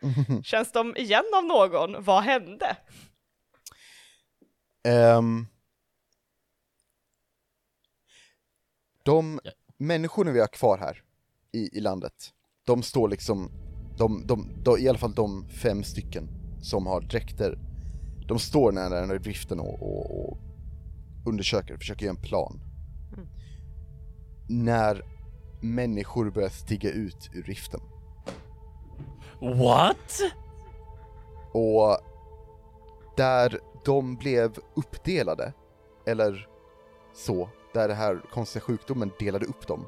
[SPEAKER 2] Känns de igen av någon? Vad hände?
[SPEAKER 1] Ehm. de människorna vi har kvar här i, i landet, de står liksom, de, de, de, i alla fall de fem stycken som har dräkter, de står nära den här driften och, och, och undersöker, försöker göra en plan. När människor börjar stiga ut ur riften.
[SPEAKER 5] What?
[SPEAKER 1] Och där de blev uppdelade, eller så, där den här konstiga sjukdomen delade upp dem.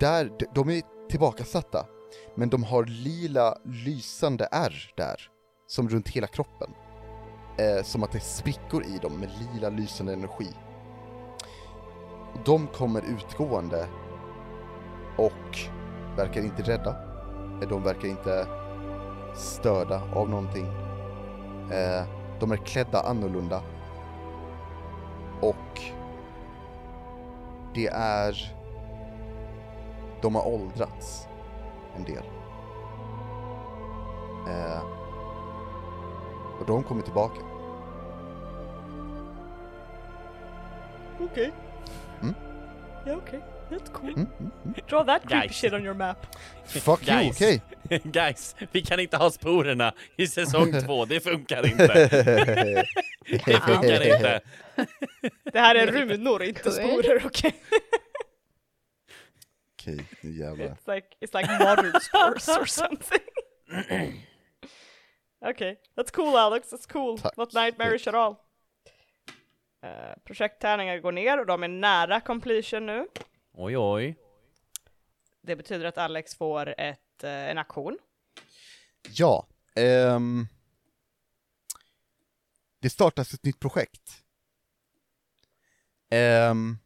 [SPEAKER 1] Där, de- de är tillbakasatta, men de har lila lysande ärr där, som runt hela kroppen. Eh, som att det är sprickor i dem med lila lysande energi. De kommer utgående och verkar inte rädda. Eh, De verkar inte störda av någonting. Eh, de är klädda annorlunda. Och det är... De har åldrats en del. Eh, och de kommer tillbaka.
[SPEAKER 2] Okej.
[SPEAKER 1] Mm.
[SPEAKER 2] Ja, okej. That's cool.
[SPEAKER 1] Mm, mm, mm.
[SPEAKER 2] Draw that creepy
[SPEAKER 5] Guys.
[SPEAKER 2] shit on your map.
[SPEAKER 1] Fuck you, okej.
[SPEAKER 5] Guys. [laughs] Guys, vi kan inte ha sporerna i [laughs] säsong två, [laughs] det funkar inte. Det funkar inte.
[SPEAKER 2] Det här är runor, inte
[SPEAKER 4] Cool.
[SPEAKER 1] [laughs]
[SPEAKER 2] sporer, okej?
[SPEAKER 1] Okej, nu jävlar.
[SPEAKER 2] It's like, it's like modern spores or something. [clears throat] okay, that's cool Alex, that's cool.
[SPEAKER 1] Tack.
[SPEAKER 2] Not nightmarish at all. Eh, projekttärningar går ner och de är nära completion nu.
[SPEAKER 5] Oj, oj.
[SPEAKER 2] Det betyder att Alex får ett, eh, en aktion.
[SPEAKER 1] Ja. ehm, det startas ett nytt projekt. Ehm,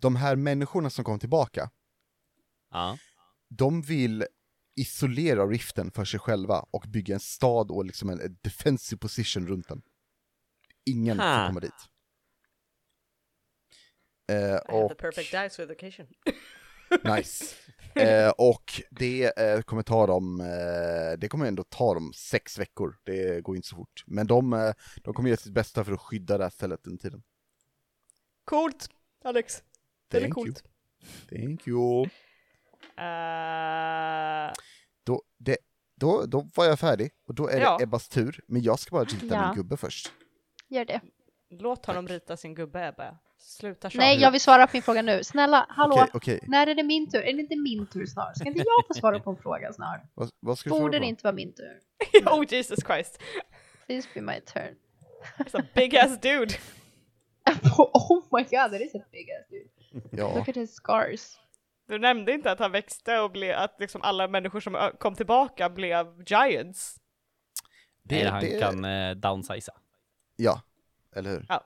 [SPEAKER 1] de här människorna som kom tillbaka,
[SPEAKER 5] Ja.
[SPEAKER 1] de vill isolera riften för sig själva och bygga en stad och liksom en, en defensive position runt den. Ingen får
[SPEAKER 5] Ha.
[SPEAKER 1] komma dit. Eh, och-
[SPEAKER 2] dice with occasion.
[SPEAKER 1] [laughs] Nice. Eh, och det eh, kommer ta dem, eh, det kommer ändå ta dem sex veckor, det går inte så fort. Men de, eh, de kommer göra sitt bästa för att skydda det här stället under tiden.
[SPEAKER 2] Coolt Alex, det är
[SPEAKER 1] Thank
[SPEAKER 2] coolt.
[SPEAKER 1] you. Thank you.
[SPEAKER 2] Eh,
[SPEAKER 1] Då, det, då, då var jag färdig, och då är
[SPEAKER 2] Ja.
[SPEAKER 1] det Ebbas tur, men jag ska bara rita
[SPEAKER 4] Ja.
[SPEAKER 1] min gubbe först.
[SPEAKER 4] Gör det.
[SPEAKER 2] låt honom rita sin gubbe Ebba. Sluta tjata.
[SPEAKER 4] Nej, jag vill svara på min fråga nu. Snälla, hallå!
[SPEAKER 1] Okej, okej.
[SPEAKER 4] När är det min tur? Är det inte min tur snart? Ska inte jag få svara på en fråga snart?
[SPEAKER 1] Vad, vad ska du
[SPEAKER 4] Borde
[SPEAKER 1] fråga
[SPEAKER 4] det
[SPEAKER 1] på?
[SPEAKER 4] inte vara min tur?
[SPEAKER 2] oh Jesus Christ,
[SPEAKER 4] Please be my turn. [laughs]
[SPEAKER 2] it's a big ass dude.
[SPEAKER 4] oh my god, that is a big ass dude.
[SPEAKER 1] Ja.
[SPEAKER 4] Look at his scars.
[SPEAKER 2] Du nämnde inte att han växte och blev, att liksom alla människor som ö- kom tillbaka blev giants.
[SPEAKER 1] Det-
[SPEAKER 5] Eller han
[SPEAKER 1] det-
[SPEAKER 5] kan eh, downsiza.
[SPEAKER 1] ja, eller hur?
[SPEAKER 2] Ja.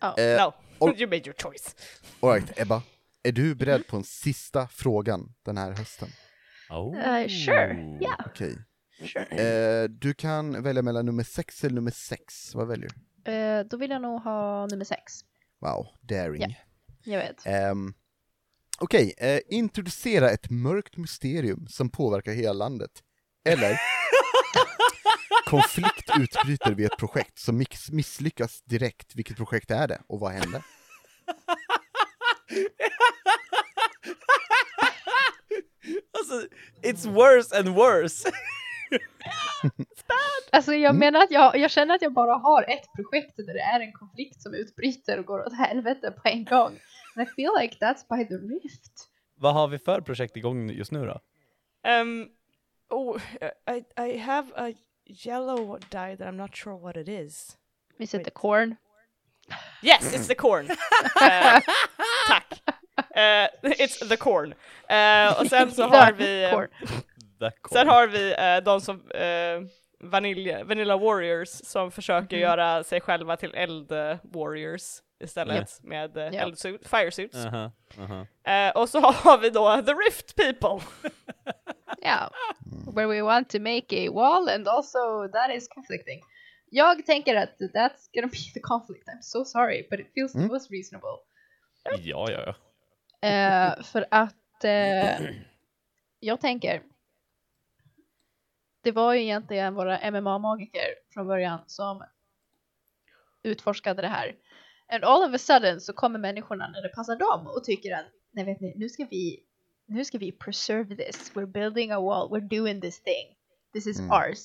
[SPEAKER 4] Ja.
[SPEAKER 1] Eh,
[SPEAKER 2] No,
[SPEAKER 1] och-
[SPEAKER 2] [laughs] you made your choice.
[SPEAKER 1] Alright, Ebba. Är du
[SPEAKER 4] Mm.
[SPEAKER 1] beredd på en sista frågan den här hösten?
[SPEAKER 5] Oh.
[SPEAKER 4] Eh,
[SPEAKER 1] mm.
[SPEAKER 4] sure, yeah.
[SPEAKER 1] Okej.
[SPEAKER 4] Sure.
[SPEAKER 1] Eh, du kan välja mellan nummer sex eller nummer sex. Vad väljer du?
[SPEAKER 4] Eh, då vill jag nog ha nummer sex.
[SPEAKER 1] Wow, daring.
[SPEAKER 4] Ja. Jag vet.
[SPEAKER 1] Ehm, Okej, eh, introducera ett mörkt mysterium som påverkar hela landet.
[SPEAKER 4] [laughs]
[SPEAKER 1] Eller konflikt utbryter vid ett projekt som mix- misslyckas direkt. Vilket projekt är det och vad hände?
[SPEAKER 5] Alltså, it's worse and [laughs] worse.
[SPEAKER 4] Alltså jag
[SPEAKER 1] Mm.
[SPEAKER 4] menar att jag, jag känner att jag bara har ett projekt där det är en konflikt som utbryter och går åt helvete på en gång. And I feel like that's by the rift.
[SPEAKER 5] Vad har vi för projekt igång just nu då?
[SPEAKER 2] Um, oh, I, I have a yellow dye that I'm not sure what it is.
[SPEAKER 4] Vi sätter corn.
[SPEAKER 2] Yes, it's the
[SPEAKER 4] [laughs]
[SPEAKER 2] corn. Eh, tack. Eh, it's the corn. Eh, och sen så har vi... eh,
[SPEAKER 4] corn.
[SPEAKER 5] The
[SPEAKER 2] Sen har vi eh, de som, eh, vanilj, Vanilla Warriors, som försöker göra sig själva till Eld eh, Warriors istället med eh,
[SPEAKER 4] Ja.
[SPEAKER 2] eld suit, fire suits.
[SPEAKER 5] Aha, aha.
[SPEAKER 2] Eh, och så [laughs] har vi då The Rift People.
[SPEAKER 4] Ja. Where we want to make a wall and also that is conflicting. Jag tänker att that's gonna be [laughs] the conflict. I'm so sorry but it feels the most reasonable.
[SPEAKER 5] Ja, ja, ja.
[SPEAKER 4] Eh, för att eh, jag tänker. Det var ju egentligen våra MMA-magiker från början som utforskade det här. And all of a sudden så kommer människorna när det passar dem och tycker att nej vet ni, nu ska vi, nu ska vi preserve this. We're building a wall, we're doing this thing. This is
[SPEAKER 1] Mm.
[SPEAKER 4] ours.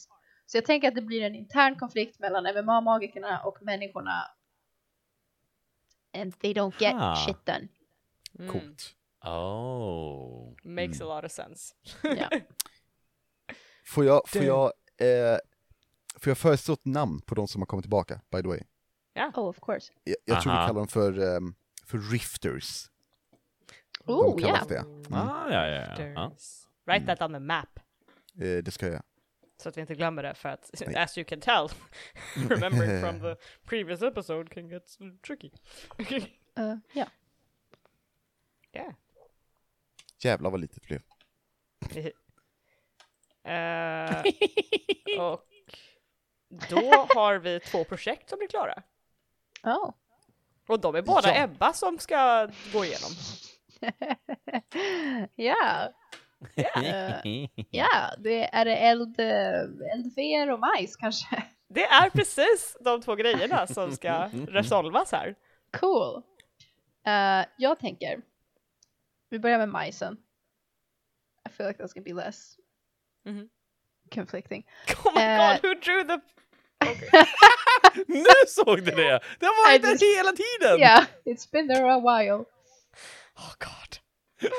[SPEAKER 4] Så jag tänker att det blir en intern konflikt mellan MMA-magikerna och människorna. And they don't get
[SPEAKER 5] Ha.
[SPEAKER 4] shit done. Mm.
[SPEAKER 1] Coolt.
[SPEAKER 5] Oh.
[SPEAKER 2] Makes a lot of sense.
[SPEAKER 4] Ja.
[SPEAKER 1] Får jag, får jag eh, För jag föreslår ett namn på de som har kommit tillbaka, by the way.
[SPEAKER 4] Oh, of course.
[SPEAKER 1] Jag, jag tror vi
[SPEAKER 5] Aha.
[SPEAKER 1] kallar dem för, ehm, för rifters.
[SPEAKER 4] Oh,
[SPEAKER 1] de
[SPEAKER 4] yeah.
[SPEAKER 1] kallas det. Mm.
[SPEAKER 5] Ah, ja, ja, ja. [laughs] ja. Mm.
[SPEAKER 2] Write that on the map.
[SPEAKER 1] Eh, det ska jag göra.
[SPEAKER 2] Så att vi inte glömmer det för att, as you can tell, [laughs] remembering from
[SPEAKER 5] [laughs]
[SPEAKER 2] the previous episode can get tricky. [laughs]
[SPEAKER 4] Uh, yeah.
[SPEAKER 2] yeah.
[SPEAKER 1] Jävlar vad litet det
[SPEAKER 5] [laughs]
[SPEAKER 1] blev.
[SPEAKER 2] Eh, och då har vi två projekt som blir klara.
[SPEAKER 4] Oh. [laughs]
[SPEAKER 2] Och de är båda
[SPEAKER 1] Ja.
[SPEAKER 2] Ebba som ska gå igenom.
[SPEAKER 4] yeah.
[SPEAKER 2] [laughs]
[SPEAKER 4] Ja, det är det eld, eh, eldfer och majs kanske. [laughs]
[SPEAKER 2] Det är precis de två grejerna som ska resolvas här.
[SPEAKER 4] Cool. Eh, jag tänker, vi börjar med majsen. I feel like that's gonna be less
[SPEAKER 2] Mhm.
[SPEAKER 4] conflicting.
[SPEAKER 2] Oh my
[SPEAKER 4] Eh.
[SPEAKER 2] god, who drew the...
[SPEAKER 5] Nu såg du det! Det har
[SPEAKER 4] Nej,
[SPEAKER 5] varit
[SPEAKER 4] det-
[SPEAKER 5] där hela tiden!
[SPEAKER 4] Yeah, it's been there a while.
[SPEAKER 2] Oh god.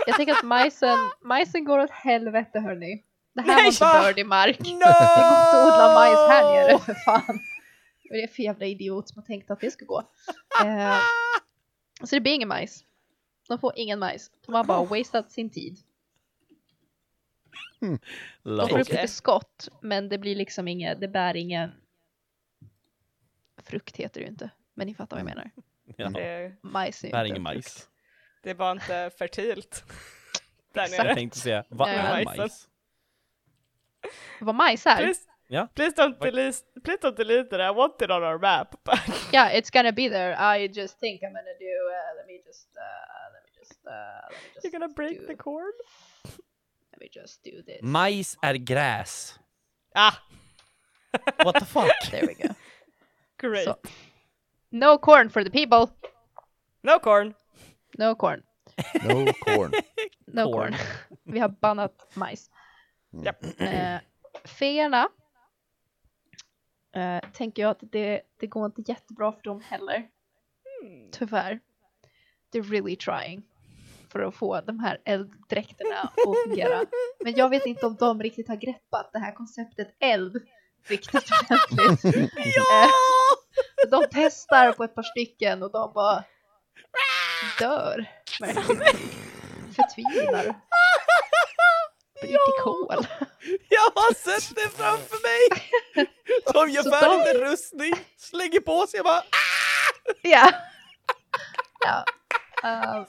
[SPEAKER 4] Jag tänker att majsen,
[SPEAKER 2] [laughs]
[SPEAKER 4] majsen går åt helvete hörni. Det här
[SPEAKER 2] Nej,
[SPEAKER 4] var inte
[SPEAKER 2] va?
[SPEAKER 4] bördig mark. [laughs]
[SPEAKER 5] No!
[SPEAKER 4] Det går inte att odla majs här nere, för fan. Vad är det för jävla idiot som har tänkt att det skulle gå? Eh, så det blir ingen majs. De får ingen majs. De har bara wasted sin tid. De får upp
[SPEAKER 2] Okej.
[SPEAKER 4] lite skott, men det blir liksom inget, det bär ingen... Frukt heter det ju inte, men ni fattar vad jag menar.
[SPEAKER 5] Ja,
[SPEAKER 2] Det,
[SPEAKER 4] Majs är ju
[SPEAKER 5] det här är
[SPEAKER 4] inte
[SPEAKER 5] ingen
[SPEAKER 4] frukt.
[SPEAKER 5] majs.
[SPEAKER 2] det var inte fertilt. Där
[SPEAKER 5] Jag
[SPEAKER 2] nere.
[SPEAKER 5] tänkte säga, vad
[SPEAKER 4] Nej,
[SPEAKER 5] är
[SPEAKER 2] majsen.
[SPEAKER 5] majs?
[SPEAKER 4] Vad majs är?
[SPEAKER 2] Please,
[SPEAKER 5] Ja.
[SPEAKER 2] please, don't delete, please don't delete that, I want it on our map. [laughs]
[SPEAKER 4] Ja, yeah, it's gonna be there. I just think I'm gonna do, uh, let me just, uh, let me just, uh, let me just
[SPEAKER 2] You're gonna break
[SPEAKER 4] do,
[SPEAKER 2] the cord?
[SPEAKER 4] let me just do this.
[SPEAKER 5] Majs är gräs.
[SPEAKER 2] Ah,
[SPEAKER 5] What the fuck?
[SPEAKER 4] There we go.
[SPEAKER 2] great.
[SPEAKER 4] Så. No corn for the people.
[SPEAKER 2] No corn.
[SPEAKER 1] No
[SPEAKER 4] No corn.
[SPEAKER 1] corn.
[SPEAKER 4] No corn.
[SPEAKER 5] Corn.
[SPEAKER 4] [laughs] Vi har bannat majs.
[SPEAKER 2] Japp.
[SPEAKER 4] Eh, feerna. Eh, tänker jag att det, det går inte jättebra för dem heller. Tyvärr. They're really trying. För att få de här elddräkterna att fungera. Men jag vet inte om de riktigt har greppat det här konceptet eld. Riktigt ordentligt. [laughs] ja! De testar på ett par stycken och de bara dör. verkligen.
[SPEAKER 5] [laughs]
[SPEAKER 4] Förtvinar. Blir till kol.
[SPEAKER 5] Jag har sett det framför
[SPEAKER 4] [laughs]
[SPEAKER 5] mig! De gör
[SPEAKER 4] Så
[SPEAKER 5] färdigt en rustning, slänger på sig och bara
[SPEAKER 4] Ja.
[SPEAKER 5] [laughs]
[SPEAKER 4] ja. Eh,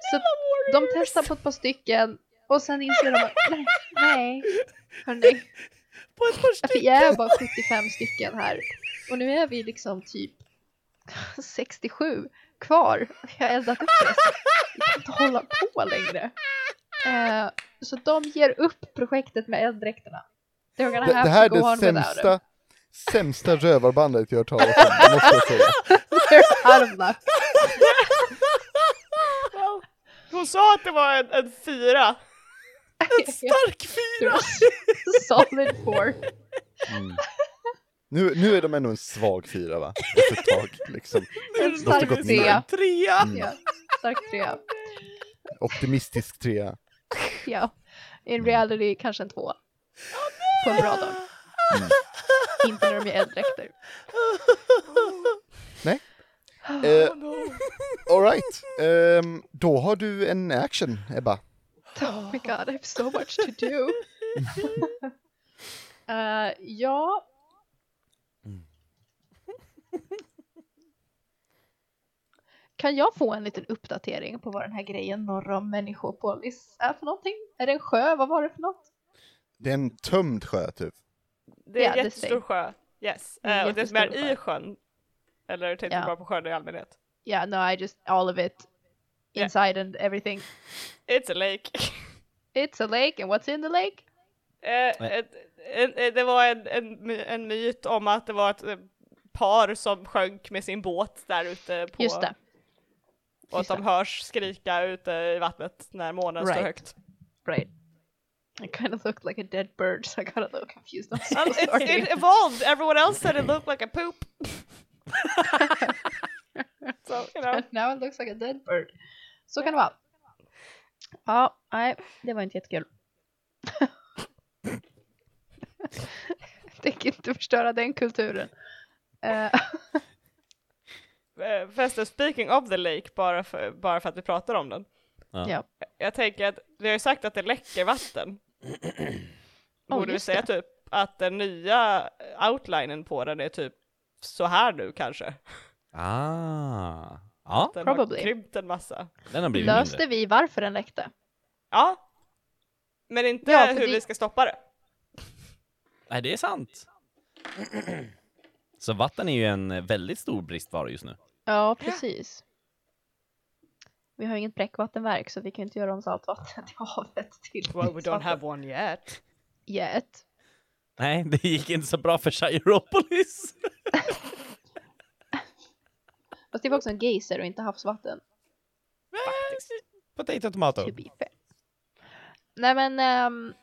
[SPEAKER 4] så de testar på ett par stycken och sen inser de att nej, nej. Hörni,
[SPEAKER 5] på ett par
[SPEAKER 4] vi är bara 75 stycken här och nu är vi liksom typ [laughs] 67 kvar. Vi har eldat upp resten. Vi kan inte hålla på längre. Eh, så de ger upp projektet med elddräkterna. They're
[SPEAKER 1] Det,
[SPEAKER 4] gonna have
[SPEAKER 1] det här
[SPEAKER 4] to go
[SPEAKER 1] är
[SPEAKER 4] on
[SPEAKER 1] det
[SPEAKER 4] without it.
[SPEAKER 1] sämsta, sämsta rövarbandet jag har hört talas om, måste jag säga.
[SPEAKER 4] They're out of luck.
[SPEAKER 2] Well, hon sa att det var en, en fyra.
[SPEAKER 5] stark fyra!
[SPEAKER 4] Solid four.
[SPEAKER 1] Nu, nu är de ändå en svag fyra va? Efter ett tag, liksom. De
[SPEAKER 4] En
[SPEAKER 1] har
[SPEAKER 4] stark
[SPEAKER 1] gått
[SPEAKER 4] trea.
[SPEAKER 1] ner.
[SPEAKER 5] Trea!
[SPEAKER 4] Ja, stark trea.
[SPEAKER 1] Optimistisk trea.
[SPEAKER 4] Ja. In reality kanske en tvåa. På en bra dag. Inte när de är elddräkter.
[SPEAKER 2] Ah,
[SPEAKER 1] Eh, Alright, ehm, då har du en action Ebba.
[SPEAKER 4] [laughs] Oh my god, I have so much to do. [laughs] Eh, [laughs] ja. Kan jag få en liten uppdatering på vad den här grejen norr om Människopolis är för någonting? Är det en sjö? Vad var det för något?
[SPEAKER 1] Det är en tömd sjö typ.
[SPEAKER 2] Det är
[SPEAKER 4] Ja,
[SPEAKER 2] en
[SPEAKER 4] det
[SPEAKER 2] jättestor
[SPEAKER 4] säger-
[SPEAKER 2] sjö. Yes.
[SPEAKER 4] Det är en
[SPEAKER 2] Eh, och det som är
[SPEAKER 4] jättestor sjö.
[SPEAKER 2] i sjön. Eller tänkte
[SPEAKER 4] Ja.
[SPEAKER 2] du bara på sjön i allmänhet?
[SPEAKER 4] Yeah, no, I just all of it
[SPEAKER 2] Yeah.
[SPEAKER 4] inside and everything.
[SPEAKER 2] It's a lake. [laughs]
[SPEAKER 4] It's a lake and what's in the lake?
[SPEAKER 2] Eh, ett- en- en- det var en, en, my- en myt om att det var ett eh, par som sjönk med sin båt där ute på
[SPEAKER 4] Just det.
[SPEAKER 2] och att
[SPEAKER 4] just
[SPEAKER 2] de
[SPEAKER 4] det.
[SPEAKER 2] hörs skrika ute i vattnet när månen står
[SPEAKER 4] Right. [laughs]
[SPEAKER 2] högt.
[SPEAKER 4] Right. I kind of looked like a dead bird, so I got a little confused. I'm [laughs]
[SPEAKER 2] Um,
[SPEAKER 4] so
[SPEAKER 2] it,
[SPEAKER 4] sorry.
[SPEAKER 2] it evolved. Everyone else said it looked like a
[SPEAKER 4] [laughs]
[SPEAKER 2] poop. [laughs] so, you
[SPEAKER 4] [laughs]
[SPEAKER 2] know.
[SPEAKER 4] Now it looks like a dead bird. Så kan det vara. Ja, nej, [laughs] det var inte jättekul. tänker inte förstöra den kulturen. Eh,
[SPEAKER 2] Eh, Förresten, speaking of the lake, bara för, bara för att vi pratar om den.
[SPEAKER 5] Ja.
[SPEAKER 4] Ja.
[SPEAKER 2] Jag tänker att vi har ju sagt att det läcker vatten. Borde vi
[SPEAKER 4] just
[SPEAKER 2] säga typ att den nya outlinen på den är typ så här nu kanske?
[SPEAKER 5] Ah. Ja,
[SPEAKER 2] Den
[SPEAKER 4] Probably.
[SPEAKER 2] har krympt en massa.
[SPEAKER 5] den har blivit mindre.
[SPEAKER 4] löste vi varför den läckte?
[SPEAKER 2] Ja. Men inte
[SPEAKER 4] Ja, för
[SPEAKER 2] hur
[SPEAKER 4] det-
[SPEAKER 2] vi ska stoppa det.
[SPEAKER 5] Nej, det är sant. Så vatten är ju en väldigt stor bristvara just nu.
[SPEAKER 4] Ja, precis. Vi har inget bräckvattenverk så vi kan inte göra om saltvatten till havet till
[SPEAKER 2] Well, we don't
[SPEAKER 4] saltvatten.
[SPEAKER 2] have one yet.
[SPEAKER 4] yet.
[SPEAKER 5] Nej, det gick inte så bra för [laughs] Chiropolis.
[SPEAKER 4] Fast det var också en geyser och inte havsvatten.
[SPEAKER 8] Potato tomato.
[SPEAKER 4] To be fair. typ Nej men... ehm,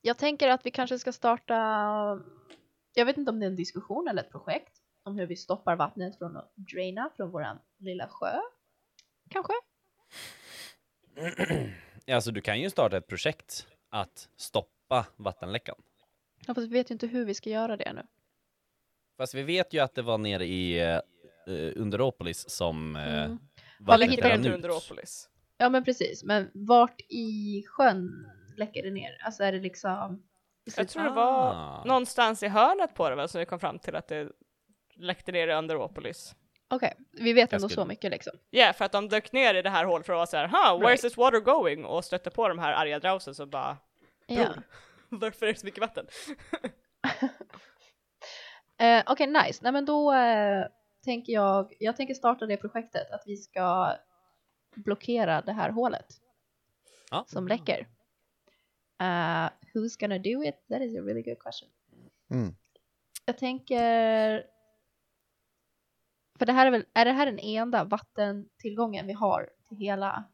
[SPEAKER 4] jag tänker att vi kanske ska starta... Jag vet inte om det är en diskussion eller ett projekt om hur vi stoppar vattnet från att draina från våran lilla sjö. Kanske?
[SPEAKER 5] Alltså, du kan ju starta ett projekt att stoppa vattenläckan.
[SPEAKER 4] Ja, fast vi vet ju inte hur vi ska göra det nu.
[SPEAKER 5] Fast vi vet ju att det var nere i eh, Underopolis som eh,
[SPEAKER 4] Mm.
[SPEAKER 2] Det
[SPEAKER 4] Det
[SPEAKER 5] vattnet
[SPEAKER 4] hittar
[SPEAKER 2] hittar
[SPEAKER 5] rann
[SPEAKER 2] inte
[SPEAKER 5] ut.
[SPEAKER 2] under Åpolis.
[SPEAKER 4] Ja men precis, men vart i sjön läcker det ner? Alltså är det liksom... i
[SPEAKER 2] Jag
[SPEAKER 4] slutet-
[SPEAKER 2] tror det var
[SPEAKER 5] Ah.
[SPEAKER 2] någonstans i hörnet på det väl som vi kom fram till att det läckte ner i under Åpolis.
[SPEAKER 4] Okej, vi vet
[SPEAKER 5] Jag
[SPEAKER 4] ändå
[SPEAKER 5] skulle-
[SPEAKER 4] så mycket liksom.
[SPEAKER 2] Ja, för att de dök ner i det här hålet för att vara såhär, huh, where's
[SPEAKER 4] Right.
[SPEAKER 2] this water going? Och stötte på de här arga drausen som bara,
[SPEAKER 4] Ja.
[SPEAKER 2] [laughs] varför är det så mycket vatten?
[SPEAKER 4] Eh, Okej, nice. Nej men då eh, tänker jag, jag tänker starta det projektet att vi ska blockera det här hålet
[SPEAKER 5] Ja.
[SPEAKER 4] som läcker. Eh, who's gonna do it? That is a really good question.
[SPEAKER 1] Mm.
[SPEAKER 4] Jag tänker... För det här är väl, är det här den enda vattentillgången vi har till hela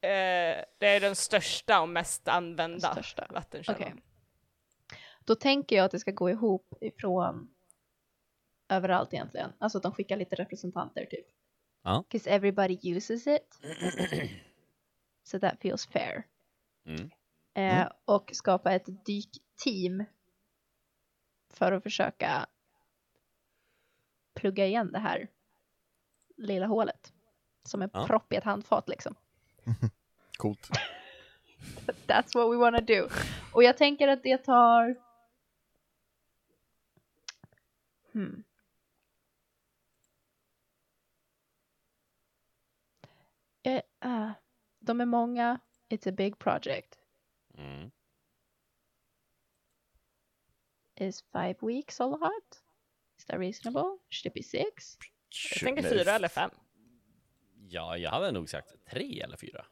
[SPEAKER 2] Eh, det är den största och mest använda
[SPEAKER 4] största?
[SPEAKER 2] vattenkällan.
[SPEAKER 4] Okej. Då tänker jag att det ska gå ihop ifrån överallt egentligen. Alltså att de skickar lite representanter typ.
[SPEAKER 5] Ja.
[SPEAKER 4] 'Cause everybody uses
[SPEAKER 5] [clears throat]
[SPEAKER 4] it. so that feels fair.
[SPEAKER 5] Mm.
[SPEAKER 4] Eh, Och skapa ett dykteam för att försöka plugga igen det här lilla hålet. Som en
[SPEAKER 5] Ja.
[SPEAKER 4] propp i ett handfat liksom.
[SPEAKER 1] Coolt.
[SPEAKER 4] [laughs] That's what we wanna do. Och jag tänker att det tar... Hmm. Eh, ah, de är många, it's a big project.
[SPEAKER 5] Mm.
[SPEAKER 4] Is five weeks a lot? Is that reasonable? Should it be six?
[SPEAKER 2] Jag tänker fyra eller fem.
[SPEAKER 5] Ja, jag hade nog sagt tre eller fyra.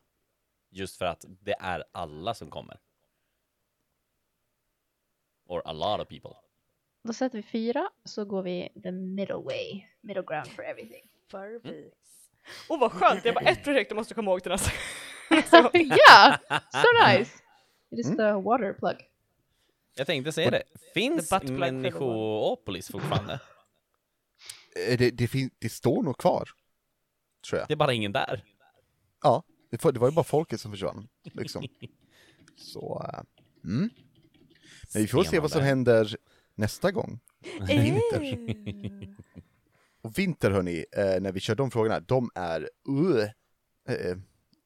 [SPEAKER 5] Just för att det är alla som kommer. Or a lot of people.
[SPEAKER 4] Då sätter vi fyra, så går vi the middle way. Middle ground for everything. [laughs]
[SPEAKER 2] Åh vad skönt, det är bara ett projekt jag måste komma ihåg till nästa.
[SPEAKER 4] yeah! So nice! It is the water plug.
[SPEAKER 5] Jag tänkte säga det. Finns
[SPEAKER 2] The butt plug
[SPEAKER 5] människoopolis fortfarande?
[SPEAKER 1] Eh, Det, det, fin- det står nog kvar. Tror jag.
[SPEAKER 5] Det är bara ingen där.
[SPEAKER 1] Ja, det, var- det var ju bara folket som försvann.
[SPEAKER 2] [laughs]
[SPEAKER 1] Liksom. Så, eh, mm. Men vi får se vad som
[SPEAKER 5] Spännande.
[SPEAKER 1] händer nästa gång. Vinter. Och vinter hörni, eh, när vi kör de frågorna, de är... Uh, eh,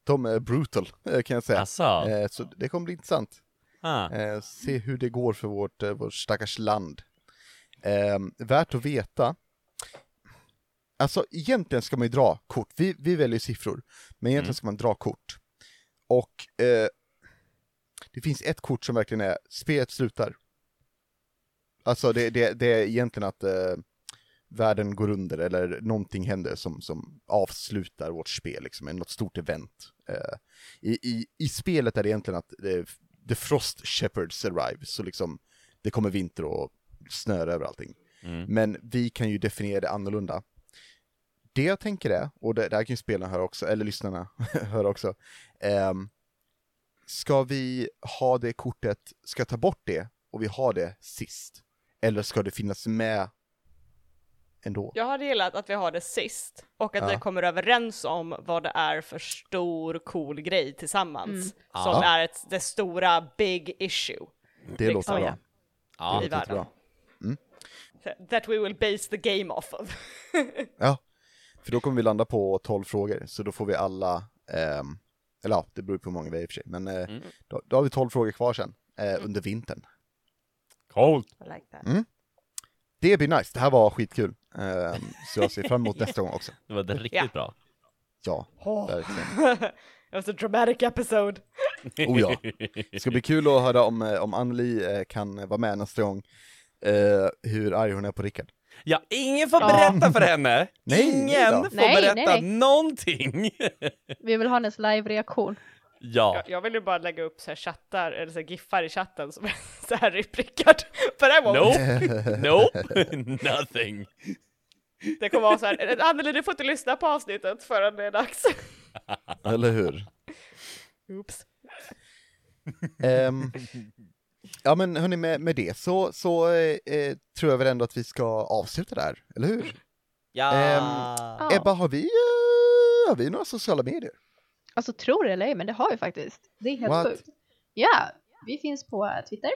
[SPEAKER 1] de är brutal, eh, kan jag säga.
[SPEAKER 5] Asså?
[SPEAKER 1] Eh, så det kommer bli intressant.
[SPEAKER 5] Ah.
[SPEAKER 1] Eh, se hur det går för vårt, eh, vårt stackars land. Eh, värt att veta. Alltså egentligen ska man ju dra kort. Vi, vi väljer siffror, men egentligen ska man dra kort. Och eh, det finns ett kort som verkligen är spelet slutar. Alltså det, det, det är egentligen att eh, världen går under eller någonting händer som, som avslutar vårt spel, liksom, något stort event. Eh, i, i, I spelet är det egentligen att eh, The Frost Shepherds Arrive, så liksom det kommer vinter och snö över allting. Men vi kan ju definiera det annorlunda. Det jag tänker är, och det, det här kan ju spelarna höra också, eller lyssnarna [laughs] höra också, ehm, ska vi ha det kortet, ska jag ta bort det och vi har det sist? Eller ska det finnas med ändå.
[SPEAKER 2] [laughs] Jag hade gillat att vi har det sist och att
[SPEAKER 1] Ja.
[SPEAKER 2] vi kommer överens om vad det är för stor cool grej tillsammans
[SPEAKER 4] Mm.
[SPEAKER 2] som
[SPEAKER 1] Ja.
[SPEAKER 2] är ett, det stora big issue
[SPEAKER 1] Det låter
[SPEAKER 2] liksom.
[SPEAKER 1] bra.
[SPEAKER 2] ja. i
[SPEAKER 1] Det Mm. låter
[SPEAKER 2] världen.
[SPEAKER 1] bra.
[SPEAKER 2] That we will base the game off of.
[SPEAKER 1] Ja, för då kommer vi landa på 12 frågor, så då får vi alla, ehm, eller ja, det beror på hur många vi är i och för sig, men eh, då, då har vi 12 frågor kvar sen, eh, under vintern.
[SPEAKER 8] Coolt!
[SPEAKER 2] I like that.
[SPEAKER 1] Det blir nice, det här var skitkul. Ehm, så jag ser fram emot nästa gång också.
[SPEAKER 5] Det var riktigt
[SPEAKER 2] Ja.
[SPEAKER 5] bra.
[SPEAKER 1] Ja, verkligen.
[SPEAKER 2] [laughs] It was a dramatic episode.
[SPEAKER 1] Oh ja. Det ska bli kul att höra om, eh, om Anneli eh, kan vara med nästa gång, eh, hur arg hon är på Rickard.
[SPEAKER 5] Ja, ingen får
[SPEAKER 4] Ja.
[SPEAKER 5] berätta för henne!
[SPEAKER 1] [laughs] Nej,
[SPEAKER 5] ingen
[SPEAKER 1] då.
[SPEAKER 5] får
[SPEAKER 4] Nej,
[SPEAKER 5] berätta
[SPEAKER 4] nej, nej.
[SPEAKER 5] någonting! [laughs]
[SPEAKER 4] Vi vill ha hennes live-reaktion.
[SPEAKER 5] ja.
[SPEAKER 2] Jag, jag vill ju bara lägga upp så här chattar, eller så här giffar i chatten som är [laughs] så här Rip Rickard. För det, var,
[SPEAKER 5] Nope,
[SPEAKER 1] [laughs]
[SPEAKER 5] nope, [laughs] nothing.
[SPEAKER 2] det kommer vara så här, "Eh, Anneli du får inte lyssna på avsnittet förrän det är dags. [laughs]
[SPEAKER 1] Eller hur?
[SPEAKER 2] Oops.
[SPEAKER 1] Ehm, ja men hörni, med, med det så, så eh, eh, tror jag väl ändå att vi ska avsluta där, eller hur?
[SPEAKER 5] Ja.
[SPEAKER 1] Ehm,
[SPEAKER 4] Ja.
[SPEAKER 1] Ebba, har vi, eh, har vi några sociala medier?
[SPEAKER 4] Alltså tror det eller ej, men det har vi faktiskt. Det är helt
[SPEAKER 1] What?
[SPEAKER 4] sjukt. Ja, vi finns på eh, Twitter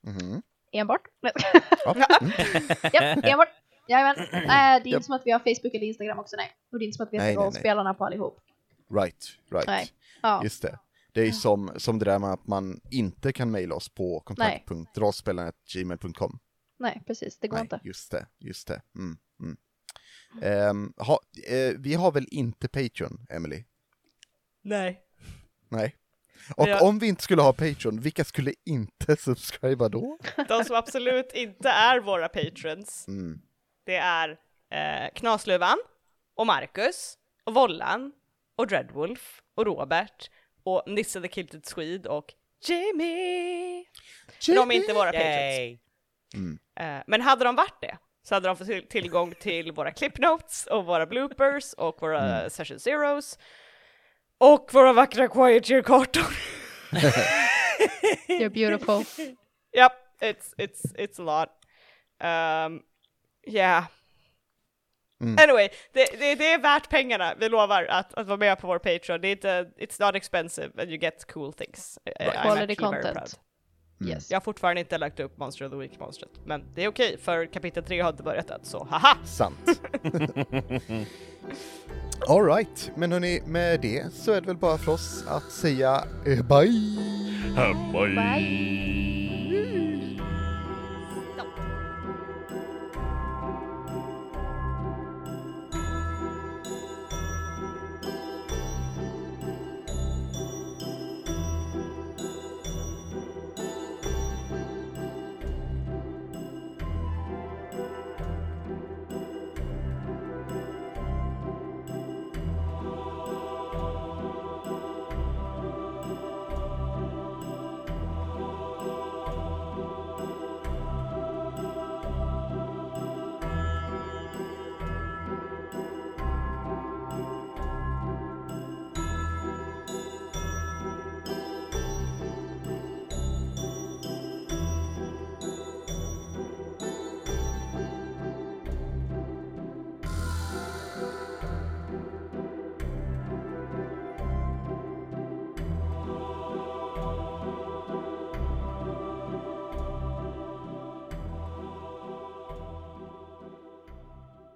[SPEAKER 1] Mhm.
[SPEAKER 4] enbart. [laughs] Nej.
[SPEAKER 1] Ja. Mm.
[SPEAKER 4] Japp, [laughs] enbart. [clears throat] Jajamän. Eh, det är inte
[SPEAKER 1] Japp.
[SPEAKER 4] som att vi har Facebook eller Instagram också, nej. Och det är inte som att vi
[SPEAKER 1] Nej,
[SPEAKER 4] har
[SPEAKER 1] nej, nej.
[SPEAKER 4] rollspelarna på allihop.
[SPEAKER 1] Right, right.
[SPEAKER 4] Nej. Ja.
[SPEAKER 1] Just det. Det är ju som, som det där med att man inte kan mejla oss på kontakt.rollspelarna.gmail.com.
[SPEAKER 4] Nej, precis. Det går
[SPEAKER 1] Nej,
[SPEAKER 4] inte.
[SPEAKER 1] just det, just det. Mm, mm. Ehm, ha, eh, vi har väl inte Patreon, Emily?
[SPEAKER 2] Nej.
[SPEAKER 1] Nej. Och
[SPEAKER 2] Ja.
[SPEAKER 1] om vi inte skulle ha Patreon, vilka skulle inte [laughs] subscriba då?
[SPEAKER 2] De som absolut inte är våra patrons,
[SPEAKER 1] Mm.
[SPEAKER 2] det är eh, Knasluvan och Marcus och Vollan och Dreadwolf och Robert och Nisse the Kilted Swede och Jimmy. De är inte våra patrons.
[SPEAKER 1] Mm.
[SPEAKER 2] Eh, men hade de varit det så hade de fått till- tillgång till våra clipnotes och våra bloopers och våra session zeros och våra vackra quiet year-kartor. [laughs]
[SPEAKER 4] You're beautiful.
[SPEAKER 2] Yep, it's it's it's a lot. Um, yeah.
[SPEAKER 1] Mm.
[SPEAKER 2] Anyway, det, det, det är värt pengarna, vi lovar att, att vara med på vår Patreon. Det är inte, it's not expensive and you get cool things. I- I'm
[SPEAKER 4] Quality
[SPEAKER 2] actually very
[SPEAKER 4] content.
[SPEAKER 2] proud.
[SPEAKER 4] [laughs] Yes.
[SPEAKER 2] Jag har fortfarande inte lagt upp Monster of the Week-monstret, men det är okej för kapitel 3 har inte börjat än, så haha!
[SPEAKER 1] Sant. Alright, men hörni, med det så är det väl bara för oss att säga eh, bye!
[SPEAKER 4] Bye.